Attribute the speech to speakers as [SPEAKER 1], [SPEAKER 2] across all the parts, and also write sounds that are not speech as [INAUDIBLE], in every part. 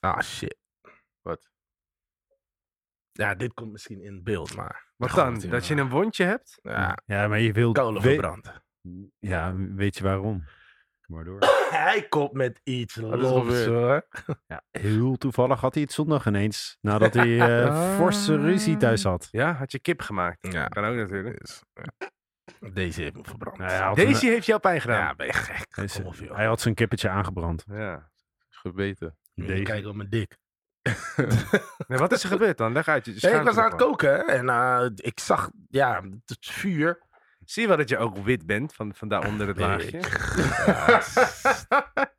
[SPEAKER 1] Ah, shit. Wat? Ja, dit komt misschien in beeld, maar...
[SPEAKER 2] Wat
[SPEAKER 1] Ja,
[SPEAKER 2] dan?
[SPEAKER 1] goed,
[SPEAKER 2] Dat je
[SPEAKER 1] ja.
[SPEAKER 2] een wondje hebt?
[SPEAKER 1] Ja,
[SPEAKER 3] Ja, maar je wilt... we-
[SPEAKER 1] kolenverbrand.
[SPEAKER 3] Ja, weet je waarom? Kom maar door.
[SPEAKER 1] Hij komt met iets
[SPEAKER 2] is er
[SPEAKER 1] lofs,
[SPEAKER 2] gebeurd?
[SPEAKER 1] hoor.
[SPEAKER 3] Ja, heel toevallig had hij het zondag ineens, nadat hij
[SPEAKER 1] [LAUGHS]
[SPEAKER 3] eh,
[SPEAKER 2] Ah.
[SPEAKER 3] forse ruzie thuis had.
[SPEAKER 2] Ja, had je kip gemaakt.
[SPEAKER 1] Ja.
[SPEAKER 2] Kan ook natuurlijk.
[SPEAKER 1] Dus, ja. Deze heeft me verbrand.
[SPEAKER 3] Nou ja, had een-
[SPEAKER 1] eh,
[SPEAKER 2] Deze heeft jou pijn gedaan.
[SPEAKER 1] ja, ben je gek?
[SPEAKER 3] Hij is-
[SPEAKER 1] Kom op, joh.
[SPEAKER 3] Hij had zijn kippetje aangebrand.
[SPEAKER 2] Ja.
[SPEAKER 4] Gebeten.
[SPEAKER 1] Moet je
[SPEAKER 3] Deze.
[SPEAKER 1] Kijken op mijn dik.
[SPEAKER 2] Nee, wat is er gebeurd dan?
[SPEAKER 1] [LAUGHS]
[SPEAKER 2] Leg uit je
[SPEAKER 1] Hey,
[SPEAKER 2] schaamte
[SPEAKER 1] ik was aan het
[SPEAKER 2] ervan.
[SPEAKER 1] koken hè, en eh, ik zag ja, het vuur.
[SPEAKER 2] Zie je wel dat je ook wit bent van, van daaronder het
[SPEAKER 1] [LAUGHS] Nee,
[SPEAKER 2] laagje?
[SPEAKER 1] [LAUGHS] Ja,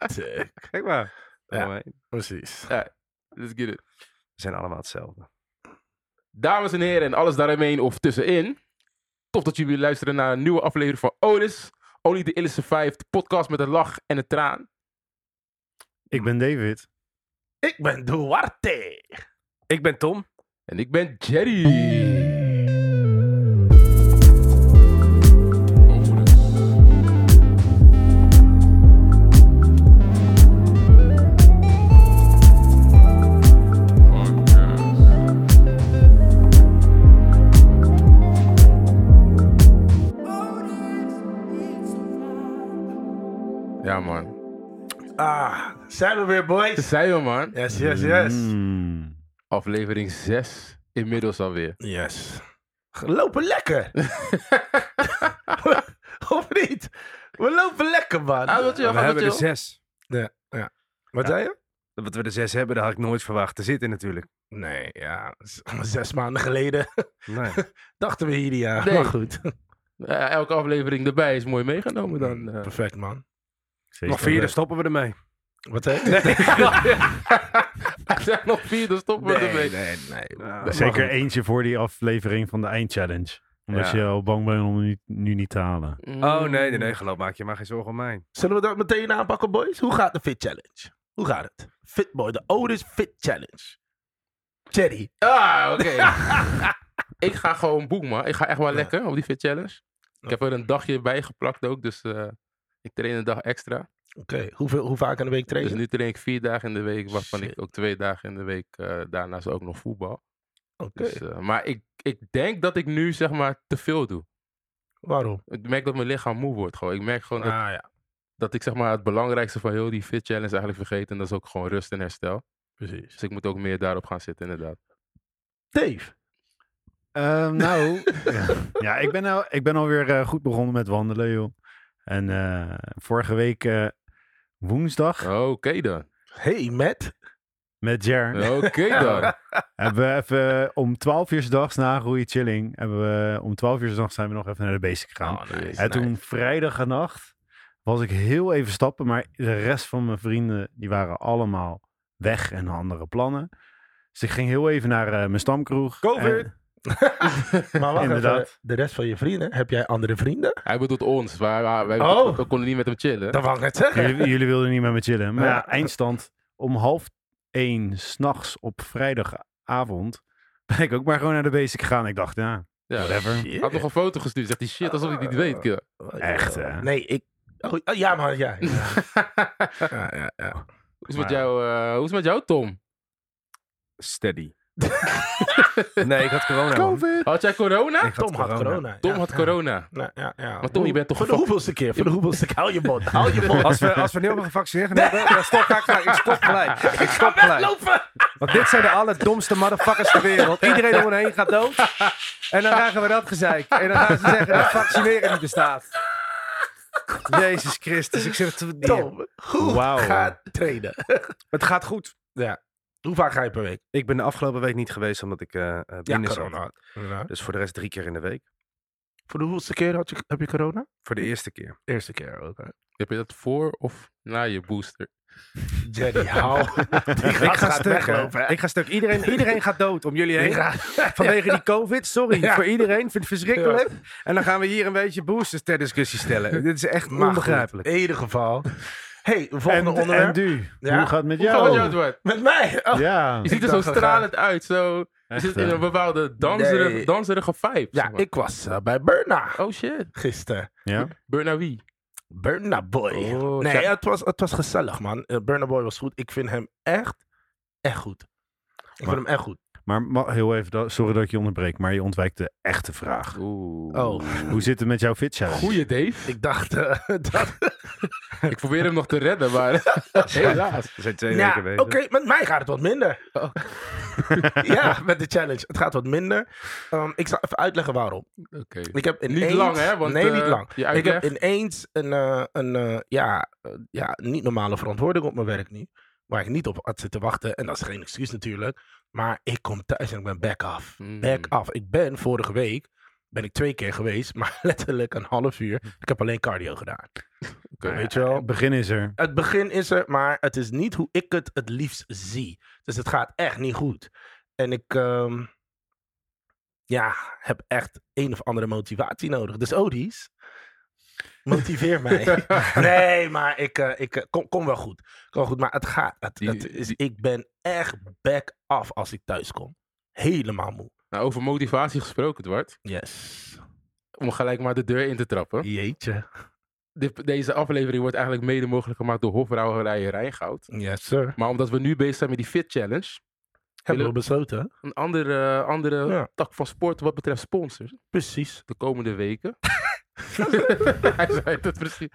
[SPEAKER 1] stuk.
[SPEAKER 2] Kijk maar.
[SPEAKER 1] [LAUGHS] Ja.
[SPEAKER 2] Mooi.
[SPEAKER 1] Precies.
[SPEAKER 4] Let's get it.
[SPEAKER 2] We zijn allemaal hetzelfde.
[SPEAKER 4] Dames en heren en alles daaromheen of tussenin. Tof dat jullie luisteren naar een nieuwe aflevering van Otis. Only the Illicit Five, de podcast met een lach en een traan.
[SPEAKER 3] Ik ben David.
[SPEAKER 1] Ik ben Duarte.
[SPEAKER 2] Ik ben Tom.
[SPEAKER 4] En ik ben Jerry. Ja, man.
[SPEAKER 1] Ah, zijn we weer,
[SPEAKER 4] Daar
[SPEAKER 1] boys?
[SPEAKER 4] zijn we, man.
[SPEAKER 1] Yes, yes, yes.
[SPEAKER 3] Mm.
[SPEAKER 4] Aflevering 6 inmiddels alweer.
[SPEAKER 1] Yes. We lopen [LAUGHS] lekker. of niet? We lopen lekker, man.
[SPEAKER 4] Ah, wat je-
[SPEAKER 2] we
[SPEAKER 4] wat
[SPEAKER 2] hebben
[SPEAKER 4] je-
[SPEAKER 2] er zes.
[SPEAKER 1] Wat zei je?
[SPEAKER 2] Dat we er zes hebben, dat had ik nooit verwacht te zitten natuurlijk.
[SPEAKER 1] Ah, Nee, ja. z- [LAUGHS] Zes maanden geleden
[SPEAKER 2] [LAUGHS] Nee.
[SPEAKER 1] dachten we hier niet aan.
[SPEAKER 4] Nee.
[SPEAKER 1] Maar goed.
[SPEAKER 4] Eh, elke aflevering erbij is mooi meegenomen
[SPEAKER 1] Mm. [LAUGHS]
[SPEAKER 4] dan. eh. [LAUGHS]
[SPEAKER 1] Perfect, man.
[SPEAKER 3] Zeker.
[SPEAKER 2] Nog vier, dan stoppen we
[SPEAKER 1] [LAUGHS]
[SPEAKER 2] ermee.
[SPEAKER 1] Wat zei je?
[SPEAKER 4] Er zijn nog vier, dan stoppen we ermee.
[SPEAKER 1] nee, nee.
[SPEAKER 2] Ja.
[SPEAKER 3] Zeker eentje voor die aflevering van de eindchallenge. Omdat
[SPEAKER 2] Ja.
[SPEAKER 3] je al bang bent om nu, nu niet te
[SPEAKER 2] [LAUGHS]
[SPEAKER 3] halen.
[SPEAKER 4] Mm.
[SPEAKER 2] Oh nee, nee, nee, geloof, maak je maar geen zorgen om mij.
[SPEAKER 1] Zullen we dat meteen aanpakken, boys? Hoe gaat de Fit Challenge? Hoe gaat het? Fitboy, de Otis Fit Challenge. Jerry.
[SPEAKER 4] Ah, oké. ik ga gewoon boek, man. Ik ga echt wel
[SPEAKER 1] Ja.
[SPEAKER 4] lekker op die Fit Challenge. Ik heb er een dagje bij geplakt ook, dus eh, ik train een dag extra.
[SPEAKER 1] Oké, hoeveel, hoe vaak in de week
[SPEAKER 4] Dus
[SPEAKER 1] trainen?
[SPEAKER 4] nu train ik vier dagen in de week, waarvan
[SPEAKER 1] Shit.
[SPEAKER 4] ik ook twee dagen in de week eh, daarnaast ook nog voetbal.
[SPEAKER 1] Oké,
[SPEAKER 4] Dus, eh, maar ik, ik denk dat ik nu zeg maar te veel doe.
[SPEAKER 1] waarom?
[SPEAKER 4] Ik merk dat mijn lichaam moe wordt gewoon. Ik merk gewoon dat,
[SPEAKER 1] Ah ja,
[SPEAKER 4] dat ik zeg maar het belangrijkste van heel die Fit Challenge eigenlijk vergeet. En dat is ook gewoon rust en herstel.
[SPEAKER 1] precies.
[SPEAKER 4] Dus ik moet ook meer daarop gaan zitten, inderdaad.
[SPEAKER 1] Dave.
[SPEAKER 3] Ehm, nou, [LAUGHS] ja. ja, ik ben, al, ik ben alweer eh, goed begonnen met wandelen, joh. En eh, vorige week eh, woensdag
[SPEAKER 1] [LAUGHS]
[SPEAKER 4] Oké dan.
[SPEAKER 1] Hey, Matt.
[SPEAKER 3] met Jer
[SPEAKER 4] Oké dan.
[SPEAKER 3] hebben we even eh, om 12 uur 's dags na Goeie Chilling, hebben we om 12 uur 's nachts zijn we nog even naar de basic gegaan.
[SPEAKER 1] Oh, nice,
[SPEAKER 3] en toen vrijdagnacht was ik heel even stappen, maar de rest van mijn vrienden die waren allemaal weg en hadden andere plannen. Dus ik ging heel even naar eh, mijn stamkroeg.
[SPEAKER 2] Covid!
[SPEAKER 3] En-
[SPEAKER 1] Maar wacht
[SPEAKER 3] Inderdaad.
[SPEAKER 1] even, de rest van je vrienden, heb jij andere vrienden?
[SPEAKER 4] Hij bedoelt ons. Wij, wij, wij-
[SPEAKER 1] Oh.
[SPEAKER 4] we konden niet met hem chillen.
[SPEAKER 1] Dat wou ik net zeggen.
[SPEAKER 3] jullie, jullie wilden niet met me chillen. Maar ja,
[SPEAKER 1] Ja.
[SPEAKER 3] eindstand om half één s'nachts op vrijdagavond ben ik ook maar gewoon naar de basic gegaan. Ik dacht, ja,
[SPEAKER 4] ja. Hij
[SPEAKER 3] whatever.
[SPEAKER 1] Shit.
[SPEAKER 4] had nog een foto gestuurd. Zegt die shit, alsof ik niet weet. kerel.
[SPEAKER 3] Echt, hè?
[SPEAKER 1] Nee, ik... Oh, oh, ja, maar ja. ja. [LAUGHS] ja, ja, ja.
[SPEAKER 4] Hoe is het met
[SPEAKER 3] Maar-
[SPEAKER 4] jou, eh, hoe is het met jou, Tom?
[SPEAKER 2] Steady. [LAUGHS] nee, ik had corona. man.
[SPEAKER 4] Had jij corona?
[SPEAKER 2] Ik
[SPEAKER 1] Tom had corona.
[SPEAKER 4] Tom
[SPEAKER 1] ja.
[SPEAKER 4] had corona.
[SPEAKER 1] Ja, ja, ja.
[SPEAKER 4] Maar Tom, je bent toch
[SPEAKER 1] Voor de
[SPEAKER 4] gevac-
[SPEAKER 1] hoeveelste keer, voor de hoeveelste keer. Hou je mond, [LAUGHS] hou je mond.
[SPEAKER 2] Als we, als we nu al gevaccineerd
[SPEAKER 1] [LAUGHS]
[SPEAKER 2] gaan hebben, dan stop ik gelijk. Ik stop gelijk. Ik stop gelijk.
[SPEAKER 1] Lopen!
[SPEAKER 2] Want dit zijn de allerdomste motherfuckers ter wereld. Iedereen om me heen gaat dood. En dan krijgen we dat gezeik. En dan gaan ze zeggen dat vaccineren niet bestaat. Jezus Christus, ik zit te
[SPEAKER 1] Tom, hoe
[SPEAKER 3] Wauw.
[SPEAKER 1] gaat trainen?
[SPEAKER 2] Het gaat goed.
[SPEAKER 1] Hoe vaak ga je per week?
[SPEAKER 2] Ik ben de afgelopen week niet geweest omdat ik eh eh, binnen zat.
[SPEAKER 1] had. Ja.
[SPEAKER 2] Dus voor de rest drie keer in de week.
[SPEAKER 1] Voor de hoeveelste keer had je, heb je corona?
[SPEAKER 2] Voor de eerste keer.
[SPEAKER 1] Eerste keer ook. hè.
[SPEAKER 4] Heb je dat voor of na je booster?
[SPEAKER 1] Jerry, hou. [LAUGHS] Die gaat,
[SPEAKER 2] Ik ga
[SPEAKER 1] gaat
[SPEAKER 2] stuk.
[SPEAKER 1] weglopen.
[SPEAKER 2] hè.
[SPEAKER 1] hè.
[SPEAKER 2] Ik ga stuk. Iedereen, iedereen gaat dood om
[SPEAKER 1] [LAUGHS]
[SPEAKER 2] jullie
[SPEAKER 1] Die
[SPEAKER 2] heen.
[SPEAKER 1] gaat-
[SPEAKER 2] Vanwege die COVID. Sorry
[SPEAKER 1] Ja.
[SPEAKER 2] voor iedereen. Ik vind het verschrikkelijk. En dan gaan we hier een beetje boosters ter
[SPEAKER 1] [LAUGHS]
[SPEAKER 2] discussie stellen. Dit is echt
[SPEAKER 1] Maar
[SPEAKER 2] onbegrijpelijk.
[SPEAKER 1] goed, In ieder geval. hey,
[SPEAKER 3] En,
[SPEAKER 1] volgende
[SPEAKER 3] en
[SPEAKER 1] onderwerp.
[SPEAKER 3] du,
[SPEAKER 1] Ja.
[SPEAKER 3] hoe gaat het met
[SPEAKER 4] Hoe gaat het
[SPEAKER 3] jou?
[SPEAKER 4] met jou, Dwight?
[SPEAKER 1] Met mij? Oh, [LAUGHS]
[SPEAKER 3] Ja,
[SPEAKER 4] Je ziet er zo
[SPEAKER 1] dacht, we gaan-
[SPEAKER 4] stralend uit. Zo. Je
[SPEAKER 3] Echt, eh,
[SPEAKER 4] zit in
[SPEAKER 3] hè?
[SPEAKER 4] een bepaalde danserige,
[SPEAKER 1] Nee.
[SPEAKER 4] danserige vibe.
[SPEAKER 1] Ja,
[SPEAKER 4] zeg maar.
[SPEAKER 1] ik was eh, bij Burna
[SPEAKER 4] Oh shit.
[SPEAKER 1] gisteren.
[SPEAKER 3] ja.
[SPEAKER 4] Burna wie?
[SPEAKER 1] Burna Boy.
[SPEAKER 4] Oh,
[SPEAKER 1] nee,
[SPEAKER 4] check.
[SPEAKER 1] het was, het was gezellig, man. Eh, Burna Boy was goed. Ik vind hem echt, echt goed. Ik
[SPEAKER 3] Maar-
[SPEAKER 1] vind hem echt goed.
[SPEAKER 3] Maar ma- heel even, da- sorry dat ik je onderbreek, maar je ontwijkt de echte vraag.
[SPEAKER 4] Oeh.
[SPEAKER 1] Oh. [LAUGHS]
[SPEAKER 3] Hoe zit het met jouw fit challenge?
[SPEAKER 4] Goeie Dave.
[SPEAKER 1] Ik dacht eh, [LAUGHS] dat...
[SPEAKER 4] Ik probeer hem nog te redden, maar
[SPEAKER 1] [LAUGHS]
[SPEAKER 4] helaas.
[SPEAKER 2] Er zijn twee
[SPEAKER 1] Ja,
[SPEAKER 2] weken
[SPEAKER 1] oké,
[SPEAKER 2] bezig.
[SPEAKER 1] met mij gaat het wat minder. [LAUGHS] ja, met de challenge. Het gaat wat minder. Ehm, ik zal even uitleggen waarom.
[SPEAKER 4] Oké.
[SPEAKER 1] Ik heb
[SPEAKER 4] Niet
[SPEAKER 1] ineens-
[SPEAKER 4] lang, hè? Want,
[SPEAKER 1] nee,
[SPEAKER 4] eh,
[SPEAKER 1] niet lang.
[SPEAKER 4] Je
[SPEAKER 1] Ik
[SPEAKER 4] uitleg.
[SPEAKER 1] heb ineens een, eh, een eh, ja, eh, ja, niet normale verantwoording op mijn werk nu. Waar ik niet op had zitten wachten. En dat is geen excuus natuurlijk. Maar ik kom thuis en ik ben back af.
[SPEAKER 4] Mm.
[SPEAKER 1] Back af. Ik ben vorige week, ben ik twee keer geweest. [LAUGHS] Maar letterlijk een half uur. Ik heb alleen cardio gedaan.
[SPEAKER 4] Oké.
[SPEAKER 1] Weet je wel?
[SPEAKER 3] Het begin is er.
[SPEAKER 1] Het begin is er, maar het is niet hoe ik het het liefst zie. Dus het gaat echt niet goed. En ik ehm, ja, heb echt een of andere motivatie nodig. Dus Odis, motiveer mij. [LAUGHS] nee, maar ik, eh, ik eh, kom, kom wel goed. Kom wel goed, maar het gaat. Het,
[SPEAKER 4] Die-
[SPEAKER 1] het is, ik ben echt back af als ik thuis kom. Helemaal moe.
[SPEAKER 4] Nou, over motivatie gesproken, Dwart.
[SPEAKER 1] Yes.
[SPEAKER 4] Om gelijk maar de deur in te trappen.
[SPEAKER 1] Jeetje.
[SPEAKER 4] De- deze aflevering wordt eigenlijk mede mogelijk gemaakt door Hofbrouwerij Rijngoud.
[SPEAKER 1] Yes, sir.
[SPEAKER 4] Maar omdat we nu bezig zijn met die Fit Challenge,
[SPEAKER 1] Hebben we besloten? hè?
[SPEAKER 4] een andere, andere
[SPEAKER 1] Ja.
[SPEAKER 4] tak van sport wat betreft sponsors,
[SPEAKER 1] Precies.
[SPEAKER 4] de komende
[SPEAKER 1] [LAUGHS]
[SPEAKER 4] weken. [LAUGHS] Hij zei het precies.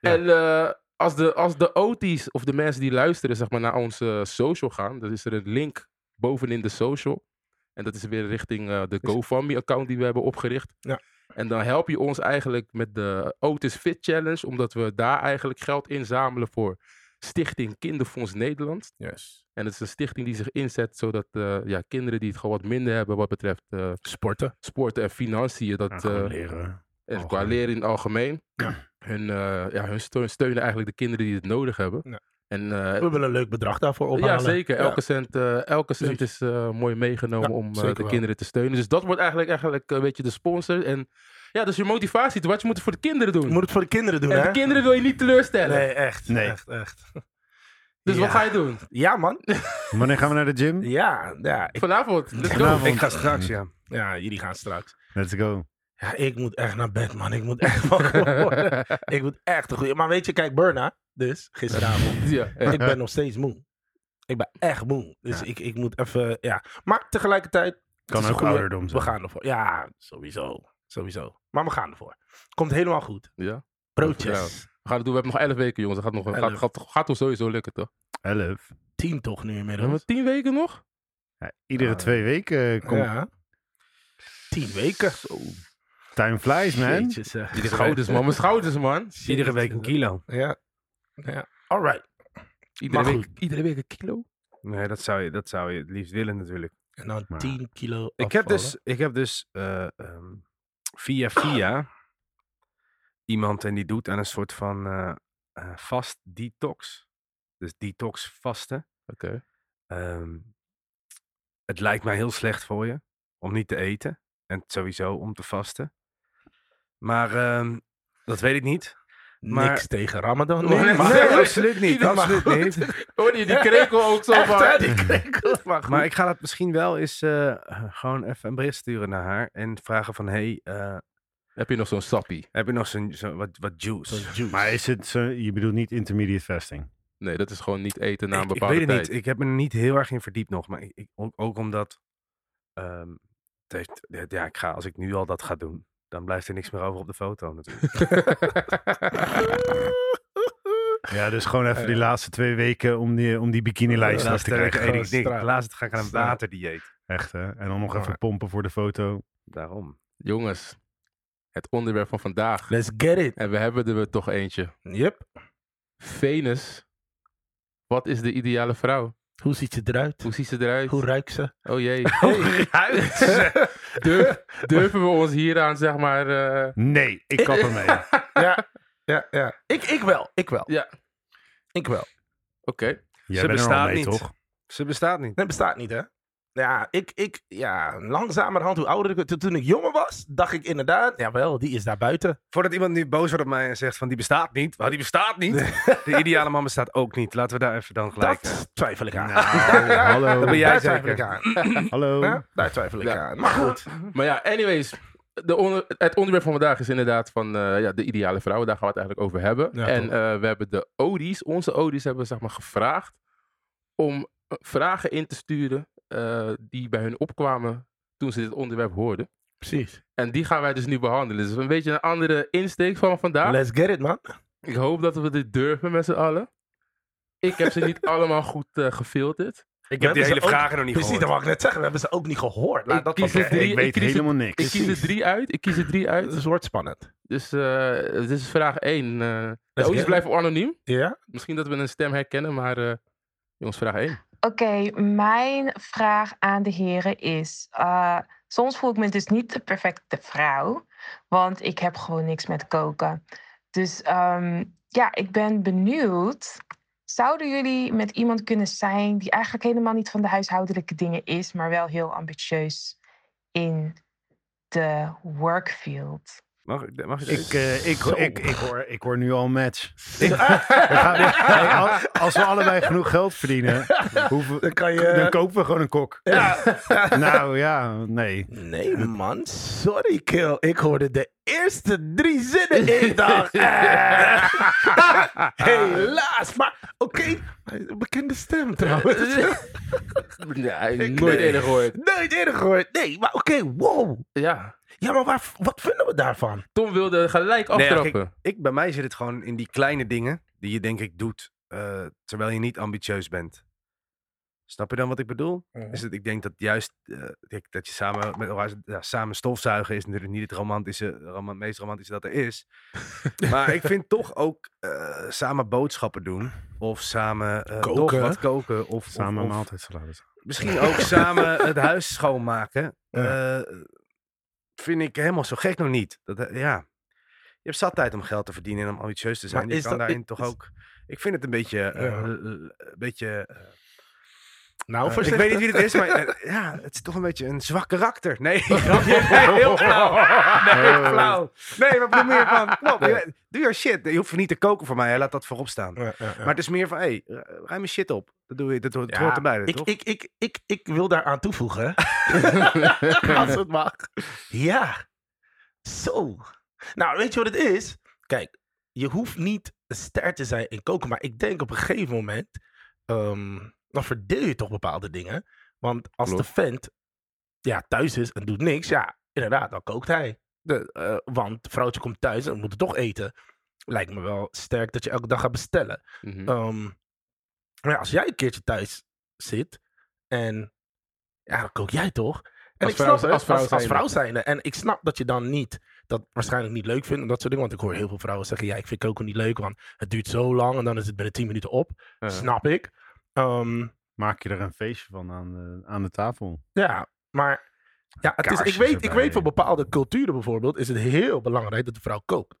[SPEAKER 4] En eh, als, de, als de OT's of de mensen die luisteren zeg maar, naar onze eh, social gaan, dan is er een link bovenin de social. En dat is weer richting eh, de GoFundMe-account die we hebben opgericht.
[SPEAKER 1] Ja.
[SPEAKER 4] En dan help je ons eigenlijk met de Otis Fit Challenge, omdat we daar eigenlijk geld inzamelen voor Stichting Kinderfonds Nederland.
[SPEAKER 1] Yes.
[SPEAKER 4] En het is een stichting die zich inzet zodat eh, ja, kinderen die het gewoon wat minder hebben wat betreft eh,
[SPEAKER 1] Sporten.
[SPEAKER 4] sporten en financiën, dat,
[SPEAKER 3] Ja,
[SPEAKER 4] eh,
[SPEAKER 3] Ah, Nou, gewoon leren.
[SPEAKER 4] en qua
[SPEAKER 3] Algemeen.
[SPEAKER 4] leren in het algemeen. Hun, eh, ja, hun steun- steunen eigenlijk de kinderen die het nodig hebben.
[SPEAKER 1] Ja.
[SPEAKER 4] En
[SPEAKER 1] We
[SPEAKER 4] eh,
[SPEAKER 1] willen een leuk bedrag daarvoor ophalen.
[SPEAKER 4] ja, zeker.
[SPEAKER 1] Ja.
[SPEAKER 4] Elke cent, eh, elke cent is eh, mooi meegenomen
[SPEAKER 1] Ja,
[SPEAKER 4] om eh,
[SPEAKER 1] zeker
[SPEAKER 4] de
[SPEAKER 1] wel.
[SPEAKER 4] kinderen te steunen. Dus dat wordt eigenlijk, eigenlijk een beetje de sponsor. En ja, dus je motivatie, wat je moet het voor de kinderen doen.
[SPEAKER 1] Je moet het voor de kinderen doen,
[SPEAKER 4] en
[SPEAKER 1] hè?
[SPEAKER 4] de kinderen wil je niet teleurstellen.
[SPEAKER 1] Nee, echt.
[SPEAKER 3] Nee.
[SPEAKER 1] Echt, echt.
[SPEAKER 4] Dus
[SPEAKER 1] Ja.
[SPEAKER 4] wat ga je doen?
[SPEAKER 1] Ja, man.
[SPEAKER 3] Wanneer gaan we naar de gym?
[SPEAKER 1] Ja, ja. Ik,
[SPEAKER 4] Vanavond. Let's go.
[SPEAKER 3] Vanavond.
[SPEAKER 2] Ik ga straks, ja.
[SPEAKER 1] ja, jullie gaan straks.
[SPEAKER 3] Let's go.
[SPEAKER 1] Ja, ik moet echt naar bed, man. Ik moet echt [LAUGHS] wakker worden. Ik moet echt een goede... Maar weet je, kijk, Burna, dus,
[SPEAKER 3] [LAUGHS]
[SPEAKER 1] gisteravond.
[SPEAKER 4] [LAUGHS] ja, eh,
[SPEAKER 1] ik ben nog steeds moe. Ik ben echt moe. Dus
[SPEAKER 3] Ja.
[SPEAKER 1] ik, ik moet even, ja. Maar tegelijkertijd... het
[SPEAKER 3] Kan
[SPEAKER 1] is een
[SPEAKER 3] ook
[SPEAKER 1] goeie-
[SPEAKER 3] ouderdom
[SPEAKER 1] We
[SPEAKER 3] zijn.
[SPEAKER 1] gaan ervoor. Ja, sowieso. Sowieso. Maar we gaan ervoor. Komt helemaal goed.
[SPEAKER 4] ja.
[SPEAKER 1] Broodjes.
[SPEAKER 4] We gaan het doen. We hebben nog 11 weken, jongens. Dat gaat, nog, gaat,
[SPEAKER 1] Elf.
[SPEAKER 4] gaat, gaat ons sowieso lukken, toch?
[SPEAKER 3] Elf.
[SPEAKER 1] Tien toch nu
[SPEAKER 4] We hebben
[SPEAKER 1] inmiddels.
[SPEAKER 4] 10 weken nog?
[SPEAKER 3] Ja, iedere
[SPEAKER 1] Ja.
[SPEAKER 3] twee weken eh, komt
[SPEAKER 1] Ah. Ja. Tien weken.
[SPEAKER 3] time flies, man.
[SPEAKER 1] Jeetje, zeg.
[SPEAKER 4] Mijn schouders, man. Mijn schouders, man.
[SPEAKER 2] Iedere week een kilo.
[SPEAKER 1] Ja. ja. All right.
[SPEAKER 4] Iedere
[SPEAKER 1] Maar
[SPEAKER 4] week, iedere week een kilo.
[SPEAKER 2] Nee, dat zou, je, dat zou je het liefst willen natuurlijk.
[SPEAKER 1] En dan
[SPEAKER 3] Maar-
[SPEAKER 1] 10 nou kilo
[SPEAKER 2] Ik heb
[SPEAKER 1] afvallen.
[SPEAKER 2] dus, ik heb dus eh, ehm, via via iemand en die doet aan een soort van eh, eh, vast detox. Dus detox vasten.
[SPEAKER 4] Oké.
[SPEAKER 2] Ehm, het lijkt mij heel slecht voor je om niet te eten. En sowieso om te vasten. Maar ehm, dat weet ik niet. maar-
[SPEAKER 1] niks tegen Ramadan.
[SPEAKER 4] [LAUGHS] Nee,
[SPEAKER 1] Oh, Nee,
[SPEAKER 4] maar-
[SPEAKER 1] [LAUGHS] maar-
[SPEAKER 2] Nee, absoluut niet.
[SPEAKER 1] Iedereen
[SPEAKER 2] Absoluut
[SPEAKER 1] mag-
[SPEAKER 4] [LAUGHS]
[SPEAKER 2] niet. [LAUGHS]
[SPEAKER 4] Hoor je die krekel ook zo
[SPEAKER 1] Echt, hè,
[SPEAKER 4] maar.
[SPEAKER 1] die krekel. Maar goed.
[SPEAKER 2] Maar ik ga dat misschien wel eens eh, gewoon even een bericht sturen naar haar. En vragen van, hey, eh,
[SPEAKER 4] Heb je nog zo'n sappie?
[SPEAKER 2] heb je nog zo'n, zo, wat, wat
[SPEAKER 1] Zo'n
[SPEAKER 2] juice?
[SPEAKER 1] juice.
[SPEAKER 3] Maar is het, zo- je bedoelt niet intermediate fasting?
[SPEAKER 4] Nee, dat is gewoon niet eten na een
[SPEAKER 2] ik, ik
[SPEAKER 4] bepaalde
[SPEAKER 2] weet het
[SPEAKER 4] tijd.
[SPEAKER 2] niet. Ik heb me er niet heel erg in verdiept nog. Maar ik, ik- ook, ook omdat, ehm, het heeft- het- ja, ik ga, als ik nu al dat ga doen, dan blijft er niks meer over op de foto natuurlijk.
[SPEAKER 3] Ja, dus gewoon even die
[SPEAKER 1] Eh.
[SPEAKER 3] laatste twee weken om die, om die bikini-lijst af te
[SPEAKER 2] Laatste week
[SPEAKER 3] krijgen.
[SPEAKER 2] eet ik
[SPEAKER 1] gewoon
[SPEAKER 2] niks.
[SPEAKER 1] straat.
[SPEAKER 2] Laatst ga ik aan een
[SPEAKER 1] Straat.
[SPEAKER 2] waterdieet.
[SPEAKER 3] Echt, hè? En dan nog even pompen voor de foto.
[SPEAKER 2] Daarom.
[SPEAKER 4] Jongens, het onderwerp van
[SPEAKER 1] [LAUGHS]
[SPEAKER 4] vandaag.
[SPEAKER 1] Let's get it.
[SPEAKER 4] En we hebben er weer toch eentje.
[SPEAKER 1] Yep.
[SPEAKER 4] Venus. Wat is de ideale vrouw?
[SPEAKER 1] Hoe ziet ze eruit?
[SPEAKER 4] Hoe ziet ze eruit?
[SPEAKER 1] Hoe ruikt ze?
[SPEAKER 4] Oh
[SPEAKER 2] [LAUGHS]
[SPEAKER 4] jee.
[SPEAKER 2] Ruikt
[SPEAKER 4] [LAUGHS] Durf- durven we ons hieraan, zeg maar... eh,
[SPEAKER 3] Nee,
[SPEAKER 1] [LAUGHS]
[SPEAKER 3] ik kap ermee.
[SPEAKER 1] [LAUGHS] ja. Ja, ja. Ik, ik wel. Ik wel.
[SPEAKER 4] Ja.
[SPEAKER 1] Ik wel.
[SPEAKER 4] Oké.
[SPEAKER 3] Jij
[SPEAKER 2] Ze
[SPEAKER 3] bent er al
[SPEAKER 2] bestaat
[SPEAKER 3] mee,
[SPEAKER 2] niet.
[SPEAKER 3] toch?
[SPEAKER 2] Ze bestaat niet.
[SPEAKER 1] Dat bestaat niet, hè? Ja, ik, ik, ja, langzamerhand, hoe ouder ik werd, toen ik jonger was, dacht ik inderdaad, jawel, die is daar buiten.
[SPEAKER 2] Voordat iemand nu boos wordt op mij en zegt van die bestaat niet. Maar die bestaat niet. De ideale man bestaat ook niet. Laten we daar even dan gelijk. eh,
[SPEAKER 1] Dat twijfel ik aan. [LAUGHS]
[SPEAKER 2] [LAUGHS]
[SPEAKER 3] Nou,
[SPEAKER 2] Dat
[SPEAKER 3] hallo.
[SPEAKER 2] ben jij
[SPEAKER 1] daar twijfel ik
[SPEAKER 2] zeker.
[SPEAKER 1] aan.
[SPEAKER 3] hallo.
[SPEAKER 1] Hè? Daar twijfel ik
[SPEAKER 4] Ja.
[SPEAKER 1] aan. Maar goed.
[SPEAKER 4] Maar ja, anyways. De onder- het onderwerp van vandaag is inderdaad van eh, ja, de ideale vrouw. Daar gaan we het eigenlijk over hebben.
[SPEAKER 1] Ja,
[SPEAKER 4] en
[SPEAKER 1] toch.
[SPEAKER 4] eh, we hebben de Odies, onze Odies hebben we zeg maar gevraagd om eh, vragen in te sturen eh, die bij hun opkwamen toen ze dit onderwerp hoorden.
[SPEAKER 1] Precies.
[SPEAKER 4] En die gaan wij dus nu behandelen. Dus een beetje een andere insteek van vandaag.
[SPEAKER 1] Let's get it, man.
[SPEAKER 4] Ik hoop dat we dit durven met z'n allen. Ik heb ze
[SPEAKER 1] [LAUGHS]
[SPEAKER 4] niet allemaal goed eh, gefilterd.
[SPEAKER 2] Ik
[SPEAKER 1] heb die
[SPEAKER 2] heb die
[SPEAKER 1] ze
[SPEAKER 2] hele
[SPEAKER 1] ook-
[SPEAKER 2] vragen nog niet
[SPEAKER 1] Precies, dat
[SPEAKER 2] gehoord.
[SPEAKER 1] wou ik net zeggen. We hebben ze ook niet gehoord. Laat
[SPEAKER 4] Ik
[SPEAKER 1] dat
[SPEAKER 4] kies
[SPEAKER 1] was
[SPEAKER 4] het drie-
[SPEAKER 3] ik
[SPEAKER 4] ik
[SPEAKER 3] weet
[SPEAKER 4] kies het-
[SPEAKER 3] helemaal
[SPEAKER 4] Ik
[SPEAKER 3] niks.
[SPEAKER 4] kies er drie uit. Ik kies er drie uit.
[SPEAKER 1] Het wordt spannend.
[SPEAKER 4] Dus eh, dit is vraag 1. eh de
[SPEAKER 1] Let's
[SPEAKER 4] OI's
[SPEAKER 1] get
[SPEAKER 4] blijven anoniem.
[SPEAKER 1] Ja? [LAUGHS]
[SPEAKER 4] Misschien dat we een stem herkennen, maar eh jongens, vraag 1.
[SPEAKER 5] Oké, mijn vraag aan de heren is: eh, soms voel ik me dus niet de perfecte vrouw, want ik heb gewoon niks met koken. Dus ehm, ja, ik ben benieuwd. Zouden jullie met iemand kunnen zijn die eigenlijk helemaal niet van de huishoudelijke dingen is, maar wel heel ambitieus in de workfield?
[SPEAKER 2] Mag ik, mag ik,
[SPEAKER 3] Ik, eh, ik,
[SPEAKER 1] Zo.
[SPEAKER 3] ik, ik, hoor, ik hoor nu al een match. Ik- we gaan-
[SPEAKER 1] [LAUGHS]
[SPEAKER 3] hey, al- als we allebei genoeg geld verdienen, hoeven,
[SPEAKER 1] Dan kan je... eh,
[SPEAKER 3] dan kopen we gewoon een kok. [LAUGHS] Nou ja,
[SPEAKER 1] [LAUGHS]
[SPEAKER 3] nee.
[SPEAKER 1] Nee, man. Sorry, Kill. Ik hoorde de eerste drie zinnen in dag. [LAUGHS] Eh. Helaas. Maar oké, bekende stem trouwens.
[SPEAKER 4] [LAUGHS] nee,
[SPEAKER 1] Ik-
[SPEAKER 4] nooit
[SPEAKER 1] nee.
[SPEAKER 4] eerder gehoord.
[SPEAKER 1] Nooit eerder gehoord. Nee, maar oké, wow.
[SPEAKER 4] Ja.
[SPEAKER 1] Ja, maar waar, wat vinden we daarvan?
[SPEAKER 4] Tom wilde gelijk
[SPEAKER 2] Nee,
[SPEAKER 4] aftrappen.
[SPEAKER 2] ik, bij mij zit het gewoon in die kleine dingen die je denk ik doet eh, terwijl je niet ambitieus bent. Snap je dan wat ik bedoel? Is het, ik denk dat juist eh, ik- dat je samen, met, elkaar- ja, samen stofzuigen is natuurlijk niet het romantische, roman- meest romantische dat er is. maar ik vind toch ook eh, samen boodschappen doen. Of samen eh, toch
[SPEAKER 1] Koken.
[SPEAKER 2] wat koken. Of,
[SPEAKER 3] Samen
[SPEAKER 2] of,
[SPEAKER 3] een
[SPEAKER 2] of
[SPEAKER 3] maaltijd salaris.
[SPEAKER 2] misschien ook
[SPEAKER 1] [LAUGHS]
[SPEAKER 2] samen het huis schoonmaken. eh, vind ik helemaal zo gek nog niet. Dat, eh, ja. Je hebt zat tijd om geld te verdienen en om ambitieus te zijn.
[SPEAKER 1] Maar
[SPEAKER 2] Je
[SPEAKER 1] is
[SPEAKER 2] kan
[SPEAKER 1] dat-
[SPEAKER 2] daarin
[SPEAKER 1] is-
[SPEAKER 2] toch ook... Ik vind het een beetje... eh,
[SPEAKER 1] Ja.
[SPEAKER 2] eh, een beetje eh,
[SPEAKER 1] Nou,
[SPEAKER 2] eh, ik
[SPEAKER 1] voorzichtig.
[SPEAKER 2] weet niet wie het
[SPEAKER 1] [LAUGHS]
[SPEAKER 2] is, maar eh, ja, het is toch een beetje een zwak karakter. Nee, [LAUGHS] grapje. Nee, heel flauw. Nee, flauw. Nee, maar probeer meer van... Kom op, je- doe your shit. Je hoeft niet te koken voor mij. Hè. Laat dat voorop staan.
[SPEAKER 1] Ja, ja, ja.
[SPEAKER 2] Maar het is meer van, hé, hey, ruim mijn shit op. Dat, doe je, dat hoort,
[SPEAKER 1] Ja,
[SPEAKER 2] hoort erbij,
[SPEAKER 1] ik,
[SPEAKER 2] toch?
[SPEAKER 1] ik, ik, ik, ik wil daaraan toevoegen. [LAUGHS] Als het mag. Ja. Zo. Nou, weet je wat het is? Kijk, je hoeft niet een ster te zijn in koken. Maar ik denk op een gegeven moment... ehm, dan verdeel je toch bepaalde dingen. Want als
[SPEAKER 4] Klopt.
[SPEAKER 1] de vent ja, thuis is en doet niks... Ja, inderdaad, dan kookt hij. De, eh, want het vrouwtje komt thuis en we moeten toch eten. Lijkt me wel sterk dat je elke dag gaat bestellen.
[SPEAKER 4] Mhm.
[SPEAKER 1] Ehm, maar ja, als jij een keertje thuis zit en ja, dan kook jij toch? En
[SPEAKER 4] Als
[SPEAKER 1] ik
[SPEAKER 4] vrouw-
[SPEAKER 1] snap,
[SPEAKER 4] als vrouw
[SPEAKER 1] als, als
[SPEAKER 4] zijnde.
[SPEAKER 1] vrouw zijnde. En ik snap dat je dan niet dat waarschijnlijk niet leuk vindt en dat soort dingen. Want ik hoor heel veel vrouwen zeggen: ja, ik vind koken niet leuk, want het duurt zo lang en dan is het binnen 10 minuten op.
[SPEAKER 4] Ja.
[SPEAKER 1] Snap ik. Ehm,
[SPEAKER 3] Maak je er een feestje van aan de, aan de tafel.
[SPEAKER 1] ja, maar ja, het is, ik,
[SPEAKER 3] Kaarsjes
[SPEAKER 1] weet, ik
[SPEAKER 3] erbij.
[SPEAKER 1] weet voor bepaalde culturen bijvoorbeeld is het heel belangrijk dat de vrouw kookt.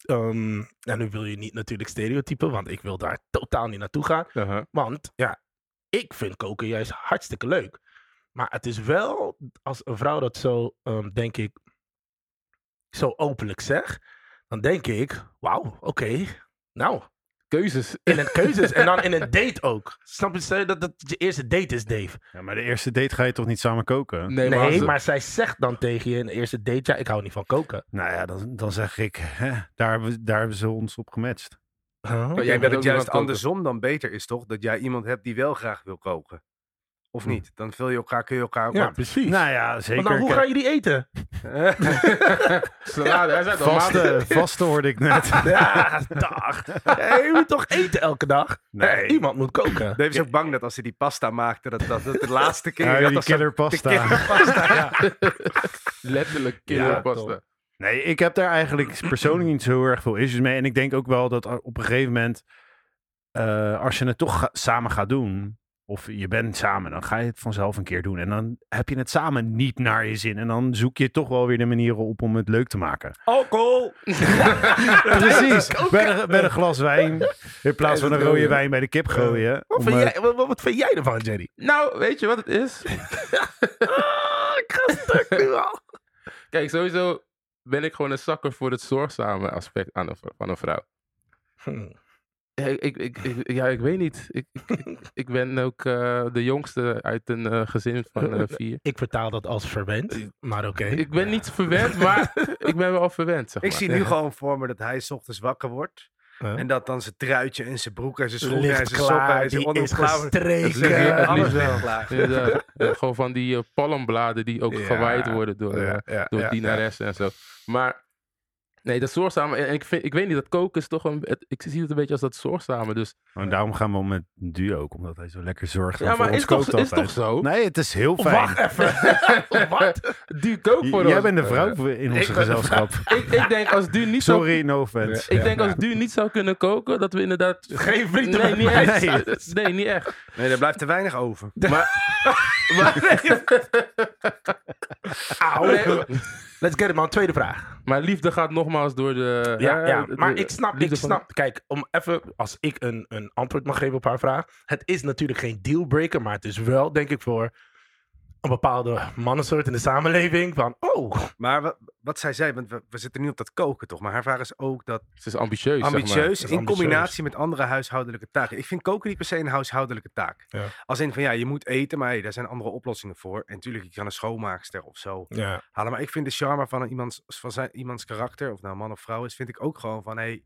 [SPEAKER 1] Ehm, en nu wil je niet natuurlijk stereotypen, want ik wil daar totaal niet naartoe gaan.
[SPEAKER 4] Aha.
[SPEAKER 1] Want ja, ik vind koken juist hartstikke leuk. Maar het is wel, als een vrouw dat zo, ehm, denk ik, zo openlijk zegt, dan denk ik, wauw, oké, nou,
[SPEAKER 4] [LAUGHS] Keuzes.
[SPEAKER 1] in een keuzes en dan in een date ook. Snap je, stel je dat dat je eerste date is, Dave?
[SPEAKER 3] Ja, maar de eerste date ga je toch niet samen koken?
[SPEAKER 4] Nee,
[SPEAKER 1] Nee,
[SPEAKER 4] maar,
[SPEAKER 1] maar zij zegt dan tegen je in de eerste date, ja, ik hou niet van koken.
[SPEAKER 3] Nou ja, dan, dan zeg ik, hè, daar, hebben we- daar hebben ze ons op gematcht.
[SPEAKER 1] Oh,
[SPEAKER 2] Maar
[SPEAKER 4] jij
[SPEAKER 2] jij dat het
[SPEAKER 4] bent ook
[SPEAKER 2] juist
[SPEAKER 4] iemand koken.
[SPEAKER 2] andersom dan beter is, toch? Dat jij iemand hebt die wel graag wil koken. Of niet? Dan vul je elkaar, kun je elkaar...
[SPEAKER 1] Hm. Ja, precies.
[SPEAKER 3] Nou ja, zeker.
[SPEAKER 1] Want dan, hoe
[SPEAKER 3] Kijk,
[SPEAKER 1] ga je die eten? [LAUGHS]
[SPEAKER 4] Salade, hij zei het al, maanden.
[SPEAKER 3] Vaste, vaste hoorde ik net.
[SPEAKER 1] Ja, [LAUGHS] dag. Ja, je moet toch eten elke dag?
[SPEAKER 2] Nee.
[SPEAKER 1] Iemand moet koken.
[SPEAKER 2] Dave is ook bang dat als hij die pasta maakte, dat
[SPEAKER 1] [LAUGHS]
[SPEAKER 2] dat, dat de laatste keer...
[SPEAKER 3] Ja,
[SPEAKER 2] dat
[SPEAKER 3] die
[SPEAKER 2] dat zo-
[SPEAKER 3] killerpasta.
[SPEAKER 2] de killerpasta, ja.
[SPEAKER 4] Letterlijk kinderpasta.
[SPEAKER 1] toch.
[SPEAKER 3] [LAUGHS] Nee, ik heb daar eigenlijk persoonlijk niet zo heel erg veel issues mee. En ik denk ook wel dat a- op een gegeven moment, eh, als je het toch ga- samen gaat doen, of je bent samen, dan ga je het vanzelf een keer doen. En dan heb je het samen niet naar je zin. En dan zoek je toch wel weer de manieren op om het leuk te maken.
[SPEAKER 2] Alcohol!
[SPEAKER 3] Precies. Bij een, met
[SPEAKER 4] eh,
[SPEAKER 3] een glas
[SPEAKER 4] [LAUGHS]
[SPEAKER 3] wijn, in plaats van een rode wijn bij de kip gooien.
[SPEAKER 1] Wat
[SPEAKER 3] Om,
[SPEAKER 1] vind,
[SPEAKER 3] eh,
[SPEAKER 1] jij, wat, wat vind jij ervan, Jerry?
[SPEAKER 4] Nou, weet je wat het is?
[SPEAKER 1] Ah, ik ga stuk nu al.
[SPEAKER 4] Kijk, sowieso ben ik gewoon een zakker voor het zorgzame aspect aan een, v- van een vrouw. Ja, Ik, ik, ik, ik- ja, ik weet niet. Ik, ik, [LAUGHS] ik- ik ben ook eh, de jongste uit een eh, gezin van [LAUGHS] eh, vier.
[SPEAKER 1] [LAUGHS] Ik vertaal dat als verwend, maar oké.
[SPEAKER 4] Ik [LAUGHS] ben niet verwend, maar ik ben wel verwend, zeg
[SPEAKER 2] Ik
[SPEAKER 4] maar.
[SPEAKER 2] zie nu gewoon voor me dat hij 's ochtends wakker wordt.
[SPEAKER 1] Ja.
[SPEAKER 2] En dat dan zijn truitje en zijn broek en zijn schoenen en
[SPEAKER 1] Ligt
[SPEAKER 2] zijn sokken
[SPEAKER 1] klaar,
[SPEAKER 2] en zijn
[SPEAKER 1] die is
[SPEAKER 2] onderklauwen.
[SPEAKER 4] Zeg je
[SPEAKER 1] gestreken.
[SPEAKER 4] echt
[SPEAKER 2] Alles
[SPEAKER 4] niet wel.
[SPEAKER 2] ligt klaar.
[SPEAKER 4] [LAUGHS] Inderdaad. Ja, gewoon van die eh, palmbladen die ook
[SPEAKER 2] Ja.
[SPEAKER 4] gewaaid worden door, eh,
[SPEAKER 2] Ja, ja,
[SPEAKER 4] door
[SPEAKER 2] ja,
[SPEAKER 4] dienaressen en zo. Maar nee, dat zorgzame. En ik, vind, ik weet niet, dat koken is toch een. het- ik zie het een beetje als dat zorgzame. Dus,
[SPEAKER 3] En daarom gaan we om met duo ook, omdat hij zo lekker zorgt
[SPEAKER 4] ja,
[SPEAKER 3] voor
[SPEAKER 4] maar
[SPEAKER 3] ons
[SPEAKER 4] is toch,
[SPEAKER 3] kookt
[SPEAKER 4] is
[SPEAKER 3] altijd.
[SPEAKER 4] toch zo? [LAUGHS]
[SPEAKER 3] Nee, het is heel fijn.
[SPEAKER 1] Wacht [LAUGHS] even. Wat?
[SPEAKER 4] Du kookt
[SPEAKER 3] J-
[SPEAKER 4] voor
[SPEAKER 3] Jij
[SPEAKER 4] ons.
[SPEAKER 3] bent de vrouw in ons
[SPEAKER 1] ben de
[SPEAKER 3] [LAUGHS] gezelschap.
[SPEAKER 4] [LAUGHS] Ik, ik denk als du niet zou.
[SPEAKER 3] Sorry, no offense.
[SPEAKER 4] Ik denk als du niet zou kunnen koken, dat we inderdaad.
[SPEAKER 1] Geen vrienden
[SPEAKER 4] Nee,
[SPEAKER 1] met
[SPEAKER 4] niet
[SPEAKER 1] mij.
[SPEAKER 4] echt. [LAUGHS] Nee, niet echt.
[SPEAKER 2] Nee, er blijft te weinig
[SPEAKER 1] [LAUGHS]
[SPEAKER 2] over.
[SPEAKER 1] Auw.
[SPEAKER 4] Nee, maar-
[SPEAKER 1] Let's get it, man. Tweede vraag.
[SPEAKER 4] maar liefde gaat nogmaals door de.
[SPEAKER 1] Ja,
[SPEAKER 4] hè,
[SPEAKER 1] ja.
[SPEAKER 4] de-
[SPEAKER 1] Maar
[SPEAKER 4] de-
[SPEAKER 1] ik snap, ik
[SPEAKER 4] liefde van-
[SPEAKER 1] snap. Kijk, om even, als ik een, een antwoord mag geven op haar vraag. Het is natuurlijk geen dealbreaker, maar het is wel, denk ik, voor een bepaalde mannensoort in de samenleving. Van, oh,
[SPEAKER 2] Maar wa- wat zij zei, want we, we zitten nu op dat koken toch. Maar haar vraag is ook dat
[SPEAKER 4] Ze is ambitieus. zeg maar.
[SPEAKER 2] ambitieus
[SPEAKER 1] is
[SPEAKER 2] in
[SPEAKER 1] ambitieus.
[SPEAKER 2] combinatie met andere huishoudelijke taken. Ik vind koken niet per se een huishoudelijke taak.
[SPEAKER 1] Ja.
[SPEAKER 2] Als in van ja, je moet eten, maar hey, daar zijn andere oplossingen voor. En natuurlijk, je kan een schoonmaakster of zo
[SPEAKER 1] ja.
[SPEAKER 2] halen. Maar ik vind de charme van, een iemands, van zijn, iemands karakter, of nou man of vrouw is, vind ik ook gewoon van hé, hey,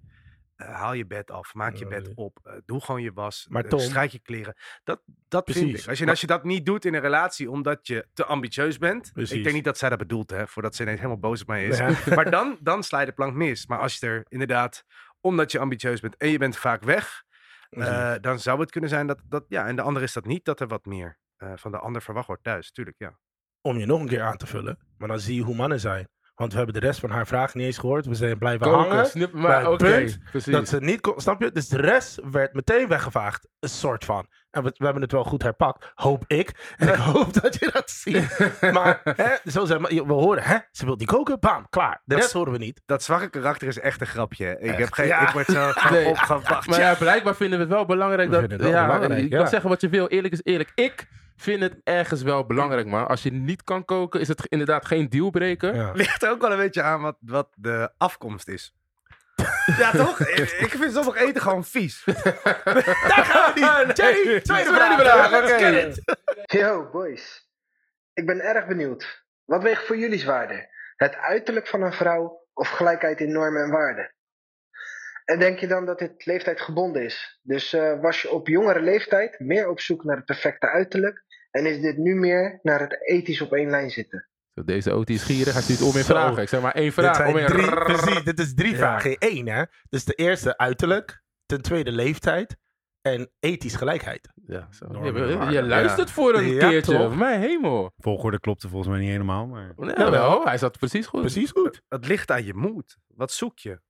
[SPEAKER 2] eh, haal je bed af, maak je
[SPEAKER 1] Ja,
[SPEAKER 2] bed
[SPEAKER 1] nee.
[SPEAKER 2] op, eh, doe gewoon je was,
[SPEAKER 1] Maar
[SPEAKER 2] eh,
[SPEAKER 1] Tom-
[SPEAKER 2] strijk je kleren. Dat, dat vind
[SPEAKER 1] Precies.
[SPEAKER 2] ik. Als je, en als je dat niet doet in een relatie omdat je te ambitieus bent,
[SPEAKER 1] Precies.
[SPEAKER 2] ik denk niet dat zij dat bedoelt, hè, voordat ze ineens helemaal boos op mij is.
[SPEAKER 1] Ja.
[SPEAKER 2] [LAUGHS] Maar dan, dan sla je de plank mis. Maar als je er inderdaad, omdat je ambitieus bent en je bent vaak weg, eh, dan zou het kunnen zijn dat, dat, ja, en de ander is dat niet, dat er wat meer eh, van de ander verwacht wordt thuis. Tuurlijk, ja.
[SPEAKER 1] om je nog een keer aan te vullen. Maar dan zie je hoe mannen zijn. Want we hebben de rest van haar vraag niet eens gehoord. We zijn blijven
[SPEAKER 4] Koken,
[SPEAKER 1] hangen.
[SPEAKER 4] snip,
[SPEAKER 1] bij
[SPEAKER 4] maar
[SPEAKER 1] het
[SPEAKER 4] oké.
[SPEAKER 1] punt
[SPEAKER 4] Precies.
[SPEAKER 1] Dat ze niet kon, snap je? Dus de rest werd meteen weggevaagd. Een soort van. En we, we hebben het wel goed herpakt. Hoop ik. [LAUGHS] En ik hoop dat je dat ziet. Maar hè, zo zijn, we we horen, hè? Ze wil die koken. Bam, klaar. De rest horen we niet.
[SPEAKER 2] Dat zwakke karakter is echt een grapje. hè. Ik heb geen,
[SPEAKER 1] ja.
[SPEAKER 2] ik word [LAUGHS] zo van
[SPEAKER 4] Nee.
[SPEAKER 2] opgewacht.
[SPEAKER 4] Maar ja, blijkbaar vinden we het wel belangrijk
[SPEAKER 1] We
[SPEAKER 4] dat...
[SPEAKER 1] vinden het wel
[SPEAKER 4] ja,
[SPEAKER 1] belangrijk,
[SPEAKER 4] je
[SPEAKER 1] ja.
[SPEAKER 4] kan zeggen wat je wil, eerlijk is eerlijk. Ik vind het ergens wel belangrijk, man. Als je niet kan koken, is het inderdaad geen dealbreaker.
[SPEAKER 1] Ja.
[SPEAKER 2] Ligt er ook wel een beetje aan wat, wat de afkomst is. ja, [LAUGHS] toch? Ik, ik vind sommig eten gewoon vies.
[SPEAKER 1] Jay, tweede
[SPEAKER 2] Tweede
[SPEAKER 1] vraag.
[SPEAKER 2] vraag,
[SPEAKER 1] Let's
[SPEAKER 2] oké.
[SPEAKER 1] get it.
[SPEAKER 6] Yo, boys. Ik ben erg benieuwd. Wat weegt voor jullie zwaarder? Het uiterlijk van een vrouw of gelijkheid in normen en waarden? En denk je dan dat dit leeftijd gebonden is? Dus eh, was je op jongere leeftijd meer op zoek naar het perfecte uiterlijk? En is dit nu meer naar het ethisch op één lijn zitten?
[SPEAKER 4] Deze OT is gierig, hij stuurt om in
[SPEAKER 1] Zo.
[SPEAKER 4] vragen. Ik zeg maar één
[SPEAKER 1] Dit,
[SPEAKER 4] vraag.
[SPEAKER 1] zijn
[SPEAKER 4] om in
[SPEAKER 1] drie,
[SPEAKER 4] rrrr.
[SPEAKER 1] precies, dit is drie vragen in één, hè? Dus de eerste uiterlijk. Ten tweede leeftijd. En ethisch gelijkheid.
[SPEAKER 4] Ja, zo.
[SPEAKER 3] Normen
[SPEAKER 4] Je-
[SPEAKER 3] en
[SPEAKER 4] je,
[SPEAKER 3] waarden,
[SPEAKER 4] luistert voor een
[SPEAKER 1] Ja,
[SPEAKER 4] keertje.
[SPEAKER 1] toch?
[SPEAKER 4] Mijn hemel.
[SPEAKER 3] Volgorde klopte volgens mij niet helemaal, maar...
[SPEAKER 4] Ja,
[SPEAKER 1] Jawel.
[SPEAKER 4] wel, hij zat precies goed.
[SPEAKER 1] Precies goed.
[SPEAKER 2] Het ligt aan je moed. Wat zoek je?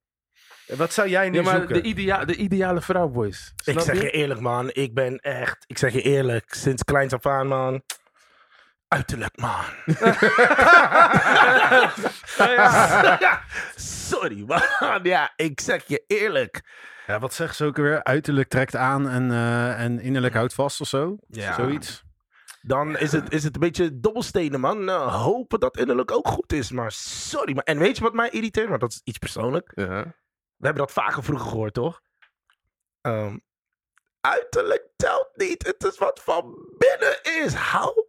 [SPEAKER 2] En Wat zou jij nu
[SPEAKER 4] Ja, maar
[SPEAKER 2] zoeken?
[SPEAKER 4] de, idea, de ideale vrouw, boys. Snap
[SPEAKER 1] Ik zeg je
[SPEAKER 4] je?
[SPEAKER 1] eerlijk, man. Ik ben echt... Ik zeg je eerlijk. Sinds kleins af aan, man. Uiterlijk, [LAUGHS] man. ja, sorry, man. Ja, ik zeg je eerlijk.
[SPEAKER 3] Ja, wat zegt ze ook weer? Uiterlijk trekt aan en, eh, en innerlijk houdt vast of zo?
[SPEAKER 1] Ja.
[SPEAKER 3] Zoiets?
[SPEAKER 1] Dan is het, is het een beetje dobbelstenen, man. Nou, hopen dat innerlijk ook goed is. Maar sorry, man. En weet je wat mij irriteert? Want dat is iets persoonlijk.
[SPEAKER 4] Ja.
[SPEAKER 1] We hebben dat vaker vroeger gehoord, toch? Ehm, uiterlijk telt niet. Het is wat van binnen is. Hou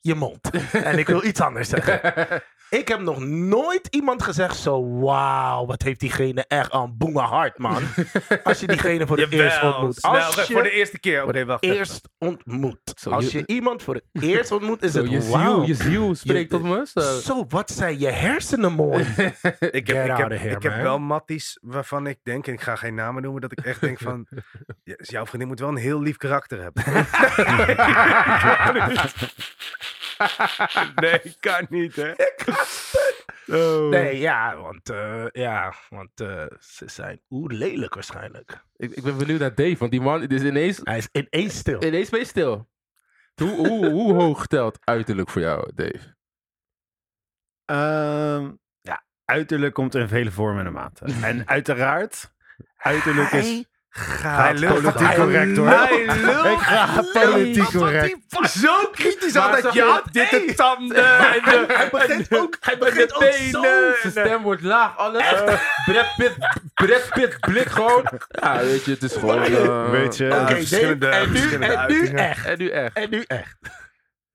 [SPEAKER 1] je mond. En ik wil iets anders zeggen. Ik heb nog nooit iemand gezegd zo... Wauw, wat heeft diegene echt een boenge hart, man. Als je diegene voor het eerst
[SPEAKER 2] Jawel,
[SPEAKER 1] ontmoet.
[SPEAKER 2] snel,
[SPEAKER 1] Als
[SPEAKER 2] Voor de
[SPEAKER 1] je
[SPEAKER 2] eerste keer. Oké, wacht. even.
[SPEAKER 1] eerst ontmoet.
[SPEAKER 4] Zo,
[SPEAKER 1] Als
[SPEAKER 4] je-
[SPEAKER 1] je iemand voor het eerst ontmoet, is
[SPEAKER 4] Zo, je,
[SPEAKER 1] het
[SPEAKER 4] ziel,
[SPEAKER 1] wauw.
[SPEAKER 4] je ziel spreekt tot me. zo.
[SPEAKER 1] Zo, wat zijn je hersenen mooi.
[SPEAKER 2] Ik heb,
[SPEAKER 1] Get
[SPEAKER 2] ik
[SPEAKER 1] out
[SPEAKER 2] heb,
[SPEAKER 1] of here,
[SPEAKER 2] ik heb
[SPEAKER 1] man.
[SPEAKER 2] wel matties waarvan ik denk, en ik ga geen namen noemen, dat ik echt denk
[SPEAKER 3] [LAUGHS]
[SPEAKER 2] van... "Ja, Jouw vriendin moet wel een heel lief karakter hebben. nee, kan niet, hè?
[SPEAKER 3] Oh.
[SPEAKER 1] Nee, ja, want, eh, ja, want eh, ze zijn oer lelijk waarschijnlijk.
[SPEAKER 4] [LAUGHS] Ik, ik ben benieuwd naar Dave, want die man die is ineens,
[SPEAKER 1] Hij is ineens stil.
[SPEAKER 4] ineens ben je stil. Hoe, hoe, hoe hoog telt uiterlijk voor jou, Dave?
[SPEAKER 3] Ehm, ja, uiterlijk komt in vele vormen en [LAUGHS] maten. En uiteraard, uiterlijk is...
[SPEAKER 2] Hij
[SPEAKER 3] Gaat
[SPEAKER 2] lult
[SPEAKER 3] politiek
[SPEAKER 1] hij
[SPEAKER 3] correct, hoor.
[SPEAKER 1] [LAUGHS]
[SPEAKER 2] Hij lult.
[SPEAKER 3] Ik ga politiek correct.
[SPEAKER 2] Zo kritisch
[SPEAKER 4] Maar
[SPEAKER 2] altijd.
[SPEAKER 4] zag
[SPEAKER 2] Ja,
[SPEAKER 4] je-
[SPEAKER 2] dit
[SPEAKER 4] Hey.
[SPEAKER 2] en tanden. en de-
[SPEAKER 1] Hij begint ook, hij begint ook
[SPEAKER 4] Nee,
[SPEAKER 1] zo.
[SPEAKER 4] nee, Zijn stem wordt laag, alles. Brad Pitt, Brad Pitt blik gewoon. Ja, weet je, het is gewoon... eh,
[SPEAKER 3] Weet je,
[SPEAKER 1] Oké,
[SPEAKER 2] Ah, verschillende-
[SPEAKER 1] Dave, en nu,
[SPEAKER 2] verschillende
[SPEAKER 1] [LAUGHS] en nu
[SPEAKER 2] uitingen.
[SPEAKER 1] echt.
[SPEAKER 3] [LAUGHS]
[SPEAKER 4] En nu echt.
[SPEAKER 1] En nu echt.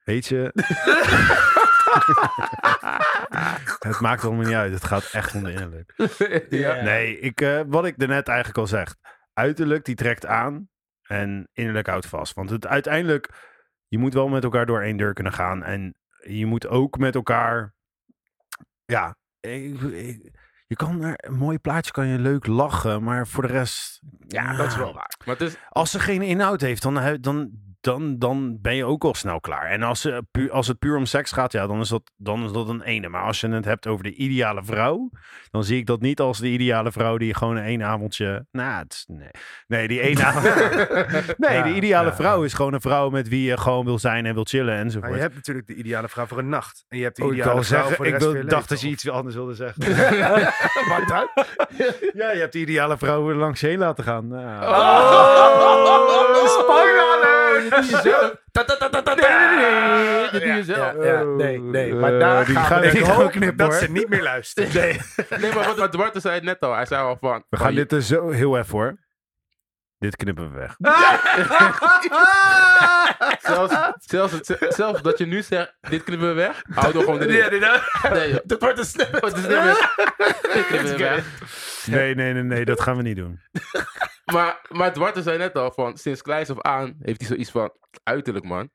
[SPEAKER 3] weet je... Het maakt helemaal niet uit. Het gaat echt om de innerlijk.
[SPEAKER 4] ja.
[SPEAKER 3] Nee, ik, eh, wat ik daarnet eigenlijk al zeg. Uiterlijk, die trekt aan. En innerlijk houdt vast. Want het, uiteindelijk, je moet wel met elkaar door één deur kunnen gaan. En je moet ook met elkaar... Ja, ik- ik- je kan naar een mooi plaatje kan je leuk lachen. Maar voor de rest... nou,
[SPEAKER 1] Ja, dat is wel waar.
[SPEAKER 4] Maar het is,
[SPEAKER 3] Als ze geen inhoud heeft, dan, he- dan, dan, dan ben je ook al snel klaar. En als, ze, pu- als het puur om seks gaat, ja, dan is, dat, dan is dat een ene. Maar als je het hebt over de ideale vrouw, dan zie ik dat niet als de ideale vrouw die gewoon een één avondje. Nou, het is- nee. nee, die [LAUGHS] één avond. nee,
[SPEAKER 2] Ja,
[SPEAKER 3] de ideale
[SPEAKER 2] ja,
[SPEAKER 3] vrouw is gewoon een vrouw met wie je gewoon wil zijn en wil chillen enzovoort.
[SPEAKER 2] Maar je hebt natuurlijk de ideale vrouw voor een nacht. En je hebt de
[SPEAKER 3] Oh, ik
[SPEAKER 2] ideale
[SPEAKER 3] wou
[SPEAKER 2] vrouw
[SPEAKER 3] zeggen,
[SPEAKER 2] voor de
[SPEAKER 3] ik
[SPEAKER 2] rest
[SPEAKER 3] wil-
[SPEAKER 2] van je
[SPEAKER 3] dacht dat je
[SPEAKER 2] leven.
[SPEAKER 3] iets anders wilde zeggen. [LAUGHS] ja, je hebt de ideale vrouw langs je heen laten gaan. Nou.
[SPEAKER 4] Oh!
[SPEAKER 1] Ja,
[SPEAKER 4] Je doet
[SPEAKER 1] ja,
[SPEAKER 4] jezelf.
[SPEAKER 1] ja, nee, nee. Maar
[SPEAKER 4] Eh,
[SPEAKER 1] daar
[SPEAKER 3] die
[SPEAKER 1] gaan
[SPEAKER 3] gaan
[SPEAKER 1] we
[SPEAKER 3] we
[SPEAKER 1] denk ik
[SPEAKER 3] gewoon
[SPEAKER 1] ook-
[SPEAKER 3] knippen,
[SPEAKER 2] Dat
[SPEAKER 3] hoor.
[SPEAKER 2] ze niet meer luisteren.
[SPEAKER 1] Nee.
[SPEAKER 4] Nee, maar wat, wat Dwarte zei het net al. Hij zei al van...
[SPEAKER 3] We gaan dit er zo heel even hoor. Dit knippen we weg.
[SPEAKER 4] Zelfs, zelfs, het- zelfs dat je nu zegt, dit knippen we weg. Houden we gewoon erin.
[SPEAKER 2] Ja,
[SPEAKER 1] [LAUGHS]
[SPEAKER 2] inderdaad.
[SPEAKER 4] Nee, joh.
[SPEAKER 1] Dit wordt een snap.
[SPEAKER 4] Oh, dit is niet meer- dit knippen we weg.
[SPEAKER 3] Nee, nee, nee, nee, dat gaan we niet doen.
[SPEAKER 4] Maar, maar Dwarte zei net al van, sinds kleins af aan heeft hij zoiets van, uiterlijk man.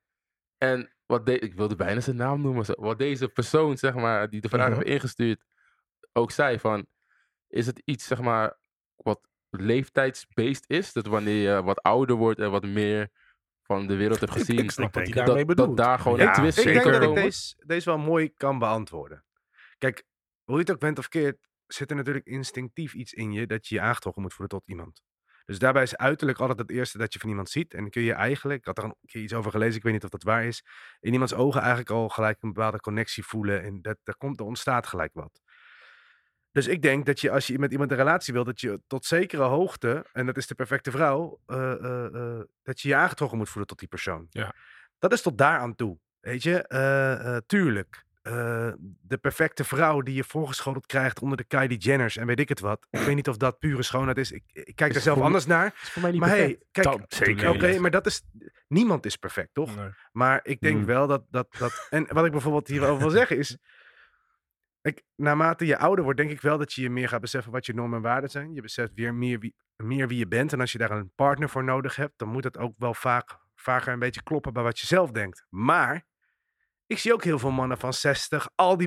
[SPEAKER 4] En wat de, ik wilde bijna zijn naam noemen. zo- Wat deze persoon, zeg maar, die de vraag
[SPEAKER 1] Mhm.
[SPEAKER 4] heeft ingestuurd, ook zei van, is het iets, zeg maar, wat leeftijdsbeest is? Dat wanneer je wat ouder wordt en wat meer van de wereld hebt gezien.
[SPEAKER 1] Ik snap wat hij
[SPEAKER 3] denk
[SPEAKER 1] daarmee
[SPEAKER 4] dat,
[SPEAKER 1] bedoelt.
[SPEAKER 4] dat daar gewoon
[SPEAKER 3] Ja,
[SPEAKER 4] een twist
[SPEAKER 2] Ik
[SPEAKER 4] in
[SPEAKER 2] denk
[SPEAKER 4] kan
[SPEAKER 2] dat ik
[SPEAKER 4] komen.
[SPEAKER 2] deze, deze wel mooi kan beantwoorden. Kijk, hoe je het ook bent of keert, zit er natuurlijk instinctief iets in je dat je je aangetrokken moet voelen tot iemand. Dus daarbij is uiterlijk altijd het eerste dat je van iemand ziet. En dan kun je eigenlijk, ik had er een keer iets over gelezen, ik weet niet of dat waar is, in iemands ogen eigenlijk al gelijk een bepaalde connectie voelen. En dat, daar komt, er ontstaat gelijk wat. Dus ik denk dat je als je met iemand een relatie wilt, dat je tot zekere hoogte, en dat is de perfecte vrouw, eh, eh, eh, dat je je aangetrokken moet voelen tot die persoon.
[SPEAKER 1] Ja.
[SPEAKER 2] Dat is tot daar aan toe. Weet je, Eh, eh, tuurlijk. eh, de perfecte vrouw die je voorgeschoteld krijgt onder de Kylie Jenners en weet ik het wat. Ik weet niet of dat pure schoonheid is. Ik, ik kijk er zelf
[SPEAKER 4] voor-
[SPEAKER 2] anders naar. Maar hey, kijk,
[SPEAKER 1] Dan
[SPEAKER 2] oké,
[SPEAKER 1] zeker niet.
[SPEAKER 2] maar dat is. Niemand is perfect, toch?
[SPEAKER 1] Nee.
[SPEAKER 2] Maar ik denk
[SPEAKER 1] Hmm.
[SPEAKER 3] Mm.
[SPEAKER 2] wel dat, dat, dat. En wat ik bijvoorbeeld hierover wil
[SPEAKER 1] [LAUGHS]
[SPEAKER 2] zeggen is. Ik, naarmate je ouder wordt, denk ik wel dat je je meer gaat beseffen wat je normen en waarden zijn. Je beseft weer meer wie, meer wie je bent. En als je daar een partner voor nodig hebt, dan moet dat ook wel vaak, vaker een beetje kloppen bij wat je zelf denkt. Maar ik zie ook heel veel mannen van 60 al die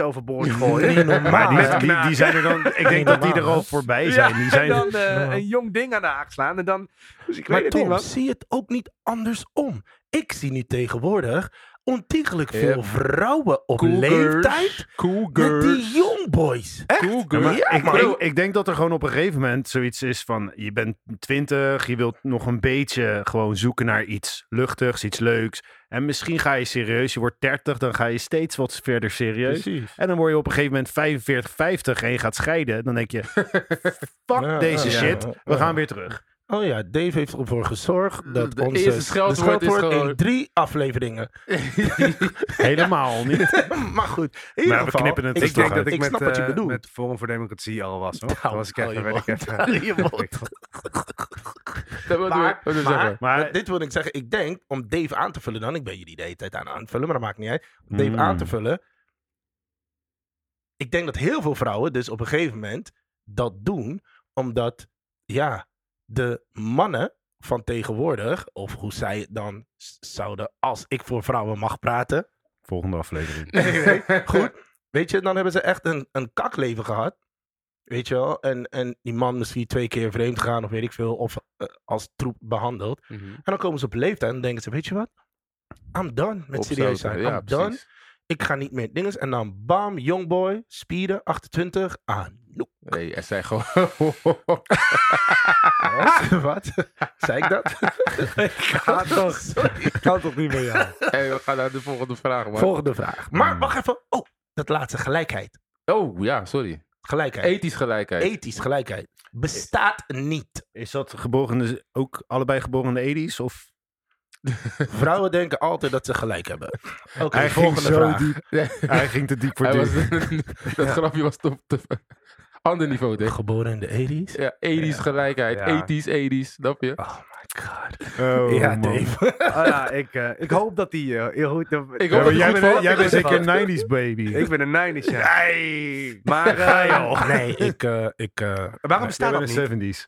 [SPEAKER 1] [LAUGHS]
[SPEAKER 2] overboord gooien.
[SPEAKER 1] Niet normaal.
[SPEAKER 3] Maar die,
[SPEAKER 2] Met
[SPEAKER 3] die, die zijn er dan. Ik denk dat die er al
[SPEAKER 2] [LAUGHS]
[SPEAKER 3] voorbij zijn. Die
[SPEAKER 2] en
[SPEAKER 3] zijn
[SPEAKER 1] [LAUGHS]
[SPEAKER 2] dan eh,
[SPEAKER 1] normaal.
[SPEAKER 2] een jong ding aan de haak slaan. En dan. Dus ik
[SPEAKER 1] Maar
[SPEAKER 2] weet het niet,
[SPEAKER 1] Tom,
[SPEAKER 2] man.
[SPEAKER 1] zie het ook niet andersom. Ik zie nu tegenwoordig ontiegelijk
[SPEAKER 4] Yep.
[SPEAKER 1] veel vrouwen op
[SPEAKER 4] Cougars.
[SPEAKER 1] leeftijd
[SPEAKER 4] Cool
[SPEAKER 1] met
[SPEAKER 4] girl.
[SPEAKER 1] die youngboys.
[SPEAKER 4] Cool
[SPEAKER 3] Ja,
[SPEAKER 4] girl.
[SPEAKER 3] maar
[SPEAKER 1] Ja,
[SPEAKER 3] ik,
[SPEAKER 1] man. [LAUGHS]
[SPEAKER 4] [LAUGHS]
[SPEAKER 3] ik, ik denk dat er gewoon op een gegeven moment zoiets is van... Je bent twintig, je wilt nog een beetje gewoon zoeken naar iets luchtigs, iets leuks. En misschien ga je serieus, je wordt dertig, dan ga je steeds wat verder serieus.
[SPEAKER 1] Precies.
[SPEAKER 3] En dan word je op een gegeven moment 45, 50 en je gaat scheiden. Dan denk je, fuck
[SPEAKER 1] Ja,
[SPEAKER 3] deze
[SPEAKER 1] ja,
[SPEAKER 3] shit,
[SPEAKER 1] ja,
[SPEAKER 3] we
[SPEAKER 1] ja.
[SPEAKER 3] gaan weer terug.
[SPEAKER 1] Oh ja, Dave heeft ervoor gezorgd dat
[SPEAKER 4] De
[SPEAKER 1] onze...
[SPEAKER 4] eerste scheldwoord
[SPEAKER 1] de
[SPEAKER 4] is gewoon-
[SPEAKER 1] in drie afleveringen. [LAUGHS]
[SPEAKER 3] Helemaal niet.
[SPEAKER 1] maar goed, in ieder
[SPEAKER 3] we
[SPEAKER 1] geval,
[SPEAKER 3] knippen het
[SPEAKER 1] ik
[SPEAKER 3] er
[SPEAKER 2] Ik
[SPEAKER 1] snap-
[SPEAKER 2] denk
[SPEAKER 3] toch uit.
[SPEAKER 2] dat ik,
[SPEAKER 1] Ik
[SPEAKER 2] met,
[SPEAKER 1] snap wat je
[SPEAKER 2] eh,
[SPEAKER 1] bedoelt.
[SPEAKER 2] met Forum voor Democratie al was. Hoor.
[SPEAKER 1] Nou,
[SPEAKER 2] Dat was ik
[SPEAKER 1] hou je
[SPEAKER 2] even, weet ik
[SPEAKER 1] mond,
[SPEAKER 2] even.
[SPEAKER 1] hou je mond.
[SPEAKER 4] Dat wil ik
[SPEAKER 1] Maar,
[SPEAKER 4] doen. Dat wil ik
[SPEAKER 1] maar,
[SPEAKER 4] zeggen.
[SPEAKER 3] Maar-
[SPEAKER 1] dit wil ik zeggen. Ik denk, om Dave aan te vullen dan. Ik ben jullie de hele tijd aan aan het vullen, maar dat maakt niet uit. Om Dave
[SPEAKER 3] Mm.
[SPEAKER 1] aan te vullen. Ik denk dat heel veel vrouwen dus op een gegeven moment dat doen. Omdat, ja, de mannen van tegenwoordig, of hoe zij het dan s- zouden, als ik voor vrouwen mag praten.
[SPEAKER 3] Volgende aflevering.
[SPEAKER 1] Nee, nee, goed. Weet je, dan hebben ze echt een, een kakleven gehad. Weet je wel? En, en die man misschien twee keer vreemd gegaan, of weet ik veel. Of eh, als troep behandeld.
[SPEAKER 4] Mhm.
[SPEAKER 1] En dan komen ze op leeftijd en denken ze, weet je wat? I'm done met serieus zijn.
[SPEAKER 4] Opzouten,
[SPEAKER 1] I'm done.
[SPEAKER 4] precies.
[SPEAKER 1] Ik ga niet meer dingen. En dan bam, youngboy, spieren, 28, aan. [LAUGHS] Noep.
[SPEAKER 4] Nee, er zijn gewoon... [LAUGHS]
[SPEAKER 1] wat? Zei ik dat? ik [LAUGHS] ga toch. Sorry.
[SPEAKER 2] Ik kan toch niet meer, ja.
[SPEAKER 4] hey, we gaan naar de volgende vraag, man.
[SPEAKER 1] Volgende vraag. Maar wacht even. Oh, dat laatste, gelijkheid.
[SPEAKER 4] Oh, ja, sorry.
[SPEAKER 1] Gelijkheid.
[SPEAKER 4] Ethisch gelijkheid.
[SPEAKER 1] Ethisch gelijkheid. Bestaat
[SPEAKER 3] [LAUGHS]
[SPEAKER 1] niet.
[SPEAKER 3] Is dat geboren in de- ook allebei geboren in de 80 Of...
[SPEAKER 1] Vrouwen denken altijd dat ze gelijk hebben. Oké,
[SPEAKER 3] Hij ging
[SPEAKER 1] volgende [LAUGHS]
[SPEAKER 3] zo
[SPEAKER 1] vraag.
[SPEAKER 3] diep.
[SPEAKER 4] Nee, [LAUGHS]
[SPEAKER 3] Hij ging te diep voor
[SPEAKER 4] hij
[SPEAKER 3] dit.
[SPEAKER 4] was, dat grafje was top. Te, Ander niveau, denk ik.
[SPEAKER 1] Geboren in de 80s?
[SPEAKER 4] Ja, 80s gelijkheid.
[SPEAKER 2] Ja.
[SPEAKER 4] 80s, 80s, snap je?
[SPEAKER 1] Oh my god.
[SPEAKER 3] Oh,
[SPEAKER 1] ja,
[SPEAKER 3] man.
[SPEAKER 1] Dave.
[SPEAKER 2] [LAUGHS] Ah, ja, ik, eh, ik hoop dat die eh, heel goed...
[SPEAKER 4] Ik
[SPEAKER 3] Ja,
[SPEAKER 4] hoop
[SPEAKER 3] maar jij
[SPEAKER 4] dat het goed
[SPEAKER 3] bent,
[SPEAKER 4] valt.
[SPEAKER 3] jij bent
[SPEAKER 2] Ik
[SPEAKER 3] zeker
[SPEAKER 2] ben
[SPEAKER 3] een 90s baby.
[SPEAKER 2] Ik ben een Niners, ja.
[SPEAKER 3] Nee.
[SPEAKER 2] Maar eh,
[SPEAKER 1] Nee, ik... eh, ik eh,
[SPEAKER 2] waarom bestaat dat niet?
[SPEAKER 3] in de 70s.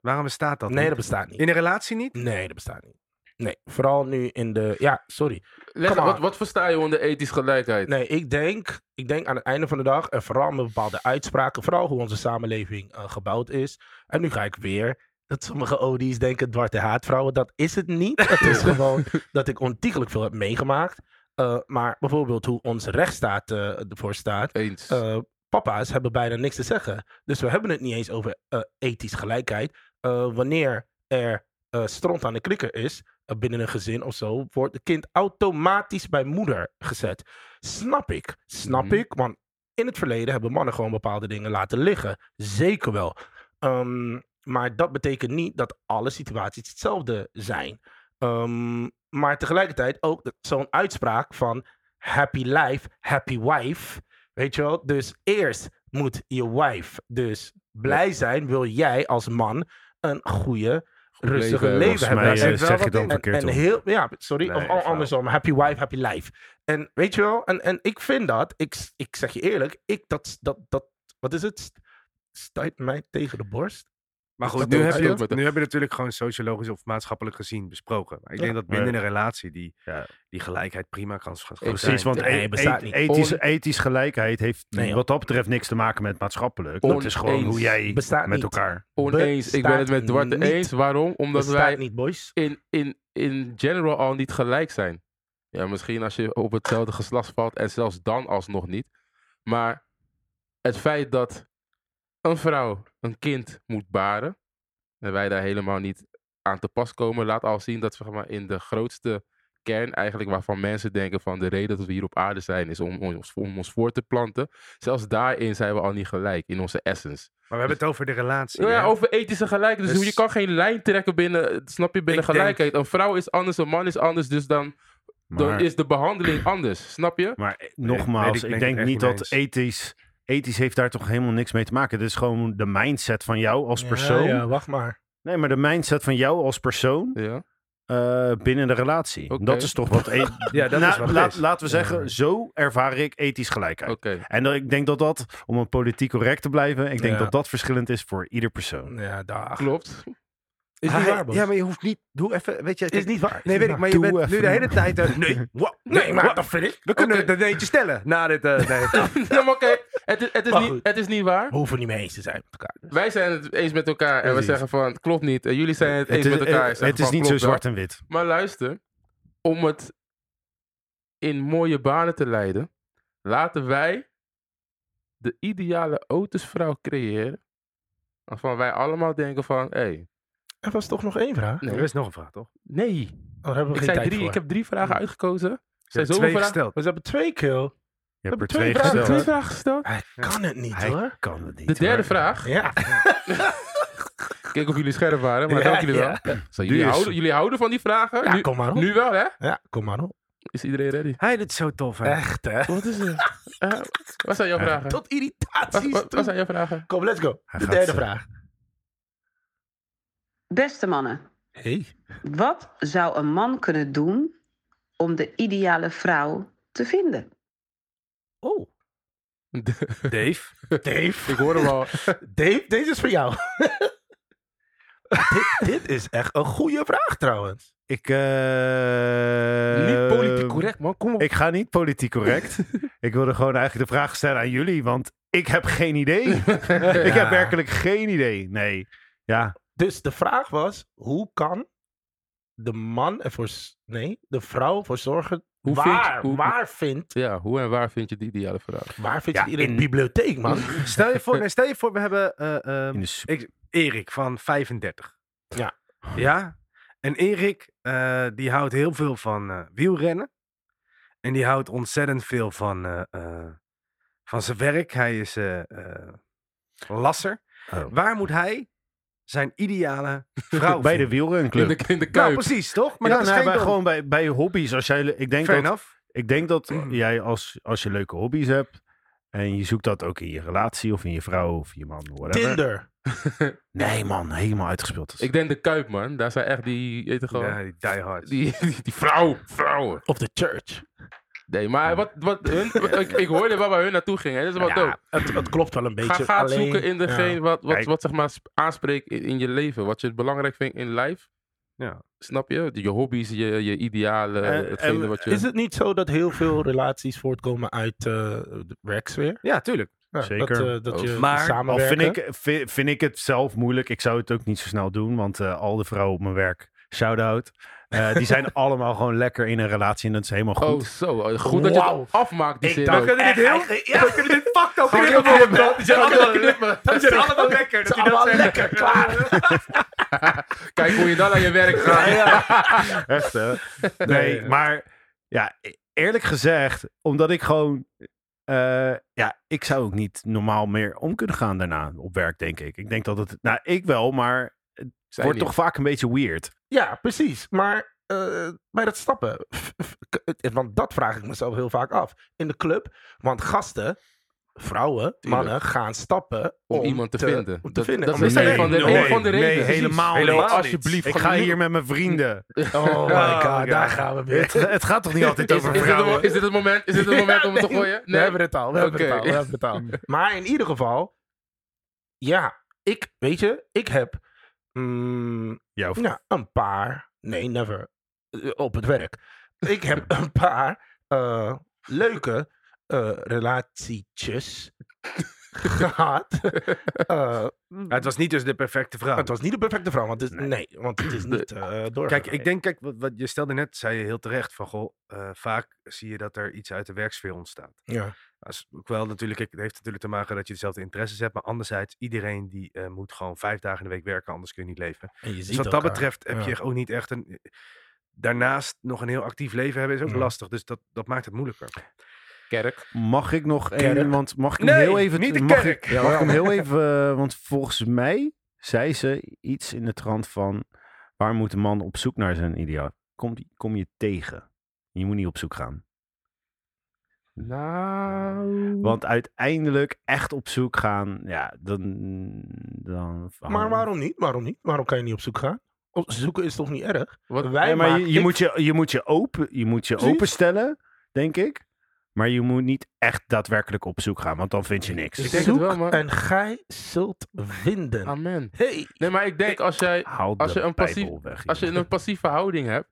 [SPEAKER 2] Waarom bestaat dat
[SPEAKER 1] nee,
[SPEAKER 2] niet?
[SPEAKER 1] dat bestaat niet.
[SPEAKER 2] In een relatie niet?
[SPEAKER 1] Nee, dat bestaat niet. Nee, vooral nu in de... Ja, sorry.
[SPEAKER 4] Leg,
[SPEAKER 1] Come on.
[SPEAKER 4] wat, wat versta je onder ethisch gelijkheid?
[SPEAKER 1] Nee, ik denk, ik denk aan het einde van de dag, en vooral met bepaalde uitspraken, vooral hoe onze samenleving eh, gebouwd is. En nu ga ik weer dat sommige OD's denken zwarte haatvrouwen. Dat is het niet. Het is gewoon dat ik ontiegelijk veel heb meegemaakt. Eh, maar bijvoorbeeld hoe onze rechtsstaat eh, ervoor staat.
[SPEAKER 4] Eens.
[SPEAKER 1] eh, papa's hebben bijna niks te zeggen. Dus we hebben het niet eens over eh ethisch gelijkheid. Eh, wanneer er eh stront aan de klikker is, eh, binnen een gezin of zo, wordt het kind automatisch bij moeder gezet. Snap ik, snap
[SPEAKER 4] Mhm.
[SPEAKER 1] ik, want in het verleden hebben mannen gewoon bepaalde dingen laten liggen. Zeker wel. Ehm, maar dat betekent niet dat alle situaties hetzelfde zijn. Ehm, maar tegelijkertijd ook dat- zo'n uitspraak van happy life, happy wife. Weet je wel? Dus eerst moet je wife dus blij zijn, wil jij als man een goede,
[SPEAKER 4] Goed
[SPEAKER 1] rustige
[SPEAKER 4] leven,
[SPEAKER 1] leven,
[SPEAKER 3] Volgens
[SPEAKER 1] hebben. Nou,
[SPEAKER 3] mij
[SPEAKER 1] Daar
[SPEAKER 3] eh,
[SPEAKER 1] zit
[SPEAKER 2] wel
[SPEAKER 3] zeg je
[SPEAKER 2] wat
[SPEAKER 3] dan
[SPEAKER 2] in.
[SPEAKER 1] en,
[SPEAKER 3] verkeerd
[SPEAKER 1] en
[SPEAKER 3] om.
[SPEAKER 1] heel, ja, sorry,
[SPEAKER 2] Nee,
[SPEAKER 1] of
[SPEAKER 2] flauw.
[SPEAKER 1] al- andersom, happy wife, happy life. En weet je wel, en, en ik vind dat, ik, s- ik zeg je eerlijk, ik dat, dat, dat wat is het? St- Stuit mij tegen de borst?
[SPEAKER 2] Maar goed,
[SPEAKER 4] Dat
[SPEAKER 2] nu
[SPEAKER 4] ook
[SPEAKER 2] heb, je
[SPEAKER 4] speelt
[SPEAKER 2] het,
[SPEAKER 4] met-
[SPEAKER 2] nu heb je natuurlijk gewoon sociologisch of maatschappelijk gezien besproken. Maar ik denk dat
[SPEAKER 3] Ja.
[SPEAKER 2] binnen een relatie die,
[SPEAKER 3] Ja.
[SPEAKER 2] die gelijkheid prima kan gaan
[SPEAKER 3] Precies, want
[SPEAKER 1] Nee,
[SPEAKER 3] e-
[SPEAKER 1] bestaat
[SPEAKER 3] e-
[SPEAKER 1] niet.
[SPEAKER 3] ethisch-
[SPEAKER 4] On-
[SPEAKER 3] ethisch gelijkheid heeft
[SPEAKER 1] Nee,
[SPEAKER 3] wat dat betreft niks te maken met maatschappelijk. Dat is gewoon
[SPEAKER 4] Oneens.
[SPEAKER 3] hoe jij
[SPEAKER 1] Bestaat
[SPEAKER 3] met
[SPEAKER 1] niet.
[SPEAKER 3] elkaar...
[SPEAKER 4] Oneens. Ik ben het met Dwarte
[SPEAKER 1] Bestaat niet.
[SPEAKER 4] eens. Waarom? Omdat
[SPEAKER 1] Bestaat
[SPEAKER 4] wij
[SPEAKER 1] niet, boys.
[SPEAKER 4] in, in, in general al niet gelijk zijn. Ja, misschien als je op hetzelfde geslacht valt en zelfs dan alsnog niet. Maar het feit dat een vrouw een kind moet baren en wij daar helemaal niet aan te pas komen, laat al zien dat we zeg maar, in de grootste kern eigenlijk waarvan mensen denken van de reden dat we hier op aarde zijn is om, ons, om ons voor te planten. Zelfs daarin zijn we al niet gelijk in onze essence.
[SPEAKER 2] Maar we hebben het over de relatie.
[SPEAKER 4] Nou ja,
[SPEAKER 2] hè?
[SPEAKER 4] over ethische gelijkheid. Dus,
[SPEAKER 2] Dus-
[SPEAKER 4] je kan geen lijn trekken binnen, snap je, binnen
[SPEAKER 2] Ik denk-
[SPEAKER 4] gelijkheid. Een vrouw is anders, een man is anders, dus dan, dan
[SPEAKER 3] Maar-
[SPEAKER 4] is de behandeling anders, snap je?
[SPEAKER 3] Maar eh, nogmaals,
[SPEAKER 2] weet ik-
[SPEAKER 3] ik,
[SPEAKER 2] ben ik
[SPEAKER 3] denk
[SPEAKER 2] het echt
[SPEAKER 3] niet
[SPEAKER 2] niet
[SPEAKER 3] dat
[SPEAKER 2] mee
[SPEAKER 3] ethisch... Ethisch heeft daar toch helemaal niks mee te maken. Dit is gewoon de mindset van jou als persoon.
[SPEAKER 1] Ja, ja, wacht maar.
[SPEAKER 3] Nee, maar de mindset van jou als persoon
[SPEAKER 4] Ja.
[SPEAKER 3] eh, binnen de relatie.
[SPEAKER 4] Oké.
[SPEAKER 3] Dat is toch
[SPEAKER 4] [LAUGHS]
[SPEAKER 3] wat... e-
[SPEAKER 2] Ja, dat
[SPEAKER 3] Nou,
[SPEAKER 2] is wat het
[SPEAKER 3] laat-
[SPEAKER 2] is.
[SPEAKER 3] Laten we zeggen, zo ervaar ik ethisch gelijkheid.
[SPEAKER 4] Oké.
[SPEAKER 3] En dat, ik denk dat dat, om een politiek correct te blijven, ik denk
[SPEAKER 1] Ja.
[SPEAKER 3] dat dat verschillend is voor ieder persoon.
[SPEAKER 1] Ja, dag.
[SPEAKER 3] [LAUGHS]
[SPEAKER 4] Klopt.
[SPEAKER 1] Is
[SPEAKER 2] Ah,
[SPEAKER 1] niet waar, boys.
[SPEAKER 2] ja, maar je hoeft niet... Doe even... Weet je,
[SPEAKER 1] Is niet waar.
[SPEAKER 2] Nee, weet ik, maar je
[SPEAKER 3] Doe
[SPEAKER 2] bent nu
[SPEAKER 3] even
[SPEAKER 2] de hele
[SPEAKER 3] normaal.
[SPEAKER 2] tijd... eh, nee, [LAUGHS] wa-
[SPEAKER 1] Nee, maar
[SPEAKER 2] wa-
[SPEAKER 1] dat vind ik.
[SPEAKER 2] we kunnen
[SPEAKER 4] Oké.
[SPEAKER 2] het eentje stellen na dit... eh,
[SPEAKER 3] [LAUGHS]
[SPEAKER 2] nee.
[SPEAKER 4] Ja, maar oké, het, is, het, is
[SPEAKER 1] Maar
[SPEAKER 4] niet-
[SPEAKER 1] goed.
[SPEAKER 4] het is niet waar.
[SPEAKER 1] We hoeven niet mee eens te zijn met elkaar.
[SPEAKER 4] Wij zijn het eens met elkaar en we
[SPEAKER 3] Precies.
[SPEAKER 4] zeggen van, klopt niet. En jullie zijn het,
[SPEAKER 3] Het
[SPEAKER 4] eens
[SPEAKER 3] is,
[SPEAKER 4] met elkaar. en
[SPEAKER 3] het,
[SPEAKER 4] zeggen
[SPEAKER 3] is
[SPEAKER 4] van,
[SPEAKER 3] niet zo
[SPEAKER 4] klopt wel.
[SPEAKER 3] zwart en wit.
[SPEAKER 4] Maar luister, om het in mooie banen te leiden, laten wij de ideale Otisvrouw creëren. Waarvan wij allemaal denken van, hé, hey,
[SPEAKER 1] Er was toch nog één vraag?
[SPEAKER 4] nee,
[SPEAKER 2] Er is nog een vraag, toch?
[SPEAKER 4] Nee.
[SPEAKER 1] Oh, daar hebben we
[SPEAKER 4] Ik,
[SPEAKER 1] geen
[SPEAKER 4] zei
[SPEAKER 1] tijd
[SPEAKER 4] drie,
[SPEAKER 1] voor.
[SPEAKER 4] ik heb drie vragen uitgekozen. Er
[SPEAKER 2] Je hebt
[SPEAKER 4] zijn zoveel
[SPEAKER 2] twee
[SPEAKER 4] vragen-
[SPEAKER 2] gesteld.
[SPEAKER 1] We hebben twee kill.
[SPEAKER 3] Je hebt er
[SPEAKER 1] hebben
[SPEAKER 3] twee
[SPEAKER 1] twee vragen.
[SPEAKER 4] Ik heb twee [LAUGHS]
[SPEAKER 3] gesteld.
[SPEAKER 4] vragen gesteld.
[SPEAKER 1] Hij kan het niet,
[SPEAKER 3] Hij
[SPEAKER 1] hoor.
[SPEAKER 3] kan het niet.
[SPEAKER 4] De derde
[SPEAKER 3] hoor.
[SPEAKER 4] vraag.
[SPEAKER 1] Ja.
[SPEAKER 4] Kijk of jullie scherp waren, maar
[SPEAKER 1] Ja,
[SPEAKER 4] dank jullie wel.
[SPEAKER 1] ja.
[SPEAKER 4] Zo, jullie,
[SPEAKER 3] Duur.
[SPEAKER 4] houden, jullie houden van die vragen?
[SPEAKER 1] Ja,
[SPEAKER 4] nu,
[SPEAKER 1] kom maar op.
[SPEAKER 4] nu wel, hè?
[SPEAKER 1] Ja, kom maar op.
[SPEAKER 4] Is iedereen ready?
[SPEAKER 2] Hij doet zo tof, hè?
[SPEAKER 1] Echt, hè?
[SPEAKER 4] Wat is [LAUGHS] het? Eh, wat zijn jouw vragen?
[SPEAKER 1] Tot
[SPEAKER 4] Wat,
[SPEAKER 1] irritaties
[SPEAKER 4] wat, wat zijn jouw vragen?
[SPEAKER 1] Kom, let's go.
[SPEAKER 3] Hij
[SPEAKER 1] De
[SPEAKER 3] gaat
[SPEAKER 1] derde
[SPEAKER 3] zo.
[SPEAKER 1] vraag.
[SPEAKER 7] Beste mannen,
[SPEAKER 1] Hey.
[SPEAKER 7] wat zou een man kunnen doen om de ideale vrouw te vinden?
[SPEAKER 1] Oh.
[SPEAKER 2] Dave?
[SPEAKER 1] [LAUGHS] Dave.
[SPEAKER 4] [LAUGHS] Ik hoor hem al.
[SPEAKER 1] Dave, deze is voor jou. dit, dit is echt een goede vraag, trouwens.
[SPEAKER 3] Ik, eh,
[SPEAKER 4] Niet politiek correct, man. Kom op.
[SPEAKER 3] Ik ga niet politiek
[SPEAKER 4] [LAUGHS]
[SPEAKER 3] correct. ik wilde gewoon eigenlijk de vraag stellen aan jullie, want ik heb geen
[SPEAKER 4] [LAUGHS]
[SPEAKER 3] idee. Ik heb werkelijk geen idee. Nee. Ja,
[SPEAKER 1] Dus de vraag was, hoe kan de man ervoor... s- Nee, de vrouw voor zorgen...
[SPEAKER 4] Hoe
[SPEAKER 1] waar,
[SPEAKER 4] vind je- hoe-
[SPEAKER 1] waar vindt...
[SPEAKER 4] Ja, hoe en waar vind je die ideale vrouw?
[SPEAKER 1] Waar vindt
[SPEAKER 3] Ja,
[SPEAKER 1] je die in
[SPEAKER 3] in-
[SPEAKER 1] de bibliotheek, man?
[SPEAKER 2] Hmm, Stel je
[SPEAKER 3] [LAUGHS]
[SPEAKER 2] voor, nee, stel je voor we hebben eh, ehm,
[SPEAKER 3] in de s-
[SPEAKER 2] Erik van 35.
[SPEAKER 1] Ja.
[SPEAKER 2] Ja. En Erik, eh, die houdt heel veel van eh, wielrennen. En die houdt ontzettend veel van, eh, eh, van zijn werk. Hij is eh, eh, lasser.
[SPEAKER 3] Oh.
[SPEAKER 2] Waar moet hij zijn
[SPEAKER 3] [LAUGHS]
[SPEAKER 2] ideale vrouw
[SPEAKER 3] bij de
[SPEAKER 2] vinden?
[SPEAKER 4] In
[SPEAKER 3] wielrenclub.
[SPEAKER 4] de, in de
[SPEAKER 2] Nou,
[SPEAKER 4] kuip.
[SPEAKER 2] precies, toch? Maar
[SPEAKER 3] Maar ja,
[SPEAKER 2] dat is
[SPEAKER 3] nou,
[SPEAKER 2] geen
[SPEAKER 3] bij,
[SPEAKER 2] dom.
[SPEAKER 3] gewoon bij, bij hobby's. Als jij, ik, denk
[SPEAKER 2] Fair
[SPEAKER 3] dat,
[SPEAKER 2] enough.
[SPEAKER 3] ik denk dat jij als, als je leuke hobby's hebt, En je zoekt dat ook in je relatie of in je vrouw of je man, whatever.
[SPEAKER 1] Tinder.
[SPEAKER 3] Nee man, helemaal uitgespeeld.
[SPEAKER 4] Ik denk de Kuip, man. Daar zijn echt die, weet je gewoon,
[SPEAKER 2] Ja, die die hard.
[SPEAKER 4] die, die, die vrouw, vrouwen.
[SPEAKER 1] Of de church.
[SPEAKER 4] Nee, maar wat, wat hun, ik, ik hoorde waar we hun naartoe gingen. hè. Dat is wel dope.
[SPEAKER 1] het, het klopt wel een beetje.
[SPEAKER 4] Ga, ga het
[SPEAKER 1] alleen-
[SPEAKER 4] zoeken in degene
[SPEAKER 2] eh,
[SPEAKER 1] ja.
[SPEAKER 4] wat, wat,
[SPEAKER 3] Kijk.
[SPEAKER 4] wat zeg maar sp- aanspreekt in, in je leven. Wat je belangrijk vindt in life.
[SPEAKER 2] Ja.
[SPEAKER 4] Snap je? Je hobby's, je, je idealen,
[SPEAKER 1] Eh,
[SPEAKER 4] hetgene
[SPEAKER 1] en
[SPEAKER 4] wat je...
[SPEAKER 1] Is het niet zo dat heel veel relaties voortkomen uit eh de werksfeer?
[SPEAKER 2] Ja, tuurlijk.
[SPEAKER 1] Ja,
[SPEAKER 3] Zeker.
[SPEAKER 1] Dat, eh, dat je
[SPEAKER 2] Oh. Maar-
[SPEAKER 3] Al
[SPEAKER 1] samenwerken.
[SPEAKER 3] vind ik, vi- vind ik het zelf moeilijk. Ik zou het ook niet zo snel doen, want eh, al de vrouwen op mijn werk, shout-out. eh, die zijn allemaal gewoon lekker in een relatie en dat is helemaal goed.
[SPEAKER 4] Oh, zo. Goed dat je
[SPEAKER 1] Wauw.
[SPEAKER 4] het afmaakt, die
[SPEAKER 1] Ik
[SPEAKER 4] zin.
[SPEAKER 1] dacht-
[SPEAKER 4] ook.
[SPEAKER 2] Kunnen dit heel? We kunnen dit fucked up
[SPEAKER 4] Gaan we
[SPEAKER 2] knippen.
[SPEAKER 4] knippen?
[SPEAKER 2] Die zijn
[SPEAKER 4] Gaan we
[SPEAKER 2] allemaal-
[SPEAKER 4] knippen?
[SPEAKER 2] die zijn allemaal lekker. Dat
[SPEAKER 1] Het is
[SPEAKER 2] je dat
[SPEAKER 1] allemaal
[SPEAKER 2] zegt.
[SPEAKER 1] lekker klaar.
[SPEAKER 4] Kijk hoe je dan aan je werk gaat. [LAUGHS]
[SPEAKER 3] Echt, hè? Nee, maar ja, e-, eerlijk gezegd, omdat ik gewoon. eh, ja, ik zou ook niet normaal meer om kunnen gaan daarna op werk, denk ik. Ik denk dat het. Nou, ik wel, maar het
[SPEAKER 4] Zij
[SPEAKER 3] wordt
[SPEAKER 4] niet.
[SPEAKER 3] toch vaak een beetje weird.
[SPEAKER 1] Ja, precies. Maar eh, bij dat stappen. Want dat vraag ik mezelf heel vaak af. In de club. Want gasten, vrouwen, mannen gaan stappen
[SPEAKER 4] Om iemand te vinden.
[SPEAKER 1] Om te
[SPEAKER 4] Dat-
[SPEAKER 1] vinden.
[SPEAKER 4] dat
[SPEAKER 1] Om
[SPEAKER 4] is
[SPEAKER 1] te
[SPEAKER 4] een
[SPEAKER 1] vinden.
[SPEAKER 4] van de-
[SPEAKER 3] nee,
[SPEAKER 4] een van de
[SPEAKER 3] nee,
[SPEAKER 4] redenen.
[SPEAKER 3] helemaal, niet.
[SPEAKER 4] Alsjeblieft.
[SPEAKER 3] Ik
[SPEAKER 4] gewoon
[SPEAKER 3] ga
[SPEAKER 4] niet-
[SPEAKER 3] hier met mijn vrienden.
[SPEAKER 1] Oh my
[SPEAKER 2] Oh my
[SPEAKER 1] god,
[SPEAKER 2] God.
[SPEAKER 1] daar gaan we weer.
[SPEAKER 3] [LAUGHS] Het,
[SPEAKER 2] [LAUGHS]
[SPEAKER 3] het gaat toch niet altijd
[SPEAKER 4] Is,
[SPEAKER 3] over
[SPEAKER 4] is, dit het, mo-
[SPEAKER 3] vrouwen?
[SPEAKER 4] is dit het moment, is dit het moment om het te gooien?
[SPEAKER 1] We hebben het al, we hebben het
[SPEAKER 4] Oké.
[SPEAKER 1] al, we hebben het al. [LAUGHS] Maar in ieder geval, ja, ik, weet je, ik heb mm,
[SPEAKER 3] Jouw vrouw.
[SPEAKER 1] ja, een paar, nee, never, eh, op het werk. Ik [LAUGHS] heb een paar eh, leuke eh, [LAUGHS] relatietjes gehad. Eh,
[SPEAKER 2] Ja, Het was niet dus de perfecte vrouw.
[SPEAKER 1] het was niet de perfecte vrouw, want het, Oh. nee.
[SPEAKER 2] Nee.
[SPEAKER 1] want het is niet eh door.
[SPEAKER 2] Kijk, ik denk, kijk, wat, wat je stelde net, zei je heel terecht van, goh, eh, vaak zie je dat er iets uit de werksfeer ontstaat.
[SPEAKER 1] Ja.
[SPEAKER 2] Als, ook wel natuurlijk, kijk, het heeft natuurlijk te maken dat je dezelfde interesses hebt, maar anderzijds, iedereen die eh, moet gewoon vijf dagen in de week werken, anders kun je niet leven.
[SPEAKER 1] En je
[SPEAKER 2] Dus
[SPEAKER 1] ziet
[SPEAKER 2] wat dat
[SPEAKER 1] elkaar.
[SPEAKER 2] betreft heb
[SPEAKER 1] Ja.
[SPEAKER 2] je ook niet echt een... Daarnaast nog een heel actief leven hebben is ook
[SPEAKER 1] Ja.
[SPEAKER 2] lastig, dus dat, dat maakt het moeilijker.
[SPEAKER 4] Kerk.
[SPEAKER 3] Mag ik nog
[SPEAKER 1] Kerk.
[SPEAKER 3] één? Want mag ik hem
[SPEAKER 2] Nee,
[SPEAKER 3] heel even.
[SPEAKER 2] niet de
[SPEAKER 3] mag
[SPEAKER 2] kerk.
[SPEAKER 3] Ik, mag ik hem heel even. eh, Want volgens mij zei ze iets in de trant van. Waar moet een man op zoek naar zijn ideaal? Kom, kom je tegen. Je moet niet op zoek gaan.
[SPEAKER 4] Nou...
[SPEAKER 3] Want uiteindelijk echt op zoek gaan. Ja, dan. dan
[SPEAKER 1] Maar waarom niet? Waarom niet? Waarom kan je niet op zoek gaan? Op zoeken is toch niet erg?
[SPEAKER 4] Wat-
[SPEAKER 1] Wij
[SPEAKER 3] Nee, maar
[SPEAKER 1] maken-
[SPEAKER 3] je, je
[SPEAKER 1] ik-
[SPEAKER 3] moet je, je moet je, open, je, moet je
[SPEAKER 1] Precies.
[SPEAKER 3] openstellen, denk ik. Maar je moet niet echt daadwerkelijk op zoek gaan, want dan vind je niks.
[SPEAKER 4] Ik denk het
[SPEAKER 1] Zoek
[SPEAKER 4] wel, man.
[SPEAKER 1] en gij zult vinden.
[SPEAKER 4] Amen.
[SPEAKER 1] Hey.
[SPEAKER 4] Nee, maar ik denk als jij,
[SPEAKER 3] Haal
[SPEAKER 4] Als
[SPEAKER 3] de
[SPEAKER 4] je een
[SPEAKER 3] Bijbel
[SPEAKER 4] passief-
[SPEAKER 3] weg.
[SPEAKER 4] als je
[SPEAKER 3] jongen.
[SPEAKER 4] een passieve houding hebt,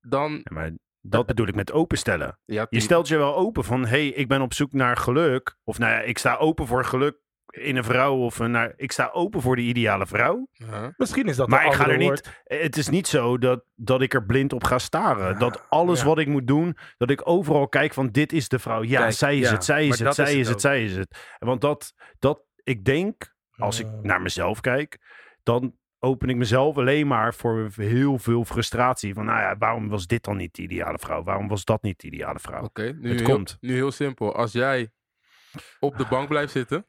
[SPEAKER 4] dan...
[SPEAKER 3] Ja, maar dat bedoel ik met openstellen.
[SPEAKER 4] Ja,
[SPEAKER 3] Je stelt je wel open van, hé, hey, ik ben op zoek naar geluk. Of nou ja, ik sta open voor geluk in een vrouw. Of een, naar, ik sta open voor die ideale vrouw.
[SPEAKER 4] Huh?
[SPEAKER 1] Misschien is dat
[SPEAKER 3] maar
[SPEAKER 1] een
[SPEAKER 3] ik ga
[SPEAKER 1] andere
[SPEAKER 3] er niet...
[SPEAKER 1] woord.
[SPEAKER 3] Het is niet zo dat, dat ik er blind op ga staren.
[SPEAKER 1] Ja,
[SPEAKER 3] dat alles
[SPEAKER 1] ja.
[SPEAKER 3] wat ik moet doen, dat ik overal kijk van, dit is de vrouw. Ja,
[SPEAKER 2] Kijk,
[SPEAKER 3] zij is
[SPEAKER 2] ja,
[SPEAKER 3] het, zij
[SPEAKER 2] maar
[SPEAKER 3] is het,
[SPEAKER 2] dat
[SPEAKER 3] zij
[SPEAKER 2] is
[SPEAKER 3] is
[SPEAKER 2] het
[SPEAKER 3] het,
[SPEAKER 2] ook.
[SPEAKER 3] zij is het. Want dat, dat ik denk, als ik
[SPEAKER 2] Ehm.
[SPEAKER 1] Ja.
[SPEAKER 3] naar mezelf kijk, dan open ik mezelf alleen maar voor heel veel frustratie. Van, nou ja, waarom was dit dan niet de ideale vrouw? Waarom was dat niet de ideale vrouw?
[SPEAKER 4] Oké, nu,
[SPEAKER 3] Het
[SPEAKER 4] heel-
[SPEAKER 3] komt.
[SPEAKER 4] nu heel simpel. Als jij op de bank blijft zitten,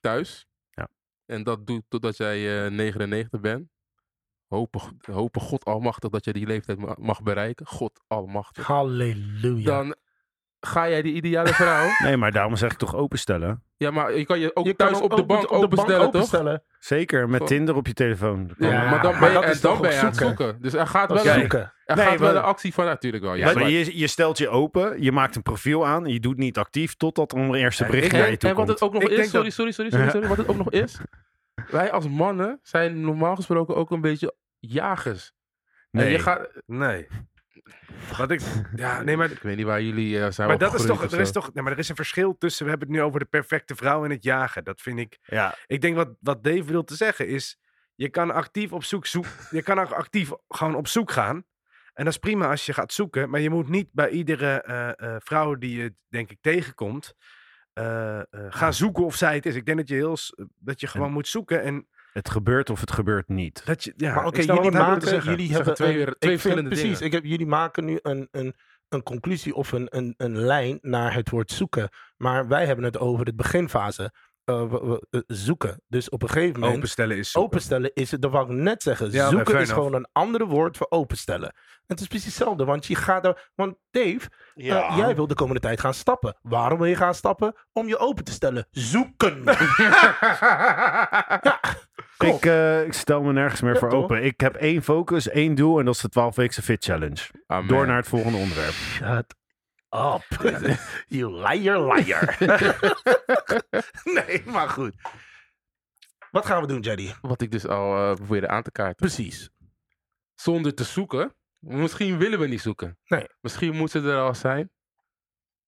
[SPEAKER 4] thuis,
[SPEAKER 3] Ja.
[SPEAKER 4] en dat doet totdat jij eh, 99 bent, hopen, hopen God almachtig dat jij die leeftijd ma- mag bereiken, God almachtig,
[SPEAKER 1] Halleluja.
[SPEAKER 4] dan ga jij die ideale
[SPEAKER 1] [LAUGHS]
[SPEAKER 4] vrouw...
[SPEAKER 3] Nee, maar daarom zeg ik toch openstellen.
[SPEAKER 4] ja, maar je kan je ook
[SPEAKER 1] Je kan
[SPEAKER 4] thuis
[SPEAKER 1] ook
[SPEAKER 4] op de bank openstellen, toch?
[SPEAKER 3] Zeker, met
[SPEAKER 4] Goh.
[SPEAKER 3] Tinder op je telefoon. Dat kan.
[SPEAKER 4] Ja,
[SPEAKER 1] Ja,
[SPEAKER 4] maar dan
[SPEAKER 1] maar
[SPEAKER 4] ben je,
[SPEAKER 1] dat
[SPEAKER 4] en
[SPEAKER 1] is
[SPEAKER 4] dan
[SPEAKER 1] toch
[SPEAKER 4] ben
[SPEAKER 1] op
[SPEAKER 4] je aan het
[SPEAKER 1] zoeken.
[SPEAKER 4] zoeken. Dus er gaat wel,
[SPEAKER 1] Oké.
[SPEAKER 4] een,
[SPEAKER 1] Zoeken.
[SPEAKER 4] er
[SPEAKER 3] Nee,
[SPEAKER 4] gaat wel
[SPEAKER 3] maar-
[SPEAKER 4] een actie van, natuurlijk wel. Ja,
[SPEAKER 3] Maar
[SPEAKER 4] maar-
[SPEAKER 3] je, je stelt je open, je maakt een profiel aan, je doet niet actief totdat er een eerste
[SPEAKER 2] Ja,
[SPEAKER 3] bericht
[SPEAKER 2] ik-
[SPEAKER 3] naar je
[SPEAKER 4] En,
[SPEAKER 3] toe
[SPEAKER 4] en wat
[SPEAKER 3] komt.
[SPEAKER 4] het ook nog
[SPEAKER 2] Ik
[SPEAKER 4] is,
[SPEAKER 2] denk
[SPEAKER 4] sorry,
[SPEAKER 2] dat-
[SPEAKER 4] sorry, sorry, sorry, sorry, wat het ook nog is. Wij als mannen zijn normaal gesproken ook een beetje jagers. Nee. je gaat,
[SPEAKER 2] Nee. Wat ik, ja, Ah, nee, maar
[SPEAKER 4] ik weet niet waar jullie eh, zijn
[SPEAKER 2] Maar, dat is toch,
[SPEAKER 4] opgegroeid
[SPEAKER 2] er is
[SPEAKER 4] of zo.
[SPEAKER 2] toch nee, maar er is een verschil tussen, we hebben het nu over de perfecte vrouw en het jagen. Dat vind ik,
[SPEAKER 3] Ja,
[SPEAKER 2] ik denk wat, wat Dave wil te zeggen is, je kan actief op zoek, zoek je kan ook actief gewoon op zoek gaan. En dat is prima als je gaat zoeken, maar je moet niet bij iedere eh, eh, vrouw die je denk ik tegenkomt, eh, eh, gaan zoeken of zij het is. Ik denk dat je, heel, s- dat je gewoon moet zoeken en
[SPEAKER 3] het gebeurt of het gebeurt niet.
[SPEAKER 2] dat je, ja,
[SPEAKER 1] maar oké,
[SPEAKER 2] ik snap
[SPEAKER 1] jullie
[SPEAKER 2] wat hij wil te
[SPEAKER 1] maken,
[SPEAKER 2] zeggen.
[SPEAKER 1] jullie
[SPEAKER 4] Zeggen
[SPEAKER 1] hebben
[SPEAKER 4] twee
[SPEAKER 1] een-
[SPEAKER 4] weer- twee
[SPEAKER 1] ik vind-
[SPEAKER 4] verschillende
[SPEAKER 1] precies,
[SPEAKER 4] dingen.
[SPEAKER 1] ik heb, jullie maken nu een, een, een conclusie of een, een, een lijn naar het woord zoeken. Maar wij hebben het over het beginfase. eh, w- w- eh, zoeken. Dus op een gegeven
[SPEAKER 3] Oh,
[SPEAKER 1] moment.
[SPEAKER 2] Openstellen is zoeken.
[SPEAKER 1] Openstellen is het, dat wou ik net zeggen.
[SPEAKER 2] Ja, oké,
[SPEAKER 1] zoeken
[SPEAKER 2] fair
[SPEAKER 1] is
[SPEAKER 2] enough.
[SPEAKER 1] gewoon een andere woord voor openstellen. En het is precies hetzelfde, want je gaat er. Want Dave, eh,
[SPEAKER 2] [LAUGHS]
[SPEAKER 1] jij wil de komende tijd gaan stappen. Waarom wil je gaan stappen? Om je open te stellen. Zoeken. ja, klopt.
[SPEAKER 3] Ik, eh, ik stel me nergens meer
[SPEAKER 1] Ja,
[SPEAKER 3] voor
[SPEAKER 1] toch?
[SPEAKER 3] open. Ik heb één focus, één doel en dat is de 12-weekse fit challenge.
[SPEAKER 4] Amen.
[SPEAKER 3] Door naar het volgende onderwerp.
[SPEAKER 1] Shut up. [LAUGHS] you liar, liar. nee, maar goed. Wat gaan we doen, Jerry?
[SPEAKER 4] Wat ik dus al eh, probeerde aan te kaarten.
[SPEAKER 1] Precies.
[SPEAKER 4] Zonder te zoeken. Misschien willen we niet zoeken.
[SPEAKER 1] Nee.
[SPEAKER 4] Misschien moet ze er al zijn.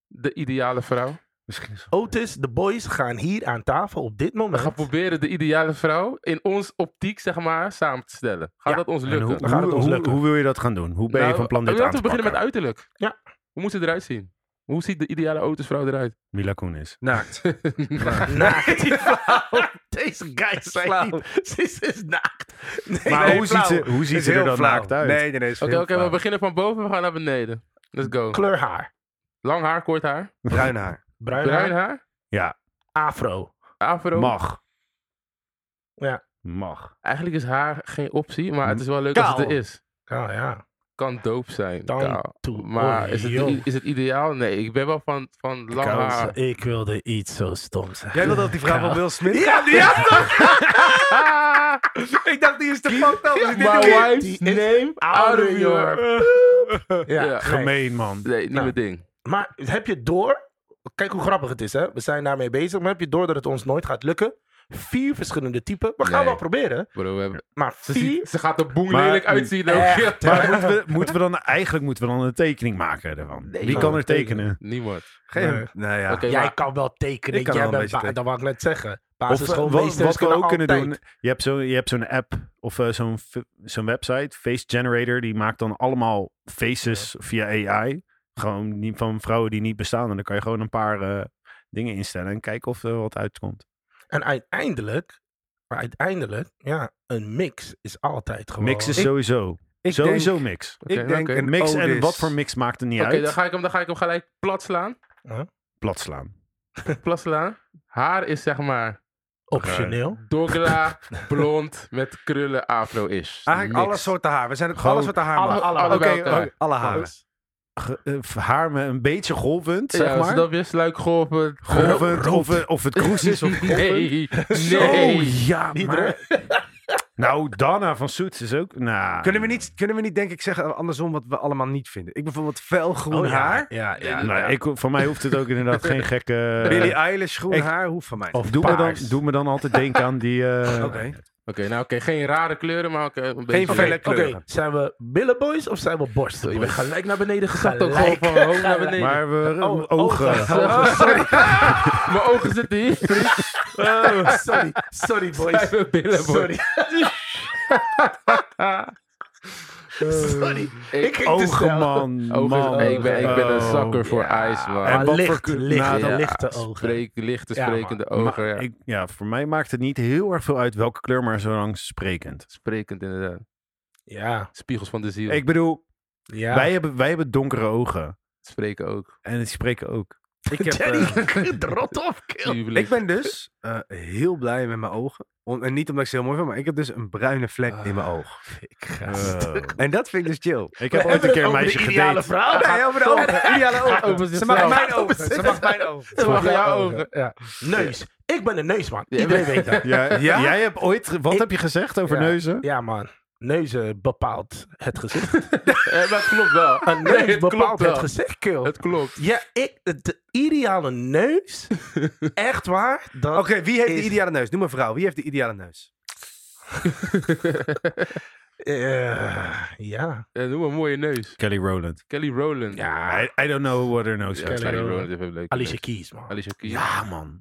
[SPEAKER 4] De ideale vrouw.
[SPEAKER 3] Misschien is
[SPEAKER 1] Otis, de boys gaan hier aan tafel op dit
[SPEAKER 4] We
[SPEAKER 1] moment.
[SPEAKER 4] gaan proberen de ideale vrouw in ons optiek, zeg maar, samen te stellen. Gaat
[SPEAKER 1] Ja,
[SPEAKER 4] dat ons
[SPEAKER 3] en
[SPEAKER 4] lukken?
[SPEAKER 3] hoe,
[SPEAKER 1] Dan gaat het
[SPEAKER 3] hoe-
[SPEAKER 1] ons
[SPEAKER 3] hoe-
[SPEAKER 1] lukken.
[SPEAKER 3] hoe wil je dat gaan doen? Hoe ben je
[SPEAKER 4] Nou,
[SPEAKER 3] van plan dit aan
[SPEAKER 4] Laten
[SPEAKER 3] te
[SPEAKER 4] we beginnen met
[SPEAKER 3] pakken?
[SPEAKER 4] uiterlijk.
[SPEAKER 1] Ja.
[SPEAKER 4] Hoe moet ze eruit zien? Hoe ziet de ideale autosvrouw
[SPEAKER 3] [LAUGHS]
[SPEAKER 4] eruit?
[SPEAKER 3] Mila Kunis.
[SPEAKER 2] Naakt.
[SPEAKER 1] [LAUGHS] Naakt. Die vrouw. Deze guys zijn
[SPEAKER 4] Flauw.
[SPEAKER 1] niet. Ze is naakt. Nee,
[SPEAKER 3] Maar
[SPEAKER 1] nee,
[SPEAKER 3] hoe ziet
[SPEAKER 1] flauw.
[SPEAKER 3] ze, hoe ziet
[SPEAKER 2] Is
[SPEAKER 3] ze er
[SPEAKER 2] heel
[SPEAKER 3] dan
[SPEAKER 2] flauw.
[SPEAKER 3] naakt uit?
[SPEAKER 2] Nee, nee, nee. is
[SPEAKER 4] Oké,
[SPEAKER 2] heel
[SPEAKER 4] oké, we
[SPEAKER 2] flauw.
[SPEAKER 4] beginnen van boven, we gaan naar beneden. Let's go.
[SPEAKER 1] Kleur haar.
[SPEAKER 4] Lang haar, kort haar.
[SPEAKER 2] Bruin haar.
[SPEAKER 1] Bruin,
[SPEAKER 4] Bruin
[SPEAKER 1] haar.
[SPEAKER 4] haar.
[SPEAKER 1] Afro.
[SPEAKER 4] Afro.
[SPEAKER 3] Mag.
[SPEAKER 1] Ja.
[SPEAKER 3] [LAUGHS] Mag.
[SPEAKER 4] Eigenlijk is haar geen optie, maar het is wel leuk als het
[SPEAKER 1] Kaal.
[SPEAKER 4] er is.
[SPEAKER 1] Oh ja.
[SPEAKER 4] Kan doop zijn.
[SPEAKER 1] Dan
[SPEAKER 4] kaal.
[SPEAKER 1] toe.
[SPEAKER 4] Maar
[SPEAKER 1] Oh,
[SPEAKER 4] is, het,
[SPEAKER 1] joh.
[SPEAKER 4] is het ideaal? Nee, ik ben wel van, van lang haar.
[SPEAKER 1] Ik wilde iets zo stoms zeggen.
[SPEAKER 2] Jij wil dat die vrouw
[SPEAKER 1] Kaal.
[SPEAKER 2] van Will Smith
[SPEAKER 1] Ja, die had
[SPEAKER 2] Ik dacht, die is te fucked up.
[SPEAKER 4] My
[SPEAKER 1] Die
[SPEAKER 4] wife's
[SPEAKER 1] is
[SPEAKER 4] name out of your...
[SPEAKER 1] Ja,
[SPEAKER 4] Ja.
[SPEAKER 1] nee.
[SPEAKER 3] Gemeen, man.
[SPEAKER 4] Nee, niet
[SPEAKER 1] Nou.
[SPEAKER 4] mijn ding.
[SPEAKER 1] Maar heb je door? Kijk hoe grappig het is, hè? We zijn daarmee bezig. Maar heb je door dat het ons nooit gaat lukken? Vier verschillende typen. We gaan
[SPEAKER 4] Nee.
[SPEAKER 1] wel proberen.
[SPEAKER 4] Bro, we hebben...
[SPEAKER 1] Maar
[SPEAKER 4] ze,
[SPEAKER 1] vier.
[SPEAKER 4] ziet- ze gaat er boem
[SPEAKER 3] Maar-
[SPEAKER 4] lelijk uitzien ook. [LAUGHS]
[SPEAKER 1] Echt.
[SPEAKER 3] [LAUGHS] Maar moeten we, moeten we dan, eigenlijk moeten we dan een tekening maken ervan. Wie kan er tekenen?
[SPEAKER 4] Niemand.
[SPEAKER 1] Nee.
[SPEAKER 2] Geen... Nou ja.
[SPEAKER 4] Oké,
[SPEAKER 1] Jij
[SPEAKER 4] maar-
[SPEAKER 1] kan wel tekenen.
[SPEAKER 2] Ik kan
[SPEAKER 1] Jij
[SPEAKER 2] wel een
[SPEAKER 1] bent
[SPEAKER 2] beetje
[SPEAKER 1] ba- Dat wou ik net zeggen.
[SPEAKER 3] Of eh, wa- wat,
[SPEAKER 1] Basisschoolmeesters
[SPEAKER 3] we ook kunnen
[SPEAKER 1] altijd.
[SPEAKER 3] doen, je hebt zo'n je hebt zo'n app of eh, zo'n f- zo'n website, Face Generator, die maakt dan allemaal faces via AI. Gewoon niet van vrouwen die niet bestaan. En dan kan je gewoon een paar eh, dingen instellen en kijken of er wat uitkomt.
[SPEAKER 1] En uiteindelijk, maar uiteindelijk, ja, een mix is altijd gewoon.
[SPEAKER 3] Mix is
[SPEAKER 2] Ik-
[SPEAKER 3] sowieso.
[SPEAKER 2] Ik
[SPEAKER 3] Sowieso
[SPEAKER 2] denk-
[SPEAKER 3] mix.
[SPEAKER 4] Oké,
[SPEAKER 2] Ik denk
[SPEAKER 4] oké.
[SPEAKER 2] een
[SPEAKER 3] Mix en
[SPEAKER 2] Otis.
[SPEAKER 3] wat voor mix maakt er niet
[SPEAKER 4] Oké,
[SPEAKER 3] uit.
[SPEAKER 4] dan, ga ik hem- dan ga ik hem gelijk plat slaan.
[SPEAKER 3] Plat slaan.
[SPEAKER 4] Plat slaan. Haar is zeg maar
[SPEAKER 1] optioneel.
[SPEAKER 4] Dogla, blond, met krullen afro-ish.
[SPEAKER 2] Eigenlijk
[SPEAKER 4] Niks.
[SPEAKER 2] alle soorten haar. We zijn het
[SPEAKER 3] Gewoon
[SPEAKER 2] alles wat de haar
[SPEAKER 1] alle-
[SPEAKER 2] mag.
[SPEAKER 4] alle- alle
[SPEAKER 2] Oké, eh,
[SPEAKER 4] bij elkaar.
[SPEAKER 2] oké, alle haren.
[SPEAKER 3] Ge- eh, haar met een beetje golvend,
[SPEAKER 4] Ja,
[SPEAKER 3] zeg maar.
[SPEAKER 4] snap je? Sluik, golven.
[SPEAKER 3] Golvend, of, eh, of het kroes is of golvend.
[SPEAKER 4] [LAUGHS] Nee,
[SPEAKER 3] Zo,
[SPEAKER 4] nee.
[SPEAKER 3] ja, maar... Nou, Dana van Soets is ook... Nou,
[SPEAKER 2] Kunnen we, niet, kunnen we niet, denk ik, zeggen andersom wat we allemaal niet vinden? Ik bijvoorbeeld felgroen
[SPEAKER 1] Oh, ja.
[SPEAKER 2] haar.
[SPEAKER 1] Ja, ja.
[SPEAKER 3] Nou, ja, ik, voor mij hoeft het ook inderdaad geen gekke...
[SPEAKER 2] Billie Eilish groen
[SPEAKER 3] ik-
[SPEAKER 2] haar. Hoeft van mij.
[SPEAKER 1] Of
[SPEAKER 3] doe, me dan,
[SPEAKER 1] paars.
[SPEAKER 3] doe me dan altijd denken aan die...
[SPEAKER 2] [LAUGHS]
[SPEAKER 3] eh,
[SPEAKER 2] Oké.
[SPEAKER 4] Oké, nou oké, geen rare kleuren, maar oké, een
[SPEAKER 2] Geen
[SPEAKER 4] beetje...
[SPEAKER 2] felle
[SPEAKER 1] Oké,
[SPEAKER 2] kleuren.
[SPEAKER 1] zijn we billenboys of zijn we borsten?
[SPEAKER 4] Je bent
[SPEAKER 1] gelijk naar beneden
[SPEAKER 4] Gaat ook gewoon van hoog naar beneden.
[SPEAKER 3] Maar we,
[SPEAKER 1] Oh,
[SPEAKER 3] ogen.
[SPEAKER 1] ogen.
[SPEAKER 4] Oh, sorry. Mijn ogen zitten hier.
[SPEAKER 1] Oh, sorry, sorry boys.
[SPEAKER 4] Mijn billen, boy.
[SPEAKER 1] Sorry. sorry. Ik ging te
[SPEAKER 3] [LAUGHS] Ogen,
[SPEAKER 1] snel.
[SPEAKER 3] man.
[SPEAKER 4] Ogen-
[SPEAKER 3] man.
[SPEAKER 4] Nee, ik, ben, ik ben een
[SPEAKER 3] Oh.
[SPEAKER 4] zakker voor ijs, man.
[SPEAKER 3] En
[SPEAKER 1] Maar
[SPEAKER 3] wat voor
[SPEAKER 1] licht,
[SPEAKER 3] kleur-
[SPEAKER 1] licht,
[SPEAKER 3] Nou,
[SPEAKER 1] ja,
[SPEAKER 3] dan-
[SPEAKER 1] lichte ogen.
[SPEAKER 4] Spreek, lichte,
[SPEAKER 1] Ja, man.
[SPEAKER 4] sprekende
[SPEAKER 3] Maar
[SPEAKER 4] ogen, ja.
[SPEAKER 3] ik, ja, voor mij maakt het niet heel erg veel uit welke kleur, maar zolang sprekend.
[SPEAKER 4] Sprekend, inderdaad.
[SPEAKER 1] Ja,
[SPEAKER 4] Spiegels van de ziel.
[SPEAKER 3] Ik bedoel,
[SPEAKER 1] ja.
[SPEAKER 3] wij, hebben, wij hebben donkere ogen.
[SPEAKER 4] Spreken
[SPEAKER 3] [LAUGHS]
[SPEAKER 4] ook.
[SPEAKER 3] En die spreken ook.
[SPEAKER 2] Ik, heb, eh,
[SPEAKER 1] Jerry, rot op, kill.
[SPEAKER 4] Tuurlijk.
[SPEAKER 2] ik ben dus eh, heel blij met mijn ogen. On- en niet omdat ik ze heel mooi vind, maar ik heb dus een bruine vlek in mijn oog.
[SPEAKER 1] Ik [LAUGHS] ga...
[SPEAKER 3] Oh.
[SPEAKER 2] En dat vind ik dus chill.
[SPEAKER 3] Ik heb ooit een keer een meisje
[SPEAKER 1] ideale
[SPEAKER 3] gedate.
[SPEAKER 1] vrouw.
[SPEAKER 2] Nee, over de ogen. Ideale
[SPEAKER 4] Over
[SPEAKER 2] ogen. Ze mag
[SPEAKER 4] zichzelf.
[SPEAKER 2] mijn ogen. Ze mag mijn ogen.
[SPEAKER 4] Ze mag jouw ogen.
[SPEAKER 1] Ja. Neus. Ik ben een neusman.
[SPEAKER 4] Ja.
[SPEAKER 1] Iedereen weet dat.
[SPEAKER 3] [LAUGHS] Ja,
[SPEAKER 2] Ja?
[SPEAKER 3] Jij hebt ooit... Wat
[SPEAKER 1] Ik-
[SPEAKER 3] heb je gezegd over
[SPEAKER 1] Ja.
[SPEAKER 3] neuzen?
[SPEAKER 1] Ja, man. Neuzen bepaalt het gezicht.
[SPEAKER 4] Eh, dat klopt wel.
[SPEAKER 1] Een
[SPEAKER 4] Nee,
[SPEAKER 1] neus
[SPEAKER 4] het
[SPEAKER 1] bepaalt
[SPEAKER 4] klopt wel.
[SPEAKER 1] Ah, het gezicht, kill.
[SPEAKER 4] Het
[SPEAKER 1] [LAUGHS]
[SPEAKER 4] klopt.
[SPEAKER 1] Ja, ik, de ideale neus. Echt waar? Dat,
[SPEAKER 2] Oké, wie heeft de
[SPEAKER 1] Is-
[SPEAKER 2] ideale neus? Noem een vrouw. Wie heeft de ideale neus?
[SPEAKER 1] eh, ja.
[SPEAKER 4] Eh, noem een mooie neus.
[SPEAKER 3] Kelly Rowland.
[SPEAKER 4] Kelly Rowland.
[SPEAKER 1] Ja,
[SPEAKER 3] I, I don't know what her nose
[SPEAKER 4] Ja,
[SPEAKER 3] looks
[SPEAKER 1] Kelly
[SPEAKER 4] Kelly
[SPEAKER 3] like.
[SPEAKER 4] Rowland heeft een leuke
[SPEAKER 1] Alicia
[SPEAKER 4] neus.
[SPEAKER 1] Keys, man.
[SPEAKER 4] Alicia Keys.
[SPEAKER 3] Ja, man.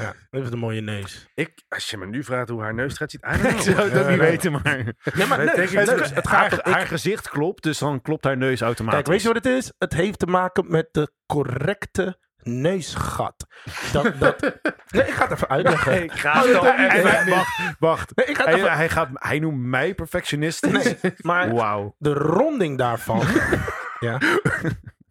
[SPEAKER 1] Ja, heeft een mooie neus.
[SPEAKER 2] Ik, als je me nu vraagt hoe haar neus eruit ziet, I don't
[SPEAKER 3] [LAUGHS] Ik
[SPEAKER 2] know. Eh,
[SPEAKER 3] zou het ook niet
[SPEAKER 1] Ja.
[SPEAKER 3] weten, maar...
[SPEAKER 1] Nee, maar
[SPEAKER 2] Maar
[SPEAKER 1] neus,
[SPEAKER 2] denk je
[SPEAKER 1] neus,
[SPEAKER 2] dat-
[SPEAKER 1] het gaat
[SPEAKER 3] haar,
[SPEAKER 1] om- ik-
[SPEAKER 3] haar gezicht klopt, dus dan klopt haar neus automatisch.
[SPEAKER 1] Kijk, weet je wat het is? Het heeft te maken met de correcte neusgat. Dat, dat... Nee, ik ga het even uitleggen.
[SPEAKER 2] [LAUGHS] Ik ga het al
[SPEAKER 3] En-
[SPEAKER 2] echt
[SPEAKER 3] [LAUGHS] en- wacht, wacht.
[SPEAKER 1] Nee, ik ga het
[SPEAKER 3] Hij,
[SPEAKER 1] even...
[SPEAKER 3] hij, gaat, hij noemt mij [LAUGHS] perfectionistisch.
[SPEAKER 1] Nee, maar
[SPEAKER 3] Wauw.
[SPEAKER 2] [LAUGHS]
[SPEAKER 1] de ronding daarvan. ja.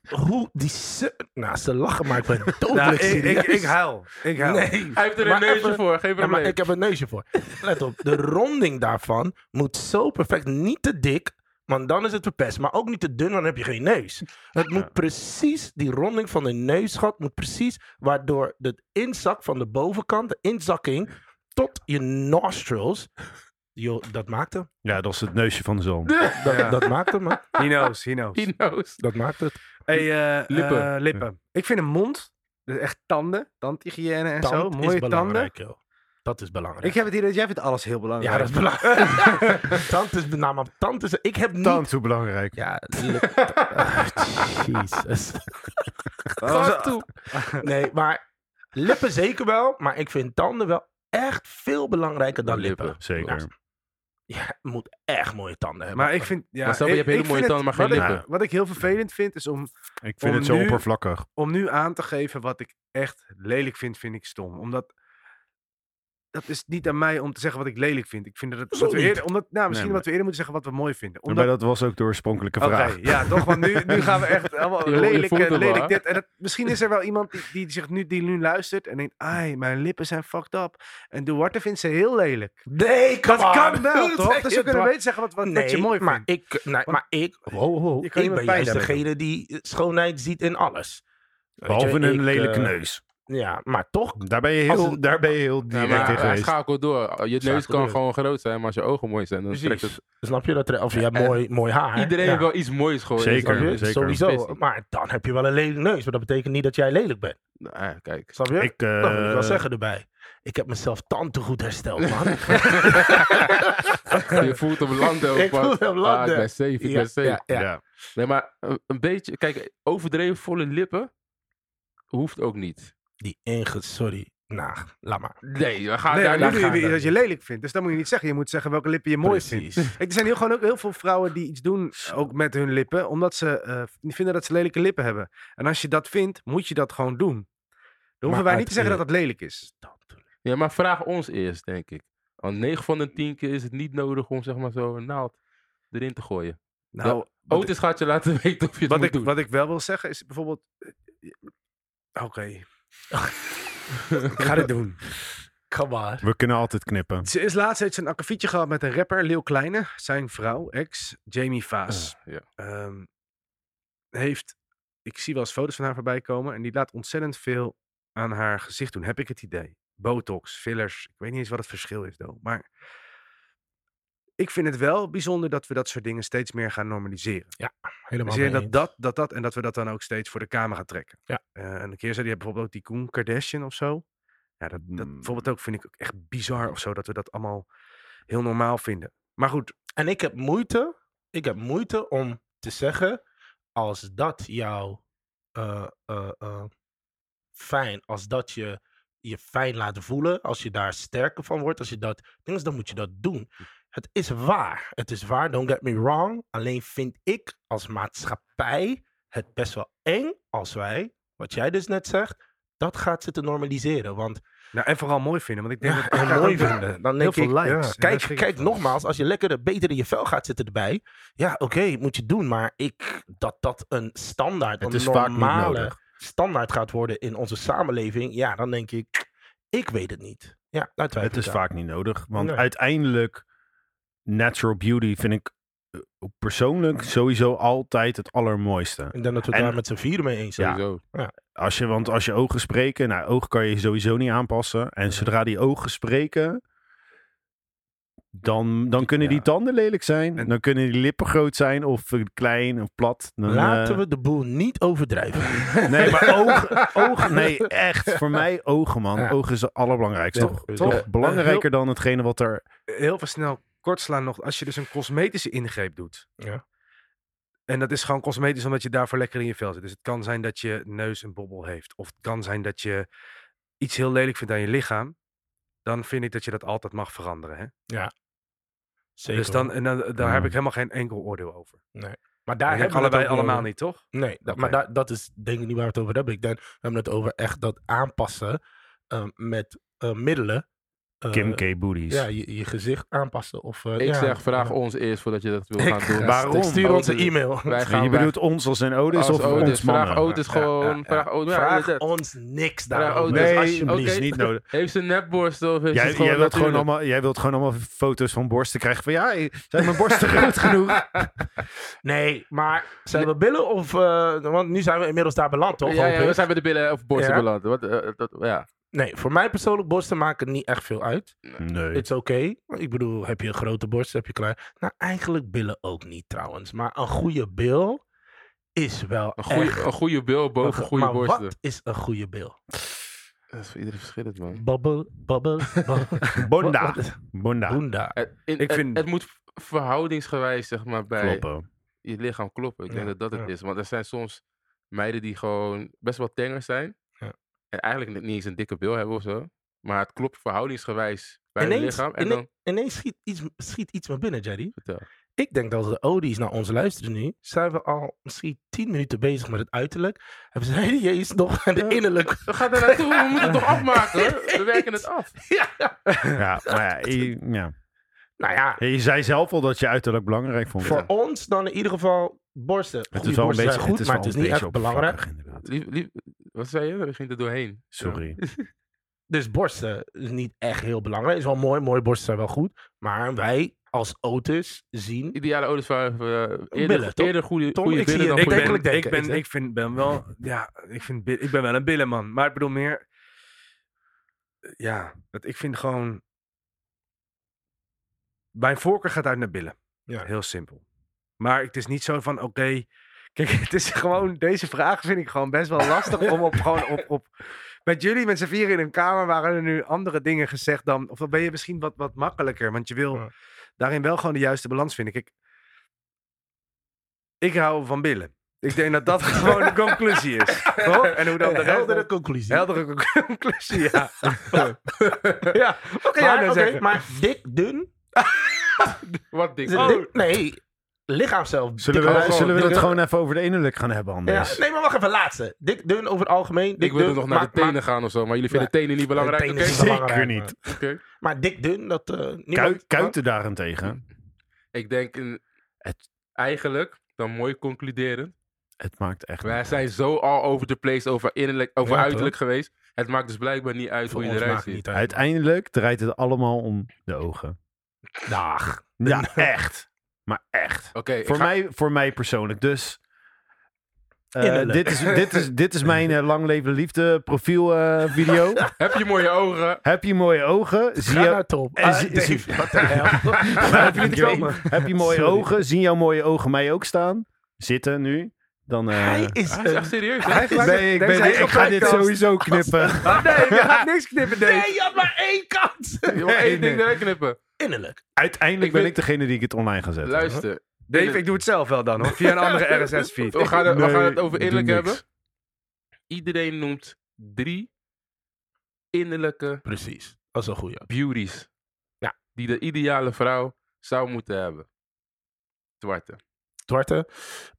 [SPEAKER 1] hoe die... se- Nou, ze lachen, maar ik
[SPEAKER 2] [LAUGHS]
[SPEAKER 1] ben dodelijk
[SPEAKER 2] Nou, ik,
[SPEAKER 1] serieus.
[SPEAKER 2] ik, ik huil. Ik huil.
[SPEAKER 1] Nee.
[SPEAKER 4] Hij heeft er een
[SPEAKER 1] Maar
[SPEAKER 4] neusje
[SPEAKER 1] even-
[SPEAKER 4] voor, geen
[SPEAKER 1] Ja, maar
[SPEAKER 4] probleem. [LAUGHS]
[SPEAKER 1] ik heb een neusje voor. Let op, de ronding daarvan moet zo perfect. Niet te dik, want dan is het verpest. Maar ook niet te dun, want dan heb je geen neus. Het moet
[SPEAKER 3] Ja.
[SPEAKER 1] precies, die ronding van de neusgat moet precies... waardoor de inzak van de bovenkant, de inzakking... tot je nostrils... Yo, dat maakt hem.
[SPEAKER 3] Ja, dat is het neusje van de zon.
[SPEAKER 1] Dat,
[SPEAKER 2] Ja.
[SPEAKER 1] dat maakt hem, hè.
[SPEAKER 2] He knows, he knows.
[SPEAKER 4] He knows.
[SPEAKER 1] Dat maakt het.
[SPEAKER 2] Hey, eh,
[SPEAKER 4] Lippen.
[SPEAKER 2] eh, lippen. Ik vind een mond, dus echt tanden, tandhygiëne en zo,
[SPEAKER 1] Tand is
[SPEAKER 2] mooie tanden.
[SPEAKER 1] belangrijk, joh. Dat is belangrijk.
[SPEAKER 2] Ik heb het idee dat jij vindt alles heel belangrijk. Oh,
[SPEAKER 1] Ja, dat
[SPEAKER 2] [LAUGHS]
[SPEAKER 1] is belangrijk. tand is... Nou, maar tand is... Ik heb niet...
[SPEAKER 3] Tand, hoe belangrijk.
[SPEAKER 1] Ja, lip- Ah, Jezus.
[SPEAKER 2] Oh, zo-
[SPEAKER 4] toe.
[SPEAKER 1] Nee, maar lippen zeker wel. Maar ik vind tanden wel echt veel belangrijker dan lippen.
[SPEAKER 4] Lippen.
[SPEAKER 3] Eh, Zeker.
[SPEAKER 1] Ja. Ja, je moet echt mooie tanden hebben.
[SPEAKER 2] Maar ik vind... Ja,
[SPEAKER 4] Maar stel, je
[SPEAKER 2] ik-
[SPEAKER 4] hebt hele
[SPEAKER 2] ik
[SPEAKER 4] mooie
[SPEAKER 2] vind het-
[SPEAKER 4] tanden, maar geen
[SPEAKER 2] wat ik-
[SPEAKER 4] lippen.
[SPEAKER 2] Wat ik heel vervelend vind, is om,
[SPEAKER 3] Ik vind
[SPEAKER 2] Om
[SPEAKER 3] het zo
[SPEAKER 2] nu-
[SPEAKER 3] oppervlakkig.
[SPEAKER 2] om nu aan te geven wat ik echt lelijk vind, vind ik stom. Omdat... Dat is niet aan mij om te zeggen wat ik lelijk vind. Ik vind dat, het,
[SPEAKER 1] Zo
[SPEAKER 2] dat we
[SPEAKER 1] niet.
[SPEAKER 2] eerder, omdat, nou, misschien
[SPEAKER 3] maar-
[SPEAKER 2] wat we eerder moeten zeggen wat we mooi vinden.
[SPEAKER 3] Maar
[SPEAKER 2] Omdat,
[SPEAKER 3] dat was ook de oorspronkelijke
[SPEAKER 2] Oké,
[SPEAKER 3] vraag.
[SPEAKER 2] ja, toch? Want nu, nu gaan we echt allemaal
[SPEAKER 4] Je- je
[SPEAKER 2] lelijk,
[SPEAKER 4] voelt
[SPEAKER 2] eh,
[SPEAKER 4] hem wel,
[SPEAKER 2] lelijk
[SPEAKER 4] hè?
[SPEAKER 2] dit. En dat, misschien is er wel iemand die, die, zich nu, die nu luistert en denkt... Ai, mijn lippen zijn fucked up. En Duarte vindt ze heel lelijk.
[SPEAKER 1] nee,
[SPEAKER 2] Dat
[SPEAKER 1] come on.
[SPEAKER 2] kan
[SPEAKER 1] [LAUGHS]
[SPEAKER 2] wel, toch? Dus we kunnen
[SPEAKER 1] Dwa-
[SPEAKER 2] beter zeggen wat, wat, wat
[SPEAKER 1] Nee,
[SPEAKER 2] je mooi
[SPEAKER 1] maar
[SPEAKER 2] vindt.
[SPEAKER 1] ik, nee, maar ik, wow, wow,
[SPEAKER 2] Je
[SPEAKER 1] ik
[SPEAKER 2] kan iemand
[SPEAKER 1] ben
[SPEAKER 2] pijn
[SPEAKER 1] juist
[SPEAKER 2] daarmee
[SPEAKER 1] degene die schoonheid ziet in alles. Weet je,
[SPEAKER 3] Behalve
[SPEAKER 1] ik,
[SPEAKER 3] een lelijke
[SPEAKER 1] eh,
[SPEAKER 3] neus.
[SPEAKER 1] Ja, maar toch.
[SPEAKER 3] Daar ben je
[SPEAKER 1] als
[SPEAKER 3] heel,
[SPEAKER 1] het- eh,
[SPEAKER 3] daar ben je heel
[SPEAKER 4] Ja,
[SPEAKER 3] direct
[SPEAKER 4] maar
[SPEAKER 3] in
[SPEAKER 4] hij
[SPEAKER 3] geweest.
[SPEAKER 4] schakelt door. Je neus kan
[SPEAKER 1] door.
[SPEAKER 4] gewoon groot zijn, maar als je ogen mooi zijn, dan trekt het...
[SPEAKER 1] Precies. Snap je dat? er- Of je hebt
[SPEAKER 4] Eh,
[SPEAKER 1] mooi, mooi haar.
[SPEAKER 4] Iedereen
[SPEAKER 1] Ja.
[SPEAKER 4] heeft wel iets moois gewoon.
[SPEAKER 3] Zeker.
[SPEAKER 4] Snap je?
[SPEAKER 3] zeker.
[SPEAKER 1] Sowieso.
[SPEAKER 4] Business.
[SPEAKER 1] Maar dan heb je wel een lelijke neus. Maar dat betekent niet dat jij lelijk bent.
[SPEAKER 4] Nou, ja,
[SPEAKER 1] [LAUGHS]
[SPEAKER 4] kijk.
[SPEAKER 1] Snap je?
[SPEAKER 3] Ik, eh,
[SPEAKER 1] Dat moet ik wel zeggen erbij. Ik heb mezelf tante goed hersteld, man.
[SPEAKER 4] Je voelt hem landen ook.
[SPEAKER 1] Ik
[SPEAKER 4] man.
[SPEAKER 1] voel hem
[SPEAKER 4] Ah, ik
[SPEAKER 1] landen.
[SPEAKER 4] ben safe, ik
[SPEAKER 1] Ja,
[SPEAKER 4] ben safe.
[SPEAKER 1] ja, ja.
[SPEAKER 3] Ja.
[SPEAKER 4] Nee, maar een, een beetje... Kijk, overdreven volle lippen hoeft ook niet.
[SPEAKER 1] Die inge... Sorry. Nou, laat maar.
[SPEAKER 4] Nee, we gaan
[SPEAKER 2] Nee,
[SPEAKER 4] daar
[SPEAKER 1] daar
[SPEAKER 2] maar nu
[SPEAKER 1] gaan
[SPEAKER 2] doe
[SPEAKER 1] we
[SPEAKER 2] je dat je
[SPEAKER 1] niet.
[SPEAKER 2] lelijk vindt. Dus dat moet je niet zeggen. Je moet zeggen welke lippen je mooi vindt.
[SPEAKER 1] Precies.
[SPEAKER 2] Kijk, er zijn heel, gewoon ook heel veel vrouwen die iets doen, eh, ook met hun lippen, omdat ze eh, vinden dat ze lelijke lippen hebben. En als je dat vindt, moet je dat gewoon doen. Dan hoeven wij
[SPEAKER 1] uit
[SPEAKER 2] niet te zeggen dat
[SPEAKER 1] eer-
[SPEAKER 2] dat lelijk is.
[SPEAKER 4] Ja, maar vraag ons eerst, denk ik. Want 9 van de 10 keer is het niet nodig om zeg maar zo een naald erin te gooien.
[SPEAKER 2] Nou, wat ik-
[SPEAKER 4] Otis gaat je laten [LAUGHS] weten of je het
[SPEAKER 2] Wat
[SPEAKER 4] moet
[SPEAKER 2] ik,
[SPEAKER 4] doen.
[SPEAKER 2] wat ik wel wil zeggen is bijvoorbeeld. eh, Oké. ik ga dit doen.
[SPEAKER 1] Come on.
[SPEAKER 3] We kunnen altijd
[SPEAKER 2] [LAUGHS]
[SPEAKER 3] knippen.
[SPEAKER 2] Ze is laatst heeft ze een akkefietje gehad met een rapper, Leeuw Kleine. Zijn vrouw, ex, Jamie Vaas.
[SPEAKER 4] Ah, ja.
[SPEAKER 2] Ehm, heeft, ik zie wel eens foto's van haar voorbij komen. En die laat ontzettend veel aan haar gezicht doen, heb ik het idee. Botox, fillers. Ik weet niet eens wat het verschil is, though. Maar ik vind het wel bijzonder dat we dat soort dingen steeds meer gaan normaliseren.
[SPEAKER 1] Helemaal
[SPEAKER 2] Dus ik denk
[SPEAKER 1] mee
[SPEAKER 2] dat
[SPEAKER 1] eens.
[SPEAKER 2] dat, dat dat en dat we dat dan ook steeds voor de kamer gaan trekken.
[SPEAKER 1] Ja.
[SPEAKER 2] Eh, en een keer zei hij bijvoorbeeld ook die Koen Kardashian of zo. Ja, dat, dat
[SPEAKER 3] Hmm.
[SPEAKER 1] Mm.
[SPEAKER 2] bijvoorbeeld ook vind ik ook echt bizar of zo dat we dat allemaal heel normaal vinden. Maar goed,
[SPEAKER 1] En ik heb moeite... Ik heb moeite om te zeggen... Als dat jouw... eh, eh, eh, fijn... Als dat je je fijn laat voelen... Als je daar sterker van wordt... Als je dat... ding is, dan moet je dat doen. Het is waar. Het is waar. Don't get me wrong. Alleen vind ik als maatschappij... Het best wel eng als wij... Wat jij dus net zegt... Dat gaat zitten normaliseren. Want
[SPEAKER 2] nou en vooral mooi vinden, want ik denk
[SPEAKER 1] Ja,
[SPEAKER 2] dat
[SPEAKER 1] [LAUGHS] en
[SPEAKER 2] dat gaat
[SPEAKER 1] mooi
[SPEAKER 2] ook weer-
[SPEAKER 1] vinden. Dan
[SPEAKER 2] heel
[SPEAKER 1] denk
[SPEAKER 2] veel
[SPEAKER 1] ik,
[SPEAKER 2] likes.
[SPEAKER 1] ja,
[SPEAKER 2] En daar schrik
[SPEAKER 1] kijk,
[SPEAKER 2] ik
[SPEAKER 1] kijk
[SPEAKER 2] van.
[SPEAKER 1] nogmaals, als je lekker beter in je vel gaat zitten erbij, ja, oké, moet je doen. Maar ik, dat dat een standaard,
[SPEAKER 3] Het
[SPEAKER 1] een
[SPEAKER 3] is vaak niet
[SPEAKER 1] normale
[SPEAKER 3] nodig.
[SPEAKER 1] standaard gaat worden in onze samenleving, ja, dan denk ik, ik weet het niet. Ja, daar twijfel
[SPEAKER 3] Het is
[SPEAKER 1] ik aan.
[SPEAKER 3] vaak niet nodig. Want
[SPEAKER 1] Nee.
[SPEAKER 3] uiteindelijk, natural beauty vind ik eh, persoonlijk sowieso altijd het allermooiste.
[SPEAKER 1] Ik denk dat we het
[SPEAKER 3] En-
[SPEAKER 1] daar met z'n vieren mee eens zijn.
[SPEAKER 3] Ja.
[SPEAKER 4] Sowieso.
[SPEAKER 3] Als je, want als je ogen spreken, nou, oog kan je sowieso niet aanpassen. En zodra die ogen spreken, dan, dan kunnen die
[SPEAKER 2] Ja.
[SPEAKER 3] tanden lelijk zijn.
[SPEAKER 2] En-
[SPEAKER 3] dan kunnen die lippen groot zijn of eh, klein of plat. Dan,
[SPEAKER 1] Laten
[SPEAKER 3] eh,
[SPEAKER 1] we de boel niet
[SPEAKER 4] [LAUGHS]
[SPEAKER 1] overdrijven. [LAUGHS]
[SPEAKER 3] Nee, maar ogen, ogen, nee, echt. Voor mij ogen, man.
[SPEAKER 1] Ja.
[SPEAKER 3] Ogen is het allerbelangrijkste.
[SPEAKER 1] Ja,
[SPEAKER 3] toch
[SPEAKER 1] dus
[SPEAKER 3] toch
[SPEAKER 1] ja.
[SPEAKER 3] belangrijker dan hetgene wat er...
[SPEAKER 2] heel veel snel kort slaan nog. Als je dus een cosmetische ingreep doet.
[SPEAKER 1] Ja.
[SPEAKER 2] En dat is gewoon cosmetisch omdat je daarvoor lekker in je vel zit. Dus het kan zijn dat je neus een bobbel heeft. Of het kan zijn dat je iets heel lelijk vindt aan je lichaam. Dan vind ik dat je dat altijd mag veranderen. Hè?
[SPEAKER 1] Zeker.
[SPEAKER 2] dus dan, en dan, daar
[SPEAKER 3] Ja.
[SPEAKER 2] heb ik helemaal geen enkel oordeel over.
[SPEAKER 1] maar
[SPEAKER 2] Daar
[SPEAKER 1] daar
[SPEAKER 2] hebben
[SPEAKER 1] hebben
[SPEAKER 2] we allebei
[SPEAKER 1] het ook
[SPEAKER 2] allemaal
[SPEAKER 1] over.
[SPEAKER 2] niet, toch?
[SPEAKER 1] Nee, dat, maar
[SPEAKER 2] Oké.
[SPEAKER 1] daar- dat is denk ik niet waar we het over hebben. Ik denk, we hebben het over echt dat aanpassen ehm, met eh, middelen. eh,
[SPEAKER 3] Kim K. Booties.
[SPEAKER 1] ja, je, je gezicht aanpassen. Of, eh,
[SPEAKER 4] [LAUGHS] Ik
[SPEAKER 1] ja,
[SPEAKER 4] zeg, vraag Oh,
[SPEAKER 1] eh,
[SPEAKER 4] ons eerst voordat je dat wil
[SPEAKER 1] ik-
[SPEAKER 4] gaan doen.
[SPEAKER 3] Waarom?
[SPEAKER 1] Stuur ons een e-mail.
[SPEAKER 4] Wij gaan,
[SPEAKER 3] je
[SPEAKER 4] wij-
[SPEAKER 3] bedoelt ons als een Otis
[SPEAKER 4] als
[SPEAKER 3] of
[SPEAKER 4] Otis,
[SPEAKER 3] ons
[SPEAKER 4] Vraag
[SPEAKER 3] mannen?
[SPEAKER 4] Otis
[SPEAKER 3] Ja, ja,
[SPEAKER 4] gewoon.
[SPEAKER 3] ja.
[SPEAKER 4] Vraag Otis. ja,
[SPEAKER 1] Vraag
[SPEAKER 4] dat-
[SPEAKER 1] ons niks
[SPEAKER 4] Vraag oh,
[SPEAKER 1] daarover.
[SPEAKER 4] ons-
[SPEAKER 1] Nee,
[SPEAKER 4] Oké.
[SPEAKER 1] alsjeblieft.
[SPEAKER 3] is niet nodig.
[SPEAKER 4] [LAUGHS] Heeft ze een nepborstel of heeft ze
[SPEAKER 3] Jij,
[SPEAKER 4] het gewoon
[SPEAKER 3] jij, wilt gewoon
[SPEAKER 4] natuurlijk?
[SPEAKER 3] allemaal, jij wilt gewoon allemaal foto's van borsten krijgen van ja, zijn mijn borsten groot
[SPEAKER 1] [LAUGHS]
[SPEAKER 3] genoeg?
[SPEAKER 1] Nee, maar zijn we billen of... eh, want nu zijn we inmiddels daar beland, toch?
[SPEAKER 4] Ja,
[SPEAKER 1] hoop
[SPEAKER 4] ja, we
[SPEAKER 1] ik?
[SPEAKER 4] zijn bij de billen of borsten
[SPEAKER 1] Ja.
[SPEAKER 4] beland. Wat, eh, dat, ja.
[SPEAKER 1] Nee, voor mij persoonlijk borsten maken niet echt veel uit.
[SPEAKER 3] Nee.
[SPEAKER 1] It's okay. Ik bedoel, heb je een grote borst, heb je klein. Nou, eigenlijk billen ook niet trouwens. Maar een goede bil is wel
[SPEAKER 4] Een goede,
[SPEAKER 1] echt...
[SPEAKER 4] een goede bil boven
[SPEAKER 1] Een-
[SPEAKER 4] goede
[SPEAKER 1] maar
[SPEAKER 4] borsten.
[SPEAKER 1] wat is een goede bil?
[SPEAKER 4] Dat is voor iedereen verschillend, man.
[SPEAKER 1] Babbel, babbel, babbel.
[SPEAKER 4] [LAUGHS]
[SPEAKER 3] Bonda. Bonda.
[SPEAKER 1] Boenda.
[SPEAKER 4] Het, in-
[SPEAKER 2] Ik
[SPEAKER 4] het-
[SPEAKER 2] vind-
[SPEAKER 4] het moet verhoudingsgewijs zeg maar, bij
[SPEAKER 3] Kloppen.
[SPEAKER 4] je lichaam kloppen. Ik denk
[SPEAKER 1] Ja,
[SPEAKER 4] dat dat het
[SPEAKER 1] ja.
[SPEAKER 4] is. Want er zijn soms meiden die gewoon best wel tenger zijn.
[SPEAKER 1] Ja.
[SPEAKER 4] En eigenlijk niet eens een dikke bil hebben of zo. Maar het klopt verhoudingsgewijs bij je
[SPEAKER 1] Ineens-
[SPEAKER 4] lichaam. En
[SPEAKER 1] ineens-
[SPEAKER 4] dan
[SPEAKER 1] Ineens schiet iets, schiet iets me binnen, Jerry.
[SPEAKER 4] vertel.
[SPEAKER 1] Ik denk dat als de Odies naar ons luisteren nu, zijn we al misschien 10 minuten bezig met het uiterlijk. Hebben ze [LAUGHS] hey, jezus nog aan de innerlijke.
[SPEAKER 4] We gaan daar naartoe. We moeten het toch afmaken. [LAUGHS] We werken het af.
[SPEAKER 1] Ja.
[SPEAKER 3] Ja, maar ja, je, ja.
[SPEAKER 1] Nou ja,
[SPEAKER 3] Ja, Je zei zelf al dat je uiterlijk belangrijk vond.
[SPEAKER 1] voor ons dan in ieder geval borsten.
[SPEAKER 3] het
[SPEAKER 1] Goede
[SPEAKER 3] is wel een
[SPEAKER 1] borsten
[SPEAKER 3] beetje
[SPEAKER 1] zijn goed,
[SPEAKER 3] het is
[SPEAKER 1] maar
[SPEAKER 3] wel
[SPEAKER 1] het is
[SPEAKER 3] een
[SPEAKER 1] niet
[SPEAKER 3] beetje
[SPEAKER 1] echt belangrijk.
[SPEAKER 3] oppervlakkig, inderdaad.
[SPEAKER 4] Lief, lief, wat zei je? We gingen er doorheen.
[SPEAKER 3] Sorry.
[SPEAKER 1] Dus borsten is niet echt heel belangrijk. Is wel mooi, mooie borsten zijn wel goed. Maar wij als Otis zien.
[SPEAKER 4] Ideale ouders waren eh,
[SPEAKER 1] Billen,
[SPEAKER 4] eerder,
[SPEAKER 1] toch?
[SPEAKER 4] eerder goede,
[SPEAKER 1] Tom,
[SPEAKER 4] goede
[SPEAKER 1] ik zie
[SPEAKER 4] billen dan
[SPEAKER 1] je
[SPEAKER 2] Ik
[SPEAKER 4] goede
[SPEAKER 1] denk-
[SPEAKER 2] ben,
[SPEAKER 1] Denkelijk
[SPEAKER 2] ik, ben,
[SPEAKER 1] denken,
[SPEAKER 2] ik,
[SPEAKER 1] ik denk-
[SPEAKER 2] vind, ben wel, ja, ik, vind, bi- ik ben wel een billenman. Maar ik bedoel meer, eh, ja, dat ik vind gewoon, mijn voorkeur gaat uit naar billen.
[SPEAKER 1] Ja.
[SPEAKER 2] Heel simpel. Maar het is niet zo van, oké, kijk, [LAUGHS] het is gewoon, deze vraag vind ik gewoon best wel lastig om op, gewoon op, op, met jullie, met z'n vieren in een kamer, waren er nu andere dingen gezegd dan, of dan ben je misschien wat, wat makkelijker, want je wil
[SPEAKER 1] Ja.
[SPEAKER 2] daarin wel gewoon de juiste balans vinden. Kijk, ik hou van billen. Ik denk dat dat gewoon de conclusie is. Toch? En hoe dan de
[SPEAKER 1] een heldere
[SPEAKER 2] heldere,
[SPEAKER 1] conclusie. [LAUGHS]
[SPEAKER 2] heldere conc- [LAUGHS] conclusie, ja. ja, wat ga jij
[SPEAKER 1] maar,
[SPEAKER 2] nou
[SPEAKER 1] oké,
[SPEAKER 2] zeggen?
[SPEAKER 1] maar dik, dun.
[SPEAKER 4] Wat
[SPEAKER 1] is
[SPEAKER 4] dik.
[SPEAKER 1] het
[SPEAKER 4] Oh,
[SPEAKER 1] dik- nee, lichaam zelf.
[SPEAKER 3] Zullen
[SPEAKER 1] dik-
[SPEAKER 3] we, zullen we het
[SPEAKER 1] dik-
[SPEAKER 3] gewoon even over de innerlijk gaan hebben
[SPEAKER 1] Ja,
[SPEAKER 3] anders?
[SPEAKER 1] nee, maar wacht even, laatste. Dik dun over het algemeen. Dik
[SPEAKER 4] ik wilde
[SPEAKER 1] dun,
[SPEAKER 4] nog naar
[SPEAKER 1] maar-
[SPEAKER 4] de tenen
[SPEAKER 1] maar-
[SPEAKER 4] gaan of zo. Maar jullie vinden tenen niet belangrijk.
[SPEAKER 1] tenen
[SPEAKER 4] oké?
[SPEAKER 1] is
[SPEAKER 3] Zeker
[SPEAKER 1] belangrijk,
[SPEAKER 3] niet.
[SPEAKER 1] maar-
[SPEAKER 4] Oké.
[SPEAKER 1] Maar dik dun, dat... eh niemand-
[SPEAKER 3] Kuit, kuiten daarentegen.
[SPEAKER 4] Ik denk een,
[SPEAKER 3] Het-
[SPEAKER 4] eigenlijk, dan mooi concluderen.
[SPEAKER 3] Het maakt echt...
[SPEAKER 4] Wij zijn zo al over the place over, innerlijk, over
[SPEAKER 1] Ja, toch?
[SPEAKER 4] uiterlijk geweest. Het maakt dus blijkbaar niet uit
[SPEAKER 1] Voor
[SPEAKER 4] hoe je
[SPEAKER 1] ons
[SPEAKER 4] eruit
[SPEAKER 1] maakt het
[SPEAKER 4] ziet.
[SPEAKER 1] niet uit.
[SPEAKER 3] Uiteindelijk draait het allemaal om de ogen.
[SPEAKER 1] Dag.
[SPEAKER 3] [LAUGHS] Ja, echt. Maar echt.
[SPEAKER 4] Oké, ik
[SPEAKER 3] Voor,
[SPEAKER 4] ga-
[SPEAKER 3] mij, voor mij persoonlijk. Dus eh,
[SPEAKER 1] Innerlijk.
[SPEAKER 3] dit, is, dit, is, dit is mijn eh, lang leven liefde profiel eh, video.
[SPEAKER 4] heb je mooie ogen?
[SPEAKER 3] Heb je mooie ogen? Zie
[SPEAKER 1] Ga
[SPEAKER 3] je,
[SPEAKER 1] naar Tom.
[SPEAKER 3] en
[SPEAKER 1] Ah,
[SPEAKER 3] zie-
[SPEAKER 1] Dave,
[SPEAKER 3] zie-
[SPEAKER 1] wat de [LAUGHS] hel.
[SPEAKER 3] heb, je,
[SPEAKER 1] Dave,
[SPEAKER 3] heb je mooie
[SPEAKER 1] Sorry.
[SPEAKER 3] ogen? Zien jouw mooie ogen mij ook staan? Zitten nu? Dan eh,
[SPEAKER 1] Hij is
[SPEAKER 4] Hij is
[SPEAKER 1] een...
[SPEAKER 4] echt serieus.
[SPEAKER 2] Hij
[SPEAKER 4] hè?
[SPEAKER 2] is echt-
[SPEAKER 3] ben ik, ben,
[SPEAKER 2] Deze
[SPEAKER 3] ik, ik ga dit
[SPEAKER 2] podcast.
[SPEAKER 3] sowieso knippen.
[SPEAKER 2] Ah, nee, je gaat niks knippen, Dave.
[SPEAKER 1] Nee, je had maar één kans. [LAUGHS]
[SPEAKER 4] Je mag
[SPEAKER 2] nee.
[SPEAKER 4] één ding eruit knippen.
[SPEAKER 1] Innerlijk.
[SPEAKER 3] Uiteindelijk
[SPEAKER 4] Ik
[SPEAKER 3] ben
[SPEAKER 4] weet-
[SPEAKER 3] ik degene die ik het online ga zetten.
[SPEAKER 4] Luister.
[SPEAKER 2] Dave, ik doe het zelf wel dan, hoor. Via een andere RSS-feed.
[SPEAKER 4] We gaan, het- we
[SPEAKER 3] Nee,
[SPEAKER 4] gaan het over
[SPEAKER 3] doe
[SPEAKER 4] innerlijk
[SPEAKER 3] niks.
[SPEAKER 4] hebben. Iedereen noemt drie innerlijke
[SPEAKER 1] Precies. Dat is een goeie.
[SPEAKER 4] beauties.
[SPEAKER 1] Ja.
[SPEAKER 4] Die de ideale vrouw zou moeten hebben. Zwarte,
[SPEAKER 1] Zwarte.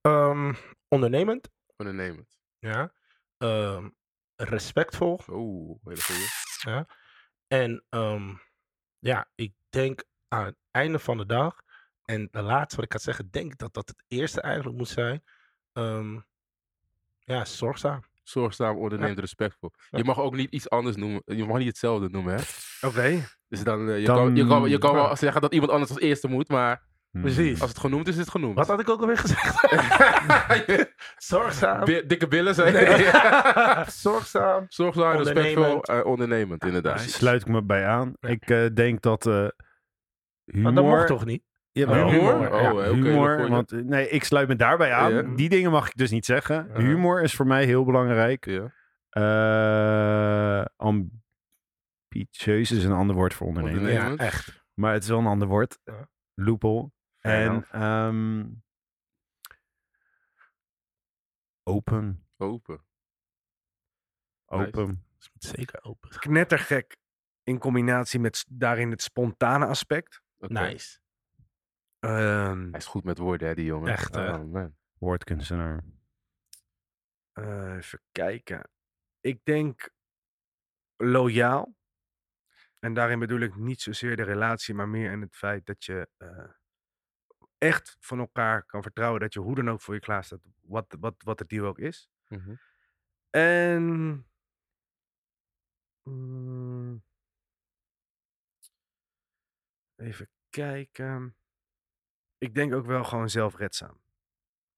[SPEAKER 1] Ehm, ondernemend.
[SPEAKER 4] ondernemend.
[SPEAKER 1] Ja. Ehm, respectvol.
[SPEAKER 4] Oeh, hele goeie.
[SPEAKER 1] En ehm, ja, ik denk aan het einde van de dag. En de laatste wat ik kan zeggen, denk ik dat dat het eerste eigenlijk moet zijn. Ehm, ja, zorgzaam.
[SPEAKER 4] Zorgzaam, ondernemend, respectvol.
[SPEAKER 1] Ja.
[SPEAKER 4] Je mag ook niet iets anders noemen. Je mag niet hetzelfde noemen, hè?
[SPEAKER 2] Oké.
[SPEAKER 4] Dus dan, eh, je,
[SPEAKER 3] Dan-
[SPEAKER 4] kan, je, kan, je kan
[SPEAKER 1] Ja.
[SPEAKER 4] wel zeggen dat iemand anders als eerste moet, maar
[SPEAKER 3] Hmm.
[SPEAKER 1] Precies.
[SPEAKER 4] als het genoemd is, is het genoemd.
[SPEAKER 1] Wat had ik ook alweer [LAUGHS] gezegd? zorgzaam.
[SPEAKER 4] [LAUGHS] Bi- dikke billen zijn.
[SPEAKER 1] zorgzaam.
[SPEAKER 4] [LAUGHS] Zorgzaam, respectvol,
[SPEAKER 1] Ondernemend.
[SPEAKER 4] eh, ondernemend, inderdaad.
[SPEAKER 3] Daar sluit ik me bij aan. Ik eh, denk dat eh humor...
[SPEAKER 1] Maar dat mocht Ah, toch niet?
[SPEAKER 3] Jawel.
[SPEAKER 4] Humor?
[SPEAKER 1] Humor,
[SPEAKER 4] Oh,
[SPEAKER 1] ja.
[SPEAKER 4] eh, oké,
[SPEAKER 3] humor,
[SPEAKER 4] dat gooi-
[SPEAKER 3] want eh, nee, ik sluit me daarbij aan.
[SPEAKER 4] Ja.
[SPEAKER 3] Die dingen mag ik dus niet zeggen.
[SPEAKER 1] Ja.
[SPEAKER 3] Humor is voor mij heel belangrijk.
[SPEAKER 4] Ja,
[SPEAKER 3] Eh, ambitieus is een ander woord voor ondernemen.
[SPEAKER 4] Ondernemen.
[SPEAKER 1] Ja,
[SPEAKER 4] Ondernemend.
[SPEAKER 1] echt.
[SPEAKER 3] Maar het is wel een ander woord.
[SPEAKER 1] Ja.
[SPEAKER 3] Loophole.
[SPEAKER 4] Fair
[SPEAKER 3] En
[SPEAKER 4] enough.
[SPEAKER 3] ehm, open.
[SPEAKER 4] open. Nice.
[SPEAKER 3] Open.
[SPEAKER 1] Dus moet zeker open. gaan.
[SPEAKER 2] Knettergek in combinatie met s- daarin het spontane aspect.
[SPEAKER 4] Oké.
[SPEAKER 1] Nice.
[SPEAKER 2] Ehm,
[SPEAKER 4] Hij is goed met woorden, hè, die jongen.
[SPEAKER 1] Echt, hè?
[SPEAKER 4] Oh, man.
[SPEAKER 3] Woordkunstenaar.
[SPEAKER 2] eh, even kijken. Ik denk loyaal. En daarin bedoel ik niet zozeer de relatie, maar meer in het feit dat je eh, echt van elkaar kan vertrouwen dat je hoe dan ook voor je klaar staat, wat, wat, wat de deal ook is.
[SPEAKER 4] Mhm.
[SPEAKER 2] En. mm, even kijken. Ik denk ook wel gewoon zelfredzaam.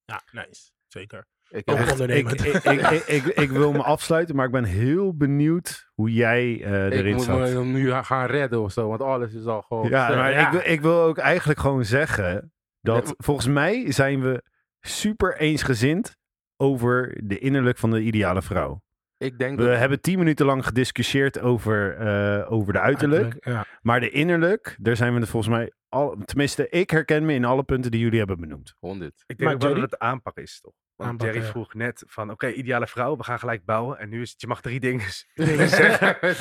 [SPEAKER 1] Ja, nice. Zeker.
[SPEAKER 4] Ik
[SPEAKER 1] Ook
[SPEAKER 4] heb-
[SPEAKER 3] Ik,
[SPEAKER 1] ondernemend.
[SPEAKER 3] ik, ik, ik, ik, ik wil me afsluiten, maar ik ben heel benieuwd hoe jij eh,
[SPEAKER 4] ik
[SPEAKER 3] erin
[SPEAKER 4] moet
[SPEAKER 3] staat.
[SPEAKER 4] me nu gaan redden of zo, want alles is al gewoon...
[SPEAKER 3] Ja, maar
[SPEAKER 1] ja.
[SPEAKER 3] Ik, wil, ik wil ook eigenlijk gewoon zeggen dat volgens mij zijn we super eensgezind over de innerlijk van de ideale vrouw.
[SPEAKER 4] Ik denk
[SPEAKER 3] We
[SPEAKER 4] dat...
[SPEAKER 3] hebben tien minuten lang gediscussieerd over, eh, over de uiterlijk.
[SPEAKER 1] Ja.
[SPEAKER 3] Maar de innerlijk, daar zijn we het volgens mij... Al, tenminste, ik herken me in alle punten die jullie hebben benoemd.
[SPEAKER 4] 100.
[SPEAKER 2] Ik
[SPEAKER 1] Maar
[SPEAKER 2] denk ook wel dat
[SPEAKER 1] Jerry?
[SPEAKER 2] het aanpak is, toch? Want
[SPEAKER 1] Aanpak,
[SPEAKER 2] Jerry
[SPEAKER 1] ja.
[SPEAKER 2] vroeg net van, oké, ideale vrouw, we gaan gelijk bouwen. En nu is het, je mag drie dingen [LAUGHS]
[SPEAKER 1] Nou,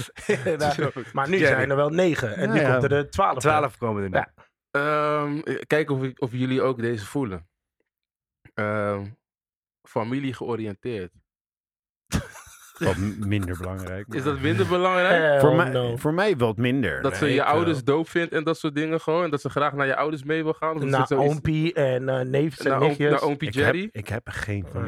[SPEAKER 2] zeggen.
[SPEAKER 1] Maar nu
[SPEAKER 2] Jerry.
[SPEAKER 1] zijn er wel negen. En
[SPEAKER 3] Ja,
[SPEAKER 1] nu
[SPEAKER 3] ja.
[SPEAKER 1] komt er de twaalf.
[SPEAKER 2] Twaalf komen er nu.
[SPEAKER 1] Ja.
[SPEAKER 4] [LAUGHS] Ehm, kijk of, ik- of jullie ook deze voelen. Ehm, familie georiënteerd. [LAUGHS]
[SPEAKER 3] Wat m- minder belangrijk.
[SPEAKER 4] Is dat minder
[SPEAKER 3] [LAUGHS]
[SPEAKER 4] belangrijk?
[SPEAKER 3] Voor, mij, voor mij wat minder.
[SPEAKER 4] Dat ze
[SPEAKER 1] Nee,
[SPEAKER 4] je
[SPEAKER 1] ik, eh,
[SPEAKER 4] ouders doop vindt en dat soort dingen gewoon. En dat ze graag naar je ouders mee wil gaan. Of is
[SPEAKER 1] Naar
[SPEAKER 4] het zoiets-
[SPEAKER 1] oompie en eh neefjes en
[SPEAKER 4] naar, oom,
[SPEAKER 1] nichtjes.
[SPEAKER 4] naar oompie
[SPEAKER 3] ik, heb,
[SPEAKER 4] Jerry.
[SPEAKER 3] ik heb geen van
[SPEAKER 1] Ja.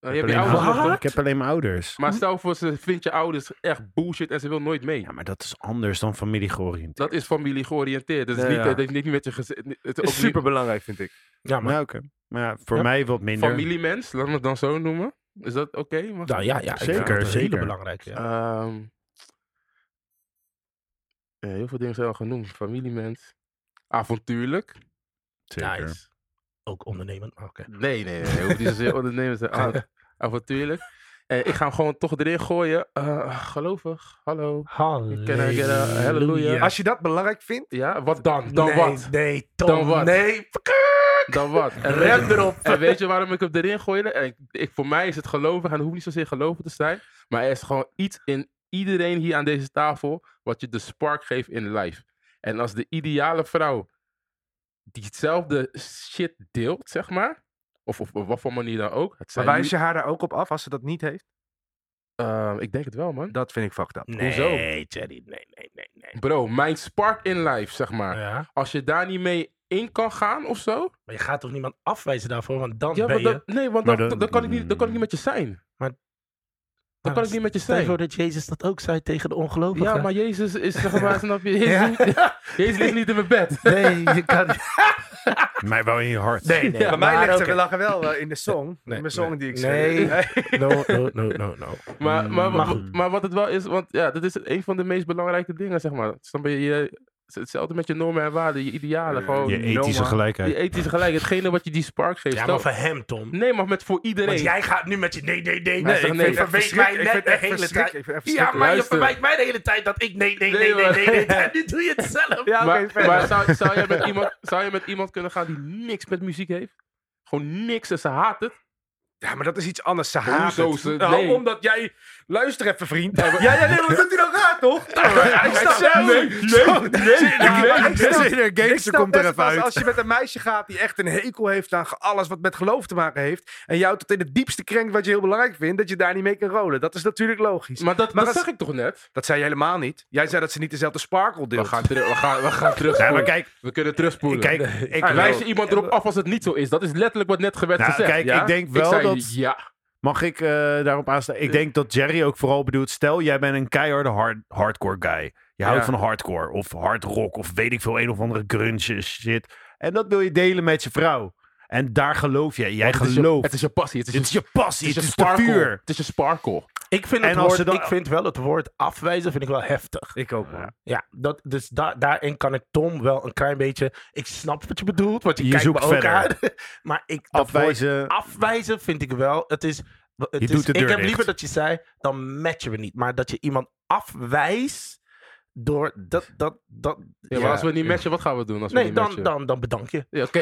[SPEAKER 4] Nou, je hebt je
[SPEAKER 3] alleen
[SPEAKER 4] ouders
[SPEAKER 3] maar-
[SPEAKER 4] nog, toch?
[SPEAKER 3] Ik heb alleen mijn ouders.
[SPEAKER 4] [LAUGHS] Maar stel voor, ze vindt je ouders echt bullshit en ze wil nooit mee.
[SPEAKER 3] Ja, maar dat is anders dan familie georiënteerd.
[SPEAKER 4] Dat is familie georiënteerd. Dat is
[SPEAKER 2] Ja,
[SPEAKER 4] niet,
[SPEAKER 2] ja.
[SPEAKER 4] dat heeft niet met je gezin. Het is ook
[SPEAKER 2] is super belangrijk, vind ik.
[SPEAKER 1] Ja, maar...
[SPEAKER 3] Nou, oké. Maar ja, voor
[SPEAKER 1] Ja.
[SPEAKER 3] mij wat
[SPEAKER 4] niet
[SPEAKER 3] minder.
[SPEAKER 4] familiemens, laten we het dan zo noemen. Is dat oké? Mag-
[SPEAKER 1] Nou, ja, ja, ik vind
[SPEAKER 3] Zeker,
[SPEAKER 1] dat een
[SPEAKER 3] zeker.
[SPEAKER 1] hele belangrijke. Ja.
[SPEAKER 4] Ehm, ja, heel veel dingen zijn al genoemd. Familiemens. Avontuurlijk.
[SPEAKER 3] Zeker.
[SPEAKER 1] Nice. Ook ondernemend. maar Oké.
[SPEAKER 4] Nee, nee, nee. Hoeft niet
[SPEAKER 1] [LAUGHS]
[SPEAKER 4] zozeer ondernemers te zijn. Avontuurlijk. Eh, ik ga hem gewoon toch erin gooien. Eh, gelovig. Hallo. I get a hallelujah?
[SPEAKER 1] Halleluja.
[SPEAKER 2] Als je dat belangrijk vindt,
[SPEAKER 4] Ja, wat dan? Dan wat?
[SPEAKER 1] Nee, Tom.
[SPEAKER 4] Dan wat?
[SPEAKER 1] Nee.
[SPEAKER 4] Dan wat? En
[SPEAKER 1] [LAUGHS] Rem
[SPEAKER 4] weet je-
[SPEAKER 1] erop.
[SPEAKER 4] En weet je waarom ik hem erin gooide? En ik, ik- voor mij is het gelovig en het hoeft niet zozeer gelovig te zijn. Maar er is gewoon iets in iedereen hier aan deze tafel wat je de spark geeft in life. En als de ideale vrouw diezelfde shit deelt, zeg maar. Of of op wat voor manier dan ook. Het
[SPEAKER 2] maar
[SPEAKER 4] zijn
[SPEAKER 2] wijs je haar daar ook op af als ze dat niet heeft?
[SPEAKER 4] nu- Ehm, ik denk het wel, man.
[SPEAKER 2] Dat vind ik fucked up.
[SPEAKER 1] Nee,
[SPEAKER 4] Hoezo?
[SPEAKER 2] [LAUGHS]
[SPEAKER 1] Jerry. Nee, nee, nee. nee.
[SPEAKER 4] Bro, mijn spark in life, zeg maar.
[SPEAKER 1] Ja.
[SPEAKER 4] Als je daar niet mee in kan gaan of zo.
[SPEAKER 1] Maar je gaat toch niemand afwijzen daarvoor? Want dan
[SPEAKER 4] Ja,
[SPEAKER 1] ben
[SPEAKER 4] want
[SPEAKER 1] je...
[SPEAKER 4] dat, nee, want
[SPEAKER 3] Maar
[SPEAKER 4] dan,
[SPEAKER 3] dat-
[SPEAKER 4] dan, kan ik niet, dan kan ik niet met je zijn.
[SPEAKER 1] Maar-
[SPEAKER 4] dan kan ik niet met je
[SPEAKER 1] Stel je
[SPEAKER 4] zijn.
[SPEAKER 1] voor dat Jezus dat ook zei tegen de ongelovigen.
[SPEAKER 4] Ja, maar Jezus is zeg
[SPEAKER 1] [LAUGHS]
[SPEAKER 4] maar, snap je? Jezus, Jezus ligt niet in mijn bed.
[SPEAKER 1] Nee, je
[SPEAKER 2] [LAUGHS]
[SPEAKER 1] kan...
[SPEAKER 3] Mij wel in je hart.
[SPEAKER 1] Nee, nee.
[SPEAKER 2] Bij mij
[SPEAKER 1] maar
[SPEAKER 2] ligt
[SPEAKER 1] oké.
[SPEAKER 2] ze lachen wel eh, in de song.
[SPEAKER 1] Nee,
[SPEAKER 2] in mijn song die ik
[SPEAKER 1] nee.
[SPEAKER 2] zing.
[SPEAKER 1] [LAUGHS] No, no, no, no, no.
[SPEAKER 4] Maar, maar,
[SPEAKER 1] Maar
[SPEAKER 4] maar,
[SPEAKER 1] goed.
[SPEAKER 4] maar wat het wel is, want ja, dat is een van de meest belangrijke dingen, zeg maar. Snap je? je hetzelfde met je normen en waarden, je idealen. Gewoon
[SPEAKER 3] Oh, Je ethische
[SPEAKER 4] die
[SPEAKER 3] gelijkheid.
[SPEAKER 4] ethische gelijk, hetgene wat je die spark geeft.
[SPEAKER 1] Ja,
[SPEAKER 4] Stel-
[SPEAKER 1] maar voor hem, Tom.
[SPEAKER 4] Nee, maar met voor iedereen.
[SPEAKER 1] Want jij gaat nu met je nee, nee, nee.
[SPEAKER 4] Nee,
[SPEAKER 1] nee,
[SPEAKER 4] ik
[SPEAKER 1] ik
[SPEAKER 4] vind
[SPEAKER 1] nee
[SPEAKER 4] het
[SPEAKER 1] verweet mij net de hele tijd. Ja, maar je
[SPEAKER 4] Luister.
[SPEAKER 1] verwijt mij de hele tijd dat ik nee, nee,
[SPEAKER 4] Nee,
[SPEAKER 1] nee, nee,
[SPEAKER 4] maar-
[SPEAKER 1] nee, nee, [LAUGHS] En nu doe je het zelf.
[SPEAKER 2] Ja, oké,
[SPEAKER 4] maar
[SPEAKER 2] verder.
[SPEAKER 4] maar zou, zou, je met iemand, zou je met iemand kunnen gaan die niks met muziek heeft? Gewoon niks en ze haat het.
[SPEAKER 2] Ja, maar dat is iets anders. Ze haat
[SPEAKER 4] Hoezo
[SPEAKER 2] het.
[SPEAKER 4] ze-
[SPEAKER 2] Nou,
[SPEAKER 4] nee.
[SPEAKER 2] omdat jij... Luister even, vriend.
[SPEAKER 4] Ja, maar-
[SPEAKER 2] Ja, ja, nee, [LAUGHS] maar doet hij dan raar, toch? Ik snap
[SPEAKER 4] zei-
[SPEAKER 2] nee, [LAUGHS] nee, nee. Ik snap- ik
[SPEAKER 3] gangster
[SPEAKER 2] snap
[SPEAKER 3] komt er
[SPEAKER 2] best
[SPEAKER 3] even
[SPEAKER 2] wel,
[SPEAKER 3] uit.
[SPEAKER 2] Als je met een meisje gaat die echt een hekel heeft aan ge- alles wat met geloof te maken heeft. En jou tot in het diepste krenkt wat je heel belangrijk vindt. Dat je daar niet mee kan rollen. Dat is natuurlijk logisch.
[SPEAKER 4] Maar dat,
[SPEAKER 2] Maar
[SPEAKER 4] dat
[SPEAKER 2] dat-
[SPEAKER 4] zag ik toch net?
[SPEAKER 2] dat zei je helemaal niet. Jij zei dat ze niet dezelfde sparkle
[SPEAKER 4] We
[SPEAKER 2] deelt.
[SPEAKER 4] gaan, teru- we gaan, we gaan
[SPEAKER 3] Ja, maar
[SPEAKER 4] terugspoelen.
[SPEAKER 3] kijk,
[SPEAKER 4] we kunnen terugspoelen.
[SPEAKER 3] kijk, ik,
[SPEAKER 4] Ah, wijs
[SPEAKER 3] wijs,
[SPEAKER 4] je iemand erop af als het niet zo is. Dat is letterlijk wat net werd
[SPEAKER 3] Nou,
[SPEAKER 4] gezegd.
[SPEAKER 3] kijk,
[SPEAKER 4] ja?
[SPEAKER 3] ik denk wel
[SPEAKER 4] zei,
[SPEAKER 3] dat-
[SPEAKER 4] Ja,
[SPEAKER 3] mag ik eh, daarop aanstaan? Ik denk dat Jerry ook vooral bedoelt, stel jij bent een keiharde hard, hardcore guy. Je houdt
[SPEAKER 4] Ja.
[SPEAKER 3] van hardcore of hard rock of weet ik veel, een of andere grunge shit. En dat wil je delen met je vrouw. En daar geloof jij. Jij
[SPEAKER 4] het is, je,
[SPEAKER 3] gelooft.
[SPEAKER 4] het is je passie. Het is,
[SPEAKER 3] Dit is je passie,
[SPEAKER 4] het
[SPEAKER 3] het
[SPEAKER 4] is je
[SPEAKER 3] is de
[SPEAKER 4] sparkle.
[SPEAKER 3] vuur.
[SPEAKER 4] Het is je sparkle.
[SPEAKER 1] Ik vind,
[SPEAKER 3] En
[SPEAKER 1] het
[SPEAKER 3] als
[SPEAKER 1] woord,
[SPEAKER 3] ze dan-
[SPEAKER 1] ik vind wel het woord afwijzen vind ik wel heftig.
[SPEAKER 2] Ik ook, man.
[SPEAKER 1] Ja, dat, dus da- daarin kan ik Tom wel een klein beetje... Ik snap wat je bedoelt, want je,
[SPEAKER 3] Je
[SPEAKER 1] kijkt me
[SPEAKER 3] zoekt
[SPEAKER 1] ook
[SPEAKER 3] verder.
[SPEAKER 1] aan. [LAUGHS] Maar ik, dat woord
[SPEAKER 3] Afwijzen.
[SPEAKER 1] afwijzen vind ik wel. Het is, het
[SPEAKER 3] Je
[SPEAKER 1] is,
[SPEAKER 3] doet de deur
[SPEAKER 1] ik heb
[SPEAKER 3] dicht.
[SPEAKER 1] liever dat je zei, dan matchen we niet. Maar dat je iemand afwijst door dat... dat, dat
[SPEAKER 4] Ja, maar
[SPEAKER 1] ja.
[SPEAKER 4] als we niet matchen, wat gaan we doen? Als we
[SPEAKER 1] Nee,
[SPEAKER 4] niet
[SPEAKER 1] dan,
[SPEAKER 4] matchen?
[SPEAKER 1] dan, dan bedank je.
[SPEAKER 4] Ja, Oké.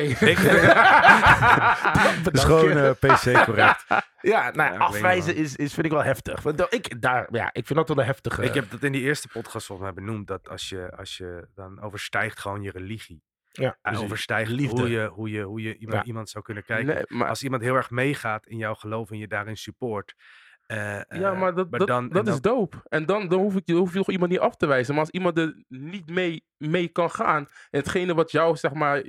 [SPEAKER 1] Dan bedank
[SPEAKER 3] Dat is gewoon
[SPEAKER 1] je.
[SPEAKER 3] eh, PC
[SPEAKER 1] [LAUGHS]
[SPEAKER 3] correct.
[SPEAKER 1] ja, nou, ja,
[SPEAKER 2] ik
[SPEAKER 1] afwijzen
[SPEAKER 2] weet
[SPEAKER 1] is, is, vind ik wel heftig. Want dat- ik, daar, ja, ik vind dat wel een heftige...
[SPEAKER 2] Ik heb dat in die eerste podcast volgens mij benoemd. Dat als je, als je dan overstijgt gewoon je religie.
[SPEAKER 1] ja,
[SPEAKER 2] Ja,
[SPEAKER 1] dus-
[SPEAKER 2] overstijgt
[SPEAKER 1] liefde.
[SPEAKER 2] hoe je, hoe je, hoe je iemand,
[SPEAKER 1] Ja.
[SPEAKER 3] [LAUGHS]
[SPEAKER 2] iemand zou kunnen kijken.
[SPEAKER 4] [LAUGHS] Nee, maar
[SPEAKER 2] Als iemand heel erg meegaat in jouw geloof en je daarin support. Eh,
[SPEAKER 4] ja,
[SPEAKER 2] eh,
[SPEAKER 4] maar dat, dat,
[SPEAKER 2] dan-
[SPEAKER 4] dat
[SPEAKER 2] en
[SPEAKER 4] is dope. En dan, dan, hoef ik, dan hoef je toch iemand niet af te wijzen. Maar als iemand er niet mee, mee kan gaan. En hetgene wat jou, zeg maar,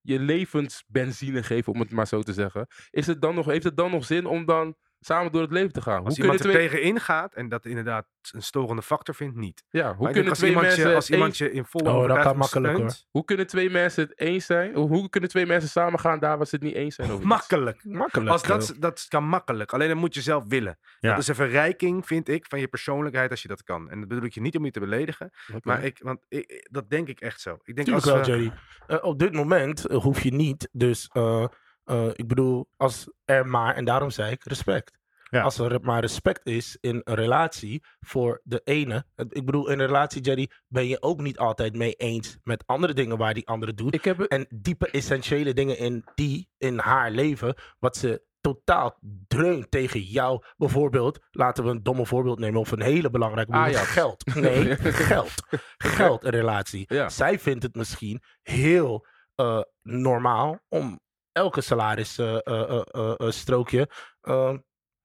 [SPEAKER 4] je levensbenzine geeft, om het maar zo te zeggen. Is het dan nog, heeft het dan nog zin om dan samen door het leven te
[SPEAKER 2] Als
[SPEAKER 4] gaan? hoe kunnen
[SPEAKER 2] iemand er
[SPEAKER 4] twee,
[SPEAKER 2] tegenin gaat en dat inderdaad een storende factor vindt, niet.
[SPEAKER 4] ja, hoe
[SPEAKER 2] Maar ik denk
[SPEAKER 4] kunnen
[SPEAKER 2] als
[SPEAKER 4] twee
[SPEAKER 2] iemand je-
[SPEAKER 4] mensen
[SPEAKER 2] als
[SPEAKER 4] één-
[SPEAKER 2] iemand je in volle
[SPEAKER 1] Oh, dat
[SPEAKER 2] overtuiging
[SPEAKER 1] gaat makkelijk, hoor.
[SPEAKER 2] steunt,
[SPEAKER 4] Hoe kunnen twee mensen het eens zijn? Hoe, hoe kunnen twee mensen samen gaan daar waar ze het niet eens zijn over iets?
[SPEAKER 2] Makkelijk.
[SPEAKER 1] Makkelijk.
[SPEAKER 2] Als dat, dat kan makkelijk. Alleen dan moet je zelf willen.
[SPEAKER 3] Ja.
[SPEAKER 2] Dat is een verrijking, vind ik, van je persoonlijkheid als je dat kan. En dat bedoel ik je niet om je te beledigen.
[SPEAKER 4] Oké.
[SPEAKER 2] Maar ik, want ik- ik- dat denk ik echt zo. Ik denk
[SPEAKER 1] Tuurlijk
[SPEAKER 2] als
[SPEAKER 1] wel,
[SPEAKER 2] we-
[SPEAKER 1] Jerry. Eh, op dit moment eh, hoef je niet. Dus eh, eh, ik bedoel, als er maar, en daarom zei ik respect.
[SPEAKER 3] Ja.
[SPEAKER 1] Als er maar respect is in een relatie voor de ene. Het- Ik bedoel, in een relatie, Jerry, ben je ook niet altijd mee eens met andere dingen waar die andere doet.
[SPEAKER 4] ik heb het-
[SPEAKER 1] En diepe essentiële dingen in die, in haar leven, wat ze totaal dreunt tegen jou. Bijvoorbeeld, laten we een domme voorbeeld nemen of een hele belangrijke voorbeeld.
[SPEAKER 4] Ajax.
[SPEAKER 1] Geld. Nee, geld. Geld een relatie.
[SPEAKER 4] Ja.
[SPEAKER 1] Zij vindt het misschien heel eh, normaal om elke salarisstrookje eh eh, eh, eh, strookje eh,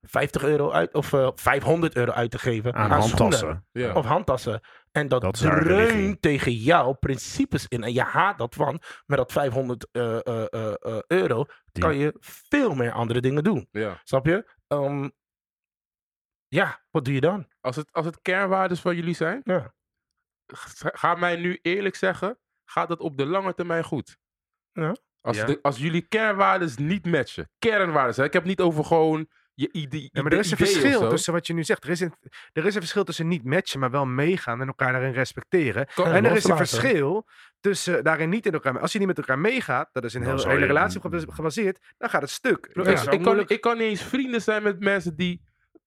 [SPEAKER 1] 50 euro uit of eh, 500 euro uit te geven
[SPEAKER 3] Aan
[SPEAKER 1] aan, schoenen
[SPEAKER 3] handtassen.
[SPEAKER 4] ja.
[SPEAKER 1] of handtassen. En dat,
[SPEAKER 3] Dat is haar religie.
[SPEAKER 1] dreunt tegen jou principes in. En je haat dat, want met dat 500 eh, eh, eh, eh, euro
[SPEAKER 3] Die-
[SPEAKER 1] kan je veel meer andere dingen doen.
[SPEAKER 4] ja.
[SPEAKER 1] Snap je? Ehm, ja, wat doe je dan?
[SPEAKER 4] Als, het, als het kernwaardes van jullie zijn,
[SPEAKER 1] Ja.
[SPEAKER 4] g- ga mij nu eerlijk zeggen, gaat dat op de lange termijn goed?
[SPEAKER 1] Ja.
[SPEAKER 4] Als,
[SPEAKER 2] Ja.
[SPEAKER 4] de- als jullie kernwaardes niet matchen, kernwaardes, hè? ik heb het niet over gewoon je idee.
[SPEAKER 2] Ja, maar er is een verschil
[SPEAKER 4] Dus
[SPEAKER 2] tussen wat je nu zegt. Er is, een, er is een verschil tussen niet matchen, maar wel meegaan en elkaar daarin respecteren.
[SPEAKER 1] Ja,
[SPEAKER 2] en er is een
[SPEAKER 1] loslaten.
[SPEAKER 2] verschil tussen eh, daarin niet in elkaar. Als je niet met elkaar meegaat, dat is een
[SPEAKER 3] Dan
[SPEAKER 2] hele,
[SPEAKER 3] zou
[SPEAKER 2] hele
[SPEAKER 3] je-
[SPEAKER 2] relatie op gebe- gebaseerd, dan gaat het stuk.
[SPEAKER 4] ik,
[SPEAKER 2] Dat is
[SPEAKER 4] ik, kan,
[SPEAKER 2] moeilijk.
[SPEAKER 4] ik kan niet eens vrienden zijn met mensen die,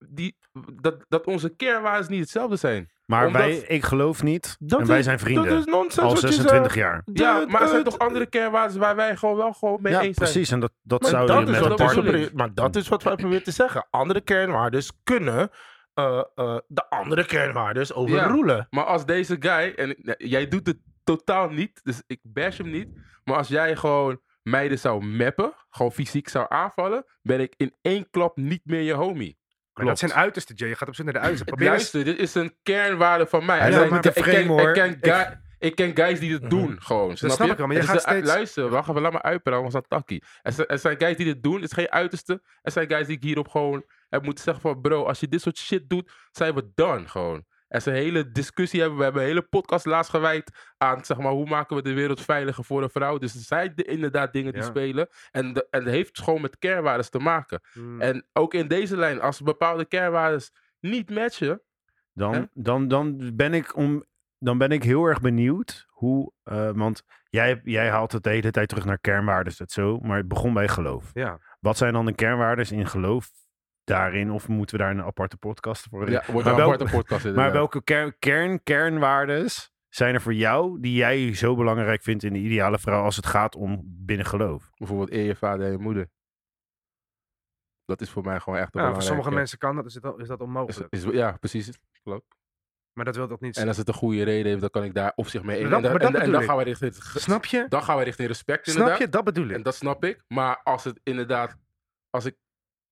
[SPEAKER 4] die dat, dat onze kernwaardes niet hetzelfde zijn.
[SPEAKER 3] Maar
[SPEAKER 4] Omdat-
[SPEAKER 3] wij, ik geloof niet.
[SPEAKER 1] Dat
[SPEAKER 3] en wij
[SPEAKER 1] is-
[SPEAKER 3] zijn
[SPEAKER 1] Dat
[SPEAKER 3] vrienden.
[SPEAKER 1] is nonsens.
[SPEAKER 3] Al
[SPEAKER 1] wat je
[SPEAKER 3] 26
[SPEAKER 1] zegt.
[SPEAKER 3] jaar.
[SPEAKER 4] Ja,
[SPEAKER 1] Dit,
[SPEAKER 4] maar er zijn
[SPEAKER 1] het-
[SPEAKER 4] toch andere kernwaardes waar wij gewoon wel gewoon mee
[SPEAKER 3] Ja,
[SPEAKER 4] eens zijn.
[SPEAKER 3] precies. En dat, dat
[SPEAKER 1] Maar
[SPEAKER 3] zou
[SPEAKER 1] dat
[SPEAKER 3] je
[SPEAKER 1] is
[SPEAKER 3] met
[SPEAKER 1] wat
[SPEAKER 3] een
[SPEAKER 1] wij
[SPEAKER 4] bedoel
[SPEAKER 3] partner...
[SPEAKER 4] ik.
[SPEAKER 1] proberen- Maar dat is wat wij proberen te zeggen. Andere kernwaardes kunnen eh, eh, de andere kernwaardes overroelen.
[SPEAKER 4] Maar als deze guy, en ja, jij doet het totaal niet, dus ik bash hem niet. Maar als jij gewoon meiden zou mappen, gewoon fysiek zou aanvallen, ben ik in één klap niet meer je homie.
[SPEAKER 2] Maar dat zijn uiterste, Jay. Je gaat op zoek naar de uiterste. Probeer eens-
[SPEAKER 4] Luister, dit is een kernwaarde van mij.
[SPEAKER 3] Hij
[SPEAKER 4] En
[SPEAKER 3] loopt
[SPEAKER 4] ik-
[SPEAKER 3] niet te
[SPEAKER 4] ik,
[SPEAKER 3] framen,
[SPEAKER 4] ken,
[SPEAKER 3] hoor.
[SPEAKER 4] ik, ken guy- ik ken guys die dit doen, gewoon. Snap,
[SPEAKER 2] Mhm. snap
[SPEAKER 4] je?
[SPEAKER 2] ik wel, maar je
[SPEAKER 4] Het
[SPEAKER 2] gaat
[SPEAKER 4] is een-
[SPEAKER 2] steeds-
[SPEAKER 4] Luister, wacht even, laat me uitpraten, want dat takkie. Er zijn, er zijn guys die dit doen, het is geen uiterste. Er zijn guys die ik hierop gewoon heb moeten zeggen van... Bro, als je dit soort shit doet, zijn we done, gewoon. Er is een hele discussie, hebben, we hebben een hele podcast laatst gewijd aan, zeg maar, hoe maken we de wereld veiliger voor een vrouw. Dus er zijn de- inderdaad dingen die
[SPEAKER 2] Ja.
[SPEAKER 4] spelen. En, de- en het heeft gewoon met kernwaardes te maken.
[SPEAKER 3] Hm.
[SPEAKER 2] Hmm.
[SPEAKER 4] En ook in deze lijn, als bepaalde kernwaardes niet matchen, Hè?
[SPEAKER 3] Dan, dan, dan, ben ik om, dan ben ik heel erg benieuwd hoe. eh, want jij, jij haalt het de hele tijd terug naar kernwaardes, dat zo. Maar het begon bij geloof.
[SPEAKER 2] Ja.
[SPEAKER 3] Wat zijn dan de kernwaardes in geloof daarin? Of moeten we daar een aparte podcast voor
[SPEAKER 4] ja, wordt
[SPEAKER 3] maar
[SPEAKER 4] een
[SPEAKER 3] wel-
[SPEAKER 4] aparte podcast
[SPEAKER 3] Maar
[SPEAKER 4] inderdaad.
[SPEAKER 3] welke kern, kern, kernwaardes zijn er voor jou die jij zo belangrijk vindt in de ideale vrouw als het gaat om binnen geloof?
[SPEAKER 4] Bijvoorbeeld eer je vader en je moeder. Dat is voor mij gewoon echt een
[SPEAKER 2] Ja, voor
[SPEAKER 4] belangrijke.
[SPEAKER 2] sommige mensen kan dat, is, het, al- is dat
[SPEAKER 4] Is,
[SPEAKER 2] onmogelijk.
[SPEAKER 4] is- ja, precies. Klopt.
[SPEAKER 2] Maar dat wil dat niet
[SPEAKER 4] En als het een goede reden heeft, dan kan ik daar op zich mee in.
[SPEAKER 2] Maar
[SPEAKER 4] En,
[SPEAKER 2] dat-
[SPEAKER 4] dan-
[SPEAKER 2] maar dat
[SPEAKER 4] en- en
[SPEAKER 2] bedoel
[SPEAKER 4] dan
[SPEAKER 2] ik.
[SPEAKER 4] gaan we richting, ge-
[SPEAKER 2] Snap je?
[SPEAKER 4] dan gaan we richting respect
[SPEAKER 2] Snap
[SPEAKER 4] inderdaad.
[SPEAKER 2] je? Dat bedoel
[SPEAKER 4] En
[SPEAKER 2] ik.
[SPEAKER 4] dat snap ik. Maar als het inderdaad, als, ik,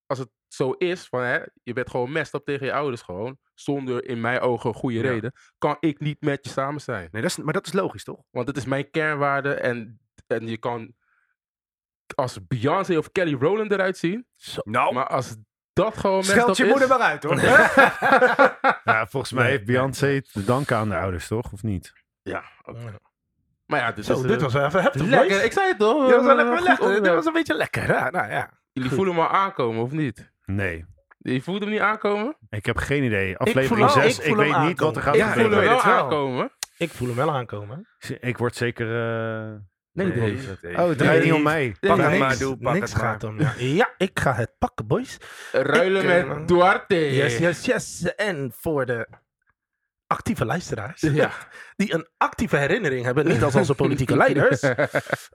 [SPEAKER 4] als het zo is, van, hè, je bent gewoon messed up tegen je ouders gewoon, zonder in mijn ogen een goede
[SPEAKER 2] Ja.
[SPEAKER 4] reden, kan ik niet met je samen zijn.
[SPEAKER 2] Nee, dat is, maar dat is logisch, toch?
[SPEAKER 4] Want het is mijn kernwaarde en, en je kan als Beyoncé of Kelly Rowland eruit zien,
[SPEAKER 1] Oh.
[SPEAKER 2] Nou,
[SPEAKER 4] maar als dat gewoon messed
[SPEAKER 2] scheld
[SPEAKER 4] up
[SPEAKER 2] je
[SPEAKER 4] is,
[SPEAKER 2] moeder maar uit, hoor.
[SPEAKER 3] [LAUGHS] Ja, volgens mij heeft Beyoncé het te danken aan de ouders, toch? Of niet?
[SPEAKER 4] Maar ja, dit,
[SPEAKER 1] Zo,
[SPEAKER 4] is, eh,
[SPEAKER 1] dit was wel even heftig. boys.
[SPEAKER 4] lekker. Ik zei het toch?
[SPEAKER 1] Dit was wel even
[SPEAKER 4] Goed eh,
[SPEAKER 1] lekker. Dit
[SPEAKER 4] onderwerp.
[SPEAKER 1] was een beetje lekker. Ja, nou ja.
[SPEAKER 4] Jullie voelen hem al aankomen, of niet?
[SPEAKER 3] Nee.
[SPEAKER 4] Je voelt hem niet aankomen?
[SPEAKER 3] Ik heb geen idee. Aflevering
[SPEAKER 1] hem-
[SPEAKER 3] 6.
[SPEAKER 1] ik
[SPEAKER 3] Ik,
[SPEAKER 1] voel hem
[SPEAKER 3] weet niet
[SPEAKER 1] aankomen.
[SPEAKER 3] wat er gaat
[SPEAKER 4] ik
[SPEAKER 2] ja,
[SPEAKER 4] voel
[SPEAKER 3] gebeuren.
[SPEAKER 4] hem
[SPEAKER 2] weet
[SPEAKER 4] wel
[SPEAKER 2] het wel.
[SPEAKER 4] aankomen.
[SPEAKER 1] Ik voel hem wel aankomen.
[SPEAKER 3] Ik word zeker. eh,
[SPEAKER 4] Nee,
[SPEAKER 2] Nee,
[SPEAKER 4] nee.
[SPEAKER 3] Oh, het draait
[SPEAKER 1] Nee.
[SPEAKER 3] niet om mij.
[SPEAKER 2] Pak
[SPEAKER 1] Nee,
[SPEAKER 2] het
[SPEAKER 1] niks-
[SPEAKER 2] maar, doe, pak
[SPEAKER 1] niks
[SPEAKER 2] het maar.
[SPEAKER 1] gaat om. Ja. ja, ik ga het pakken, boys.
[SPEAKER 4] Ruilen
[SPEAKER 1] Ik,
[SPEAKER 4] met
[SPEAKER 1] eh,
[SPEAKER 4] Duarte.
[SPEAKER 1] Yes, yes, yes. En voor de actieve luisteraars.
[SPEAKER 4] Ja.
[SPEAKER 1] Die een actieve herinnering hebben. Niet als onze politieke leiders.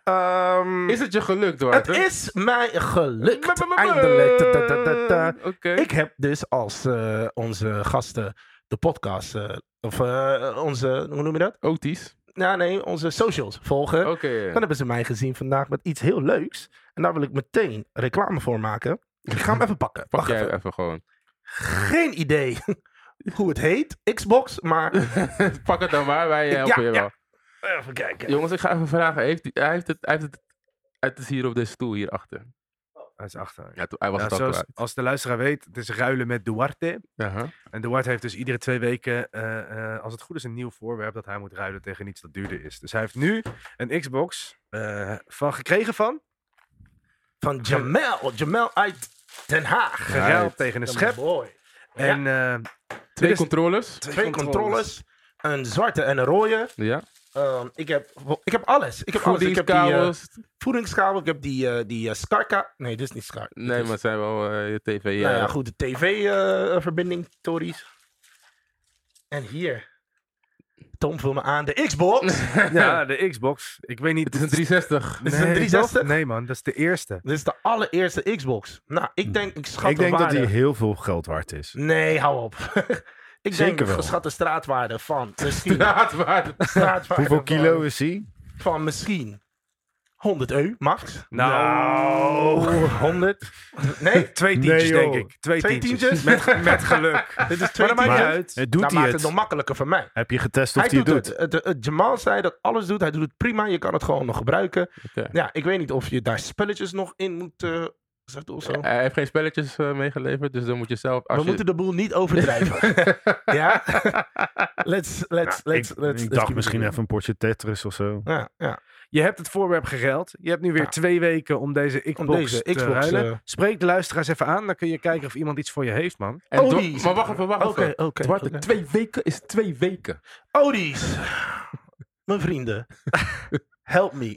[SPEAKER 1] Ehm,
[SPEAKER 4] [LAUGHS] Is het je
[SPEAKER 1] het
[SPEAKER 4] gelukt, Duarte?
[SPEAKER 1] is mij
[SPEAKER 4] Ba- ba-
[SPEAKER 1] gelukt.
[SPEAKER 4] ba-
[SPEAKER 1] Eindelijk. Ta- ta- ta- ta- ta.
[SPEAKER 4] Oké.
[SPEAKER 1] Ik heb dus als eh, onze gasten de podcast... eh, of eh, onze, hoe noem je dat?
[SPEAKER 4] Otis.
[SPEAKER 1] Nou nee, onze socials volgen.
[SPEAKER 4] Oké.
[SPEAKER 1] Dan hebben ze mij gezien vandaag met iets heel
[SPEAKER 4] [LAUGHS]
[SPEAKER 1] leuks. En daar wil ik meteen reclame voor maken. Ik ga hem even pakken.
[SPEAKER 4] Pak
[SPEAKER 1] Wacht
[SPEAKER 4] jij
[SPEAKER 1] even.
[SPEAKER 4] even gewoon. [LAUGHS]
[SPEAKER 1] geen idee [LAUGHS] hoe het heet, Xbox, maar
[SPEAKER 4] Pak het dan maar, wij helpen
[SPEAKER 1] Ja,
[SPEAKER 4] je
[SPEAKER 1] ja.
[SPEAKER 4] wel.
[SPEAKER 1] even kijken.
[SPEAKER 4] Jongens, ik ga even vragen. Heeft, die- hij, heeft het, hij heeft het... Het is hier op deze stoel hierachter.
[SPEAKER 2] Hij is achter.
[SPEAKER 4] Ja, toen- hij was
[SPEAKER 2] Ja,
[SPEAKER 4] het al
[SPEAKER 2] zoals,
[SPEAKER 4] kwijt.
[SPEAKER 2] als de luisteraar weet, het is ruilen met Duarte.
[SPEAKER 4] Aha.
[SPEAKER 2] En Duarte heeft dus iedere twee weken, eh, eh, als het goed is, een nieuw voorwerp dat hij moet ruilen tegen iets dat duurder is. Dus hij heeft nu een Xbox eh, van gekregen van,
[SPEAKER 1] Van Jamel, Jamel uit Den Haag.
[SPEAKER 2] geruild tegen een
[SPEAKER 1] The
[SPEAKER 2] schep.
[SPEAKER 1] boy.
[SPEAKER 2] En eh,
[SPEAKER 4] Twee
[SPEAKER 2] is-
[SPEAKER 4] controllers.
[SPEAKER 1] Twee controllers, een zwarte en een rode.
[SPEAKER 4] Ja.
[SPEAKER 1] Ehm, ik, heb, ik heb alles. Ik heb alles. Ik heb die, eh,
[SPEAKER 4] Voedingskabels.
[SPEAKER 1] voedingskabel, ik heb die, eh, die eh, Scarka. Nee, dit is niet Scar.
[SPEAKER 4] Nee, maar het zijn wel eh, je tv.
[SPEAKER 1] Nou ja,
[SPEAKER 4] ja.
[SPEAKER 1] goed, de tv-verbinding, eh, Tories. En hier. Tom vul me aan. De [LAUGHS] Xbox.
[SPEAKER 2] eh, ja, de Xbox. Ik weet niet.
[SPEAKER 4] Het is een 360.
[SPEAKER 1] [LAUGHS] is
[SPEAKER 2] Nee,
[SPEAKER 1] een
[SPEAKER 2] toch?
[SPEAKER 1] 360?
[SPEAKER 2] Nee man, dat is de eerste.
[SPEAKER 1] Dit is de allereerste Xbox. Nou, ik denk, ik schat
[SPEAKER 3] ik
[SPEAKER 1] de
[SPEAKER 3] denk dat
[SPEAKER 1] waarde.
[SPEAKER 3] die heel veel geld waard is.
[SPEAKER 1] Nee, hou op. [LAUGHS] ik
[SPEAKER 3] Zeker
[SPEAKER 1] denk,
[SPEAKER 3] wel.
[SPEAKER 1] geschat de straatwaarde
[SPEAKER 3] [LAUGHS]
[SPEAKER 1] van misschien.
[SPEAKER 4] Straatwaarde.
[SPEAKER 1] straatwaarde
[SPEAKER 3] Hoeveel
[SPEAKER 1] van-
[SPEAKER 3] kilo is die?
[SPEAKER 1] Van misschien 100 eu, max.
[SPEAKER 2] Nou,
[SPEAKER 1] 100. Nou.
[SPEAKER 3] [LAUGHS]
[SPEAKER 1] Nee,
[SPEAKER 2] twee
[SPEAKER 3] Nee,
[SPEAKER 2] tientjes
[SPEAKER 3] joh.
[SPEAKER 2] denk ik. Twee,
[SPEAKER 1] Twee
[SPEAKER 2] tientjes.
[SPEAKER 1] tientjes?
[SPEAKER 2] Met, met geluk.
[SPEAKER 1] [LAUGHS] dit is
[SPEAKER 2] Maar
[SPEAKER 1] twee
[SPEAKER 2] dat maakt niet
[SPEAKER 1] tientjes.
[SPEAKER 2] uit.
[SPEAKER 3] Eh,
[SPEAKER 1] Dan
[SPEAKER 3] Doet hij
[SPEAKER 1] maakt het nog
[SPEAKER 3] het?
[SPEAKER 1] makkelijker voor mij.
[SPEAKER 3] Heb je getest of
[SPEAKER 1] hij
[SPEAKER 3] die
[SPEAKER 1] doet,
[SPEAKER 3] het doet?
[SPEAKER 1] het. Het, het- Jamal zei dat alles doet. Hij doet het prima. Je kan het gewoon nog gebruiken.
[SPEAKER 4] [LAUGHS] Oké.
[SPEAKER 1] Ja, ik weet niet of je daar spelletjes nog in moet eh, zetten of zo.
[SPEAKER 4] Hij heeft geen spelletjes eh, meegeleverd, dus dan moet je zelf... Als
[SPEAKER 1] We
[SPEAKER 4] je-
[SPEAKER 1] moeten de boel niet overdrijven. ja? Let's, let's,
[SPEAKER 3] Nou,
[SPEAKER 1] let's,
[SPEAKER 3] ik,
[SPEAKER 1] let's...
[SPEAKER 3] ik
[SPEAKER 1] let's
[SPEAKER 3] dacht
[SPEAKER 1] keep
[SPEAKER 3] misschien
[SPEAKER 1] it
[SPEAKER 3] even een potje Tetris of zo.
[SPEAKER 1] moving. Ja, ja.
[SPEAKER 2] Je hebt het voorwerp gegeld. Je hebt nu weer
[SPEAKER 1] Ja.
[SPEAKER 2] twee weken om deze Xbox
[SPEAKER 1] deze
[SPEAKER 2] te
[SPEAKER 1] Xbox,
[SPEAKER 2] ruilen.
[SPEAKER 1] eh,
[SPEAKER 2] Spreek de luisteraars even aan. Dan kun je kijken of iemand iets voor je heeft, man.
[SPEAKER 4] En
[SPEAKER 1] Oh,
[SPEAKER 4] Dor-
[SPEAKER 1] die-
[SPEAKER 4] Maar wacht even, wacht
[SPEAKER 1] Oké,
[SPEAKER 4] even.
[SPEAKER 1] oké.
[SPEAKER 4] Dwarte,
[SPEAKER 1] oké.
[SPEAKER 4] twee weken is twee weken.
[SPEAKER 1] Odies. Mijn vrienden. Help me.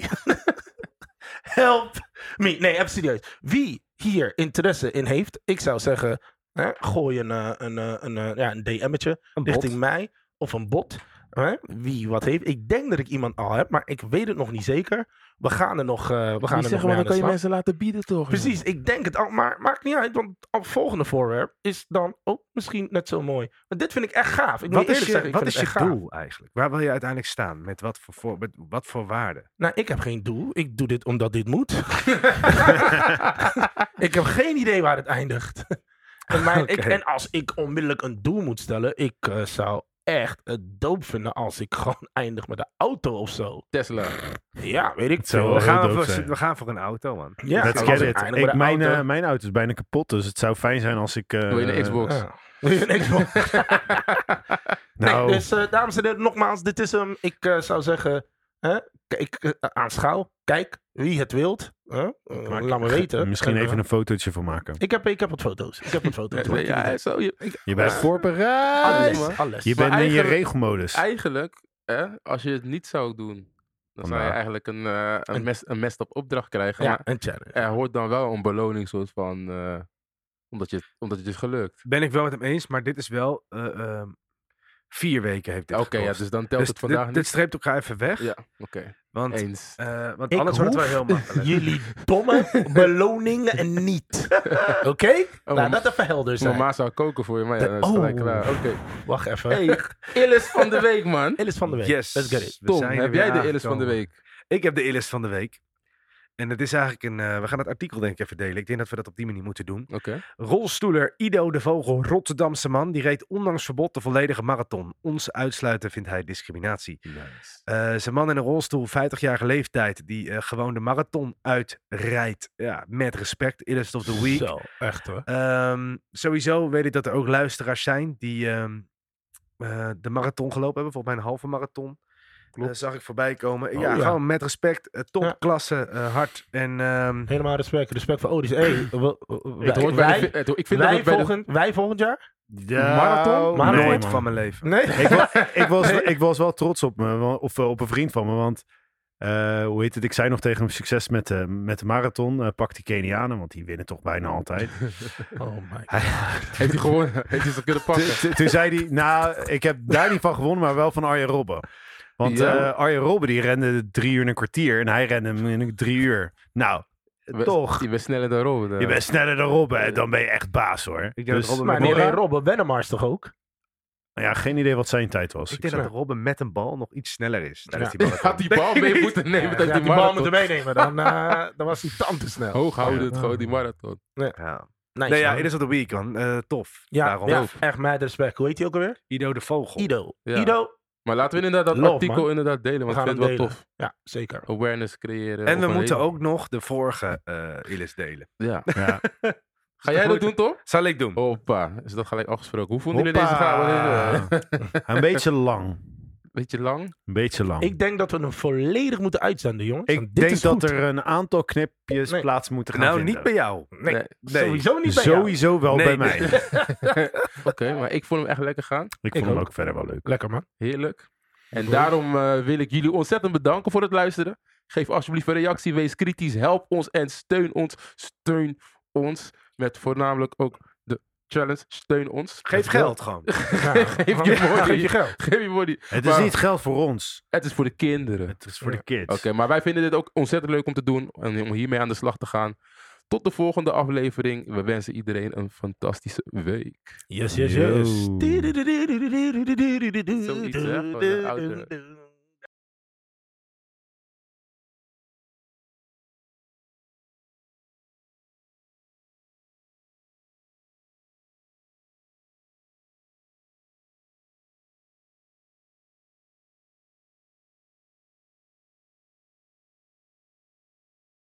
[SPEAKER 1] Help me. Nee, even serieus. Wie hier interesse in heeft, ik zou zeggen, hè, gooi een, eh, een, eh, een, eh, ja, een DM'tje
[SPEAKER 2] Een bot.
[SPEAKER 1] richting mij of een bot. Hè? Wie wat heeft. Ik denk dat ik iemand al heb, maar ik weet het nog niet zeker. We gaan er nog, eh, we gaan er nog mee aan de slag.
[SPEAKER 4] laten bieden toch?
[SPEAKER 1] Precies, ik denk het al, maar maakt niet uit, want het volgende voorwerp is dan ook misschien net zo mooi. Maar dit vind ik echt gaaf. Ik moet
[SPEAKER 2] Wat
[SPEAKER 1] eerlijk
[SPEAKER 2] is je,
[SPEAKER 1] zeggen, ik
[SPEAKER 2] wat
[SPEAKER 1] vind
[SPEAKER 2] is
[SPEAKER 1] het
[SPEAKER 2] je
[SPEAKER 1] echt gaaf.
[SPEAKER 2] doel eigenlijk? Waar wil je uiteindelijk staan? Met wat voor, voor, met wat voor
[SPEAKER 3] [LAUGHS]
[SPEAKER 2] waarde?
[SPEAKER 1] Nou, ik heb geen doel. Ik doe dit omdat dit moet. [LAUGHS] ik heb geen idee waar het eindigt. [LAUGHS] En, mijn, ik,
[SPEAKER 2] Oké.
[SPEAKER 1] en als ik onmiddellijk een doel moet stellen, ik eh, zou echt het doop vinden als ik [LAUGHS] gewoon eindig met de auto of zo.
[SPEAKER 4] Tesla.
[SPEAKER 1] Ja, weet ik
[SPEAKER 3] Het zou
[SPEAKER 1] veel.
[SPEAKER 3] wel
[SPEAKER 2] We
[SPEAKER 3] heel
[SPEAKER 2] gaan,
[SPEAKER 3] dope
[SPEAKER 2] voor,
[SPEAKER 3] zijn.
[SPEAKER 2] we gaan voor een auto, man.
[SPEAKER 1] Ja,
[SPEAKER 3] Let's
[SPEAKER 1] als
[SPEAKER 3] get
[SPEAKER 1] ik
[SPEAKER 3] it.
[SPEAKER 1] eindig met
[SPEAKER 3] Ik,
[SPEAKER 1] een
[SPEAKER 3] mijn,
[SPEAKER 1] auto-
[SPEAKER 3] eh, mijn auto is bijna kapot, dus het zou fijn zijn als ik... eh,
[SPEAKER 4] Wil je een Xbox?
[SPEAKER 1] Ja. Een Xbox.
[SPEAKER 2] [LAUGHS]
[SPEAKER 1] [LAUGHS] Nee,
[SPEAKER 3] Nou,
[SPEAKER 1] dus eh, dames en heren, nogmaals, dit is hem. Ik eh, zou zeggen, hè, kijk, eh, aanschouw. Kijk wie het wilt. Hè? Eh,
[SPEAKER 3] Maar
[SPEAKER 1] laat me weten.
[SPEAKER 3] [LAUGHS] misschien
[SPEAKER 1] En, eh,
[SPEAKER 3] even een fotootje van maken.
[SPEAKER 1] ik heb, ik heb wat foto's. Ik heb wat foto's.
[SPEAKER 4] [LAUGHS] Ja, ja, zo, je-
[SPEAKER 3] Je bent
[SPEAKER 1] Alles,
[SPEAKER 3] voorbereid.
[SPEAKER 4] man.
[SPEAKER 1] alles.
[SPEAKER 3] Je
[SPEAKER 4] Maar
[SPEAKER 3] bent in je
[SPEAKER 4] eigenlijk-
[SPEAKER 3] regelmodus.
[SPEAKER 4] eigenlijk, hè, als je het niet zou doen, dan zou je
[SPEAKER 3] Nou.
[SPEAKER 4] eigenlijk een, eh, een,
[SPEAKER 1] Een-
[SPEAKER 4] mes, een mest op opdracht krijgen.
[SPEAKER 1] ja,
[SPEAKER 4] Maar
[SPEAKER 1] een challenge.
[SPEAKER 4] er hoort dan wel een beloning soort van, eh, omdat, je, omdat het is gelukt.
[SPEAKER 2] Ben ik wel met hem eens, maar dit is wel... eh, ehm, vier weken heeft dit
[SPEAKER 4] Oké, ja,
[SPEAKER 2] gekost.
[SPEAKER 4] dus dan telt
[SPEAKER 2] Dus
[SPEAKER 4] het
[SPEAKER 2] dit-
[SPEAKER 4] vandaag
[SPEAKER 2] dit,
[SPEAKER 4] niet.
[SPEAKER 2] streept elkaar even weg.
[SPEAKER 4] Ja, oké.
[SPEAKER 2] Want,
[SPEAKER 4] Eens.
[SPEAKER 2] eh, want
[SPEAKER 1] Ik
[SPEAKER 2] anders wordt het wel
[SPEAKER 1] hoef-
[SPEAKER 2] heel [LAUGHS] makkelijk.
[SPEAKER 1] Jullie [LAUGHS] domme beloningen niet. Oké?
[SPEAKER 4] maar-
[SPEAKER 1] nou, dat even helder zijn.
[SPEAKER 4] Mama zou koken voor je, maar ja,
[SPEAKER 1] De-
[SPEAKER 4] dat is gelijk
[SPEAKER 1] oh.
[SPEAKER 4] klaar. Oké.
[SPEAKER 1] Wacht even.
[SPEAKER 4] Hey, Illis van de week, man.
[SPEAKER 1] Illis van de Week.
[SPEAKER 2] Yes.
[SPEAKER 1] Let's get it.
[SPEAKER 2] We
[SPEAKER 4] Tom,
[SPEAKER 2] zijn er
[SPEAKER 4] heb
[SPEAKER 2] weer
[SPEAKER 4] jij de Illis van de
[SPEAKER 2] aangekomen.
[SPEAKER 4] week?
[SPEAKER 2] Ik heb de illest van de week. En het is eigenlijk een... eh, we gaan het artikel denk ik even delen. Ik denk dat we dat op die manier moeten doen.
[SPEAKER 4] Oké.
[SPEAKER 2] Rolstoeler Ido de Vogel, Rotterdamse man, die reed ondanks verbod de volledige marathon. Ons uitsluiten vindt hij discriminatie. Eh, zijn man in een rolstoel, 50-jarige leeftijd, die eh, gewoon de marathon uitrijdt. Ja, met respect. Illest of the week.
[SPEAKER 1] Zo, echt hoor.
[SPEAKER 2] Ehm, sowieso weet ik dat er ook luisteraars zijn die ehm, eh, de marathon gelopen hebben. Volgens mij een halve marathon.
[SPEAKER 1] Klopt.
[SPEAKER 2] Eh, zag ik voorbij komen.
[SPEAKER 1] Oh,
[SPEAKER 2] ja,
[SPEAKER 1] ja.
[SPEAKER 2] gewoon met respect. eh,
[SPEAKER 1] Ja.
[SPEAKER 2] Topklasse, eh, hard. En ehm,
[SPEAKER 1] Helemaal respect. Respect voor Odys. Hey, we- we-
[SPEAKER 4] Het hoort bij de
[SPEAKER 1] wij,
[SPEAKER 4] vi- het ho- ik vind dat
[SPEAKER 1] wij,
[SPEAKER 4] het bij de-
[SPEAKER 1] volgend, wij volgend jaar?
[SPEAKER 3] Ja,
[SPEAKER 1] Marathon?
[SPEAKER 2] maar
[SPEAKER 1] Maar
[SPEAKER 3] nee,
[SPEAKER 2] nooit
[SPEAKER 3] man.
[SPEAKER 2] van mijn leven.
[SPEAKER 1] Nee.
[SPEAKER 3] Ik was, ik,
[SPEAKER 1] [LAUGHS]
[SPEAKER 3] was, ik was wel trots op me, wa- of eh, op een vriend van me, want eh, hoe heet het? Ik zei nog tegen hem succes met, de- met de marathon. eh, pak die Kenianen, want die winnen toch bijna altijd.
[SPEAKER 1] [LAUGHS] Oh my god.
[SPEAKER 3] Hij-
[SPEAKER 4] Heeft hij gewonnen? [LAUGHS] Heeft hij ze kunnen pakken?
[SPEAKER 3] Toen- toen- Toen zei hij, nou, ik heb daar niet van gewonnen, maar wel van Arjen Robben. Want
[SPEAKER 4] Ja.
[SPEAKER 3] eh, Arjen Robben die rende drie uur en een kwartier en hij rende hem in drie uur. Nou,
[SPEAKER 4] We-
[SPEAKER 3] toch.
[SPEAKER 4] Je bent sneller dan eh. Robin.
[SPEAKER 3] Je bent sneller dan Robben en dan ben je echt baas hoor.
[SPEAKER 2] Ik denk dat
[SPEAKER 3] Dus-
[SPEAKER 2] Robben
[SPEAKER 1] Maar
[SPEAKER 2] met
[SPEAKER 1] niet
[SPEAKER 2] een
[SPEAKER 1] alleen
[SPEAKER 2] bal-
[SPEAKER 1] Robben Wennemars toch ook?
[SPEAKER 3] ja, geen idee wat zijn tijd was.
[SPEAKER 2] Ik denk dat Robben met een bal nog iets sneller is. tijdens
[SPEAKER 1] Ja.
[SPEAKER 4] [LAUGHS]
[SPEAKER 2] die marathon.
[SPEAKER 4] Had die bal mee moeten nemen
[SPEAKER 1] Ja,
[SPEAKER 4] tijdens
[SPEAKER 1] die bal moeten meenemen. Dan, eh, dan was hij tand te snel.
[SPEAKER 4] Hoog houden het gewoon die marathon.
[SPEAKER 2] Ja.
[SPEAKER 1] Nice,
[SPEAKER 2] Nee, ja,
[SPEAKER 1] man.
[SPEAKER 2] It is What The Week, man. Eh, tof.
[SPEAKER 1] ja,
[SPEAKER 2] Daarom
[SPEAKER 1] ja,
[SPEAKER 2] ook.
[SPEAKER 1] echt mad respect. Hoe heet hij ook alweer?
[SPEAKER 2] Ido de Vogel.
[SPEAKER 1] Ido.
[SPEAKER 4] Ja.
[SPEAKER 1] Ido,
[SPEAKER 4] Maar laten we inderdaad dat
[SPEAKER 1] Love,
[SPEAKER 4] artikel
[SPEAKER 1] man.
[SPEAKER 4] inderdaad delen,
[SPEAKER 1] we
[SPEAKER 4] want ik
[SPEAKER 1] gaan
[SPEAKER 4] vind
[SPEAKER 1] hem
[SPEAKER 4] het
[SPEAKER 1] delen.
[SPEAKER 4] wel tof.
[SPEAKER 1] Ja,
[SPEAKER 4] Oh,
[SPEAKER 1] zeker.
[SPEAKER 4] Awareness creëren.
[SPEAKER 2] En we
[SPEAKER 4] op een
[SPEAKER 2] moeten
[SPEAKER 4] hele-
[SPEAKER 2] ook nog de vorige eh Illis delen.
[SPEAKER 1] [LAUGHS]
[SPEAKER 4] Ja.
[SPEAKER 3] Ja.
[SPEAKER 4] Ga jij dat doen, Tom?
[SPEAKER 2] Zal ik doen?
[SPEAKER 4] Hoppa, is dat gelijk afgesproken. Hoe vonden jullie
[SPEAKER 3] Hoppa.
[SPEAKER 4] deze vraag?
[SPEAKER 1] [LAUGHS]
[SPEAKER 4] Wat is het?
[SPEAKER 3] Een beetje lang.
[SPEAKER 4] Beetje lang.
[SPEAKER 3] Een beetje lang.
[SPEAKER 1] Ik denk dat we hem volledig moeten uitzenden, jongens.
[SPEAKER 3] Ik
[SPEAKER 1] want dit
[SPEAKER 3] denk
[SPEAKER 1] is
[SPEAKER 3] dat
[SPEAKER 1] goed.
[SPEAKER 3] er eh, een aantal knipjes
[SPEAKER 1] Nee.
[SPEAKER 3] plaats
[SPEAKER 4] eh,
[SPEAKER 3] moeten gaan
[SPEAKER 2] Nou,
[SPEAKER 3] vinden.
[SPEAKER 2] niet bij jou.
[SPEAKER 1] Nee, [LAUGHS]
[SPEAKER 4] Nee.
[SPEAKER 2] Nee.
[SPEAKER 1] sowieso niet bij jou.
[SPEAKER 3] Sowieso wel
[SPEAKER 2] Nee,
[SPEAKER 3] bij
[SPEAKER 1] [LAUGHS]
[SPEAKER 3] mij.
[SPEAKER 2] nee.
[SPEAKER 4] Oké, maar ik vond hem echt lekker gaan.
[SPEAKER 3] Ik vond hem
[SPEAKER 1] ook.
[SPEAKER 3] ook verder wel leuk.
[SPEAKER 1] Lekker,
[SPEAKER 4] [LAUGHS]
[SPEAKER 1] man.
[SPEAKER 4] Heerlijk. En daarom eh, wil ik jullie ontzettend bedanken voor het luisteren. Geef alsjeblieft een reactie, wees kritisch, help ons en steun ons. Steun ons met voornamelijk ook de challenge. Steun ons.
[SPEAKER 2] Geef geld gewoon.
[SPEAKER 1] Ja.
[SPEAKER 4] [LAUGHS] Geef je body.
[SPEAKER 1] Geef je geld.
[SPEAKER 4] Geef je body.
[SPEAKER 3] Het is
[SPEAKER 4] Maar-
[SPEAKER 3] niet geld voor ons.
[SPEAKER 4] Het is voor de kinderen.
[SPEAKER 3] Het is voor
[SPEAKER 1] Ja.
[SPEAKER 3] de kids.
[SPEAKER 4] Oké, maar wij vinden dit ook ontzettend leuk om te doen en om hiermee aan de slag te gaan. Tot de volgende aflevering. We wensen iedereen een fantastische week.
[SPEAKER 1] Yes, yes,
[SPEAKER 3] Yo.
[SPEAKER 1] yes.
[SPEAKER 4] Zoiets, hè, van de oude.
[SPEAKER 1] yes.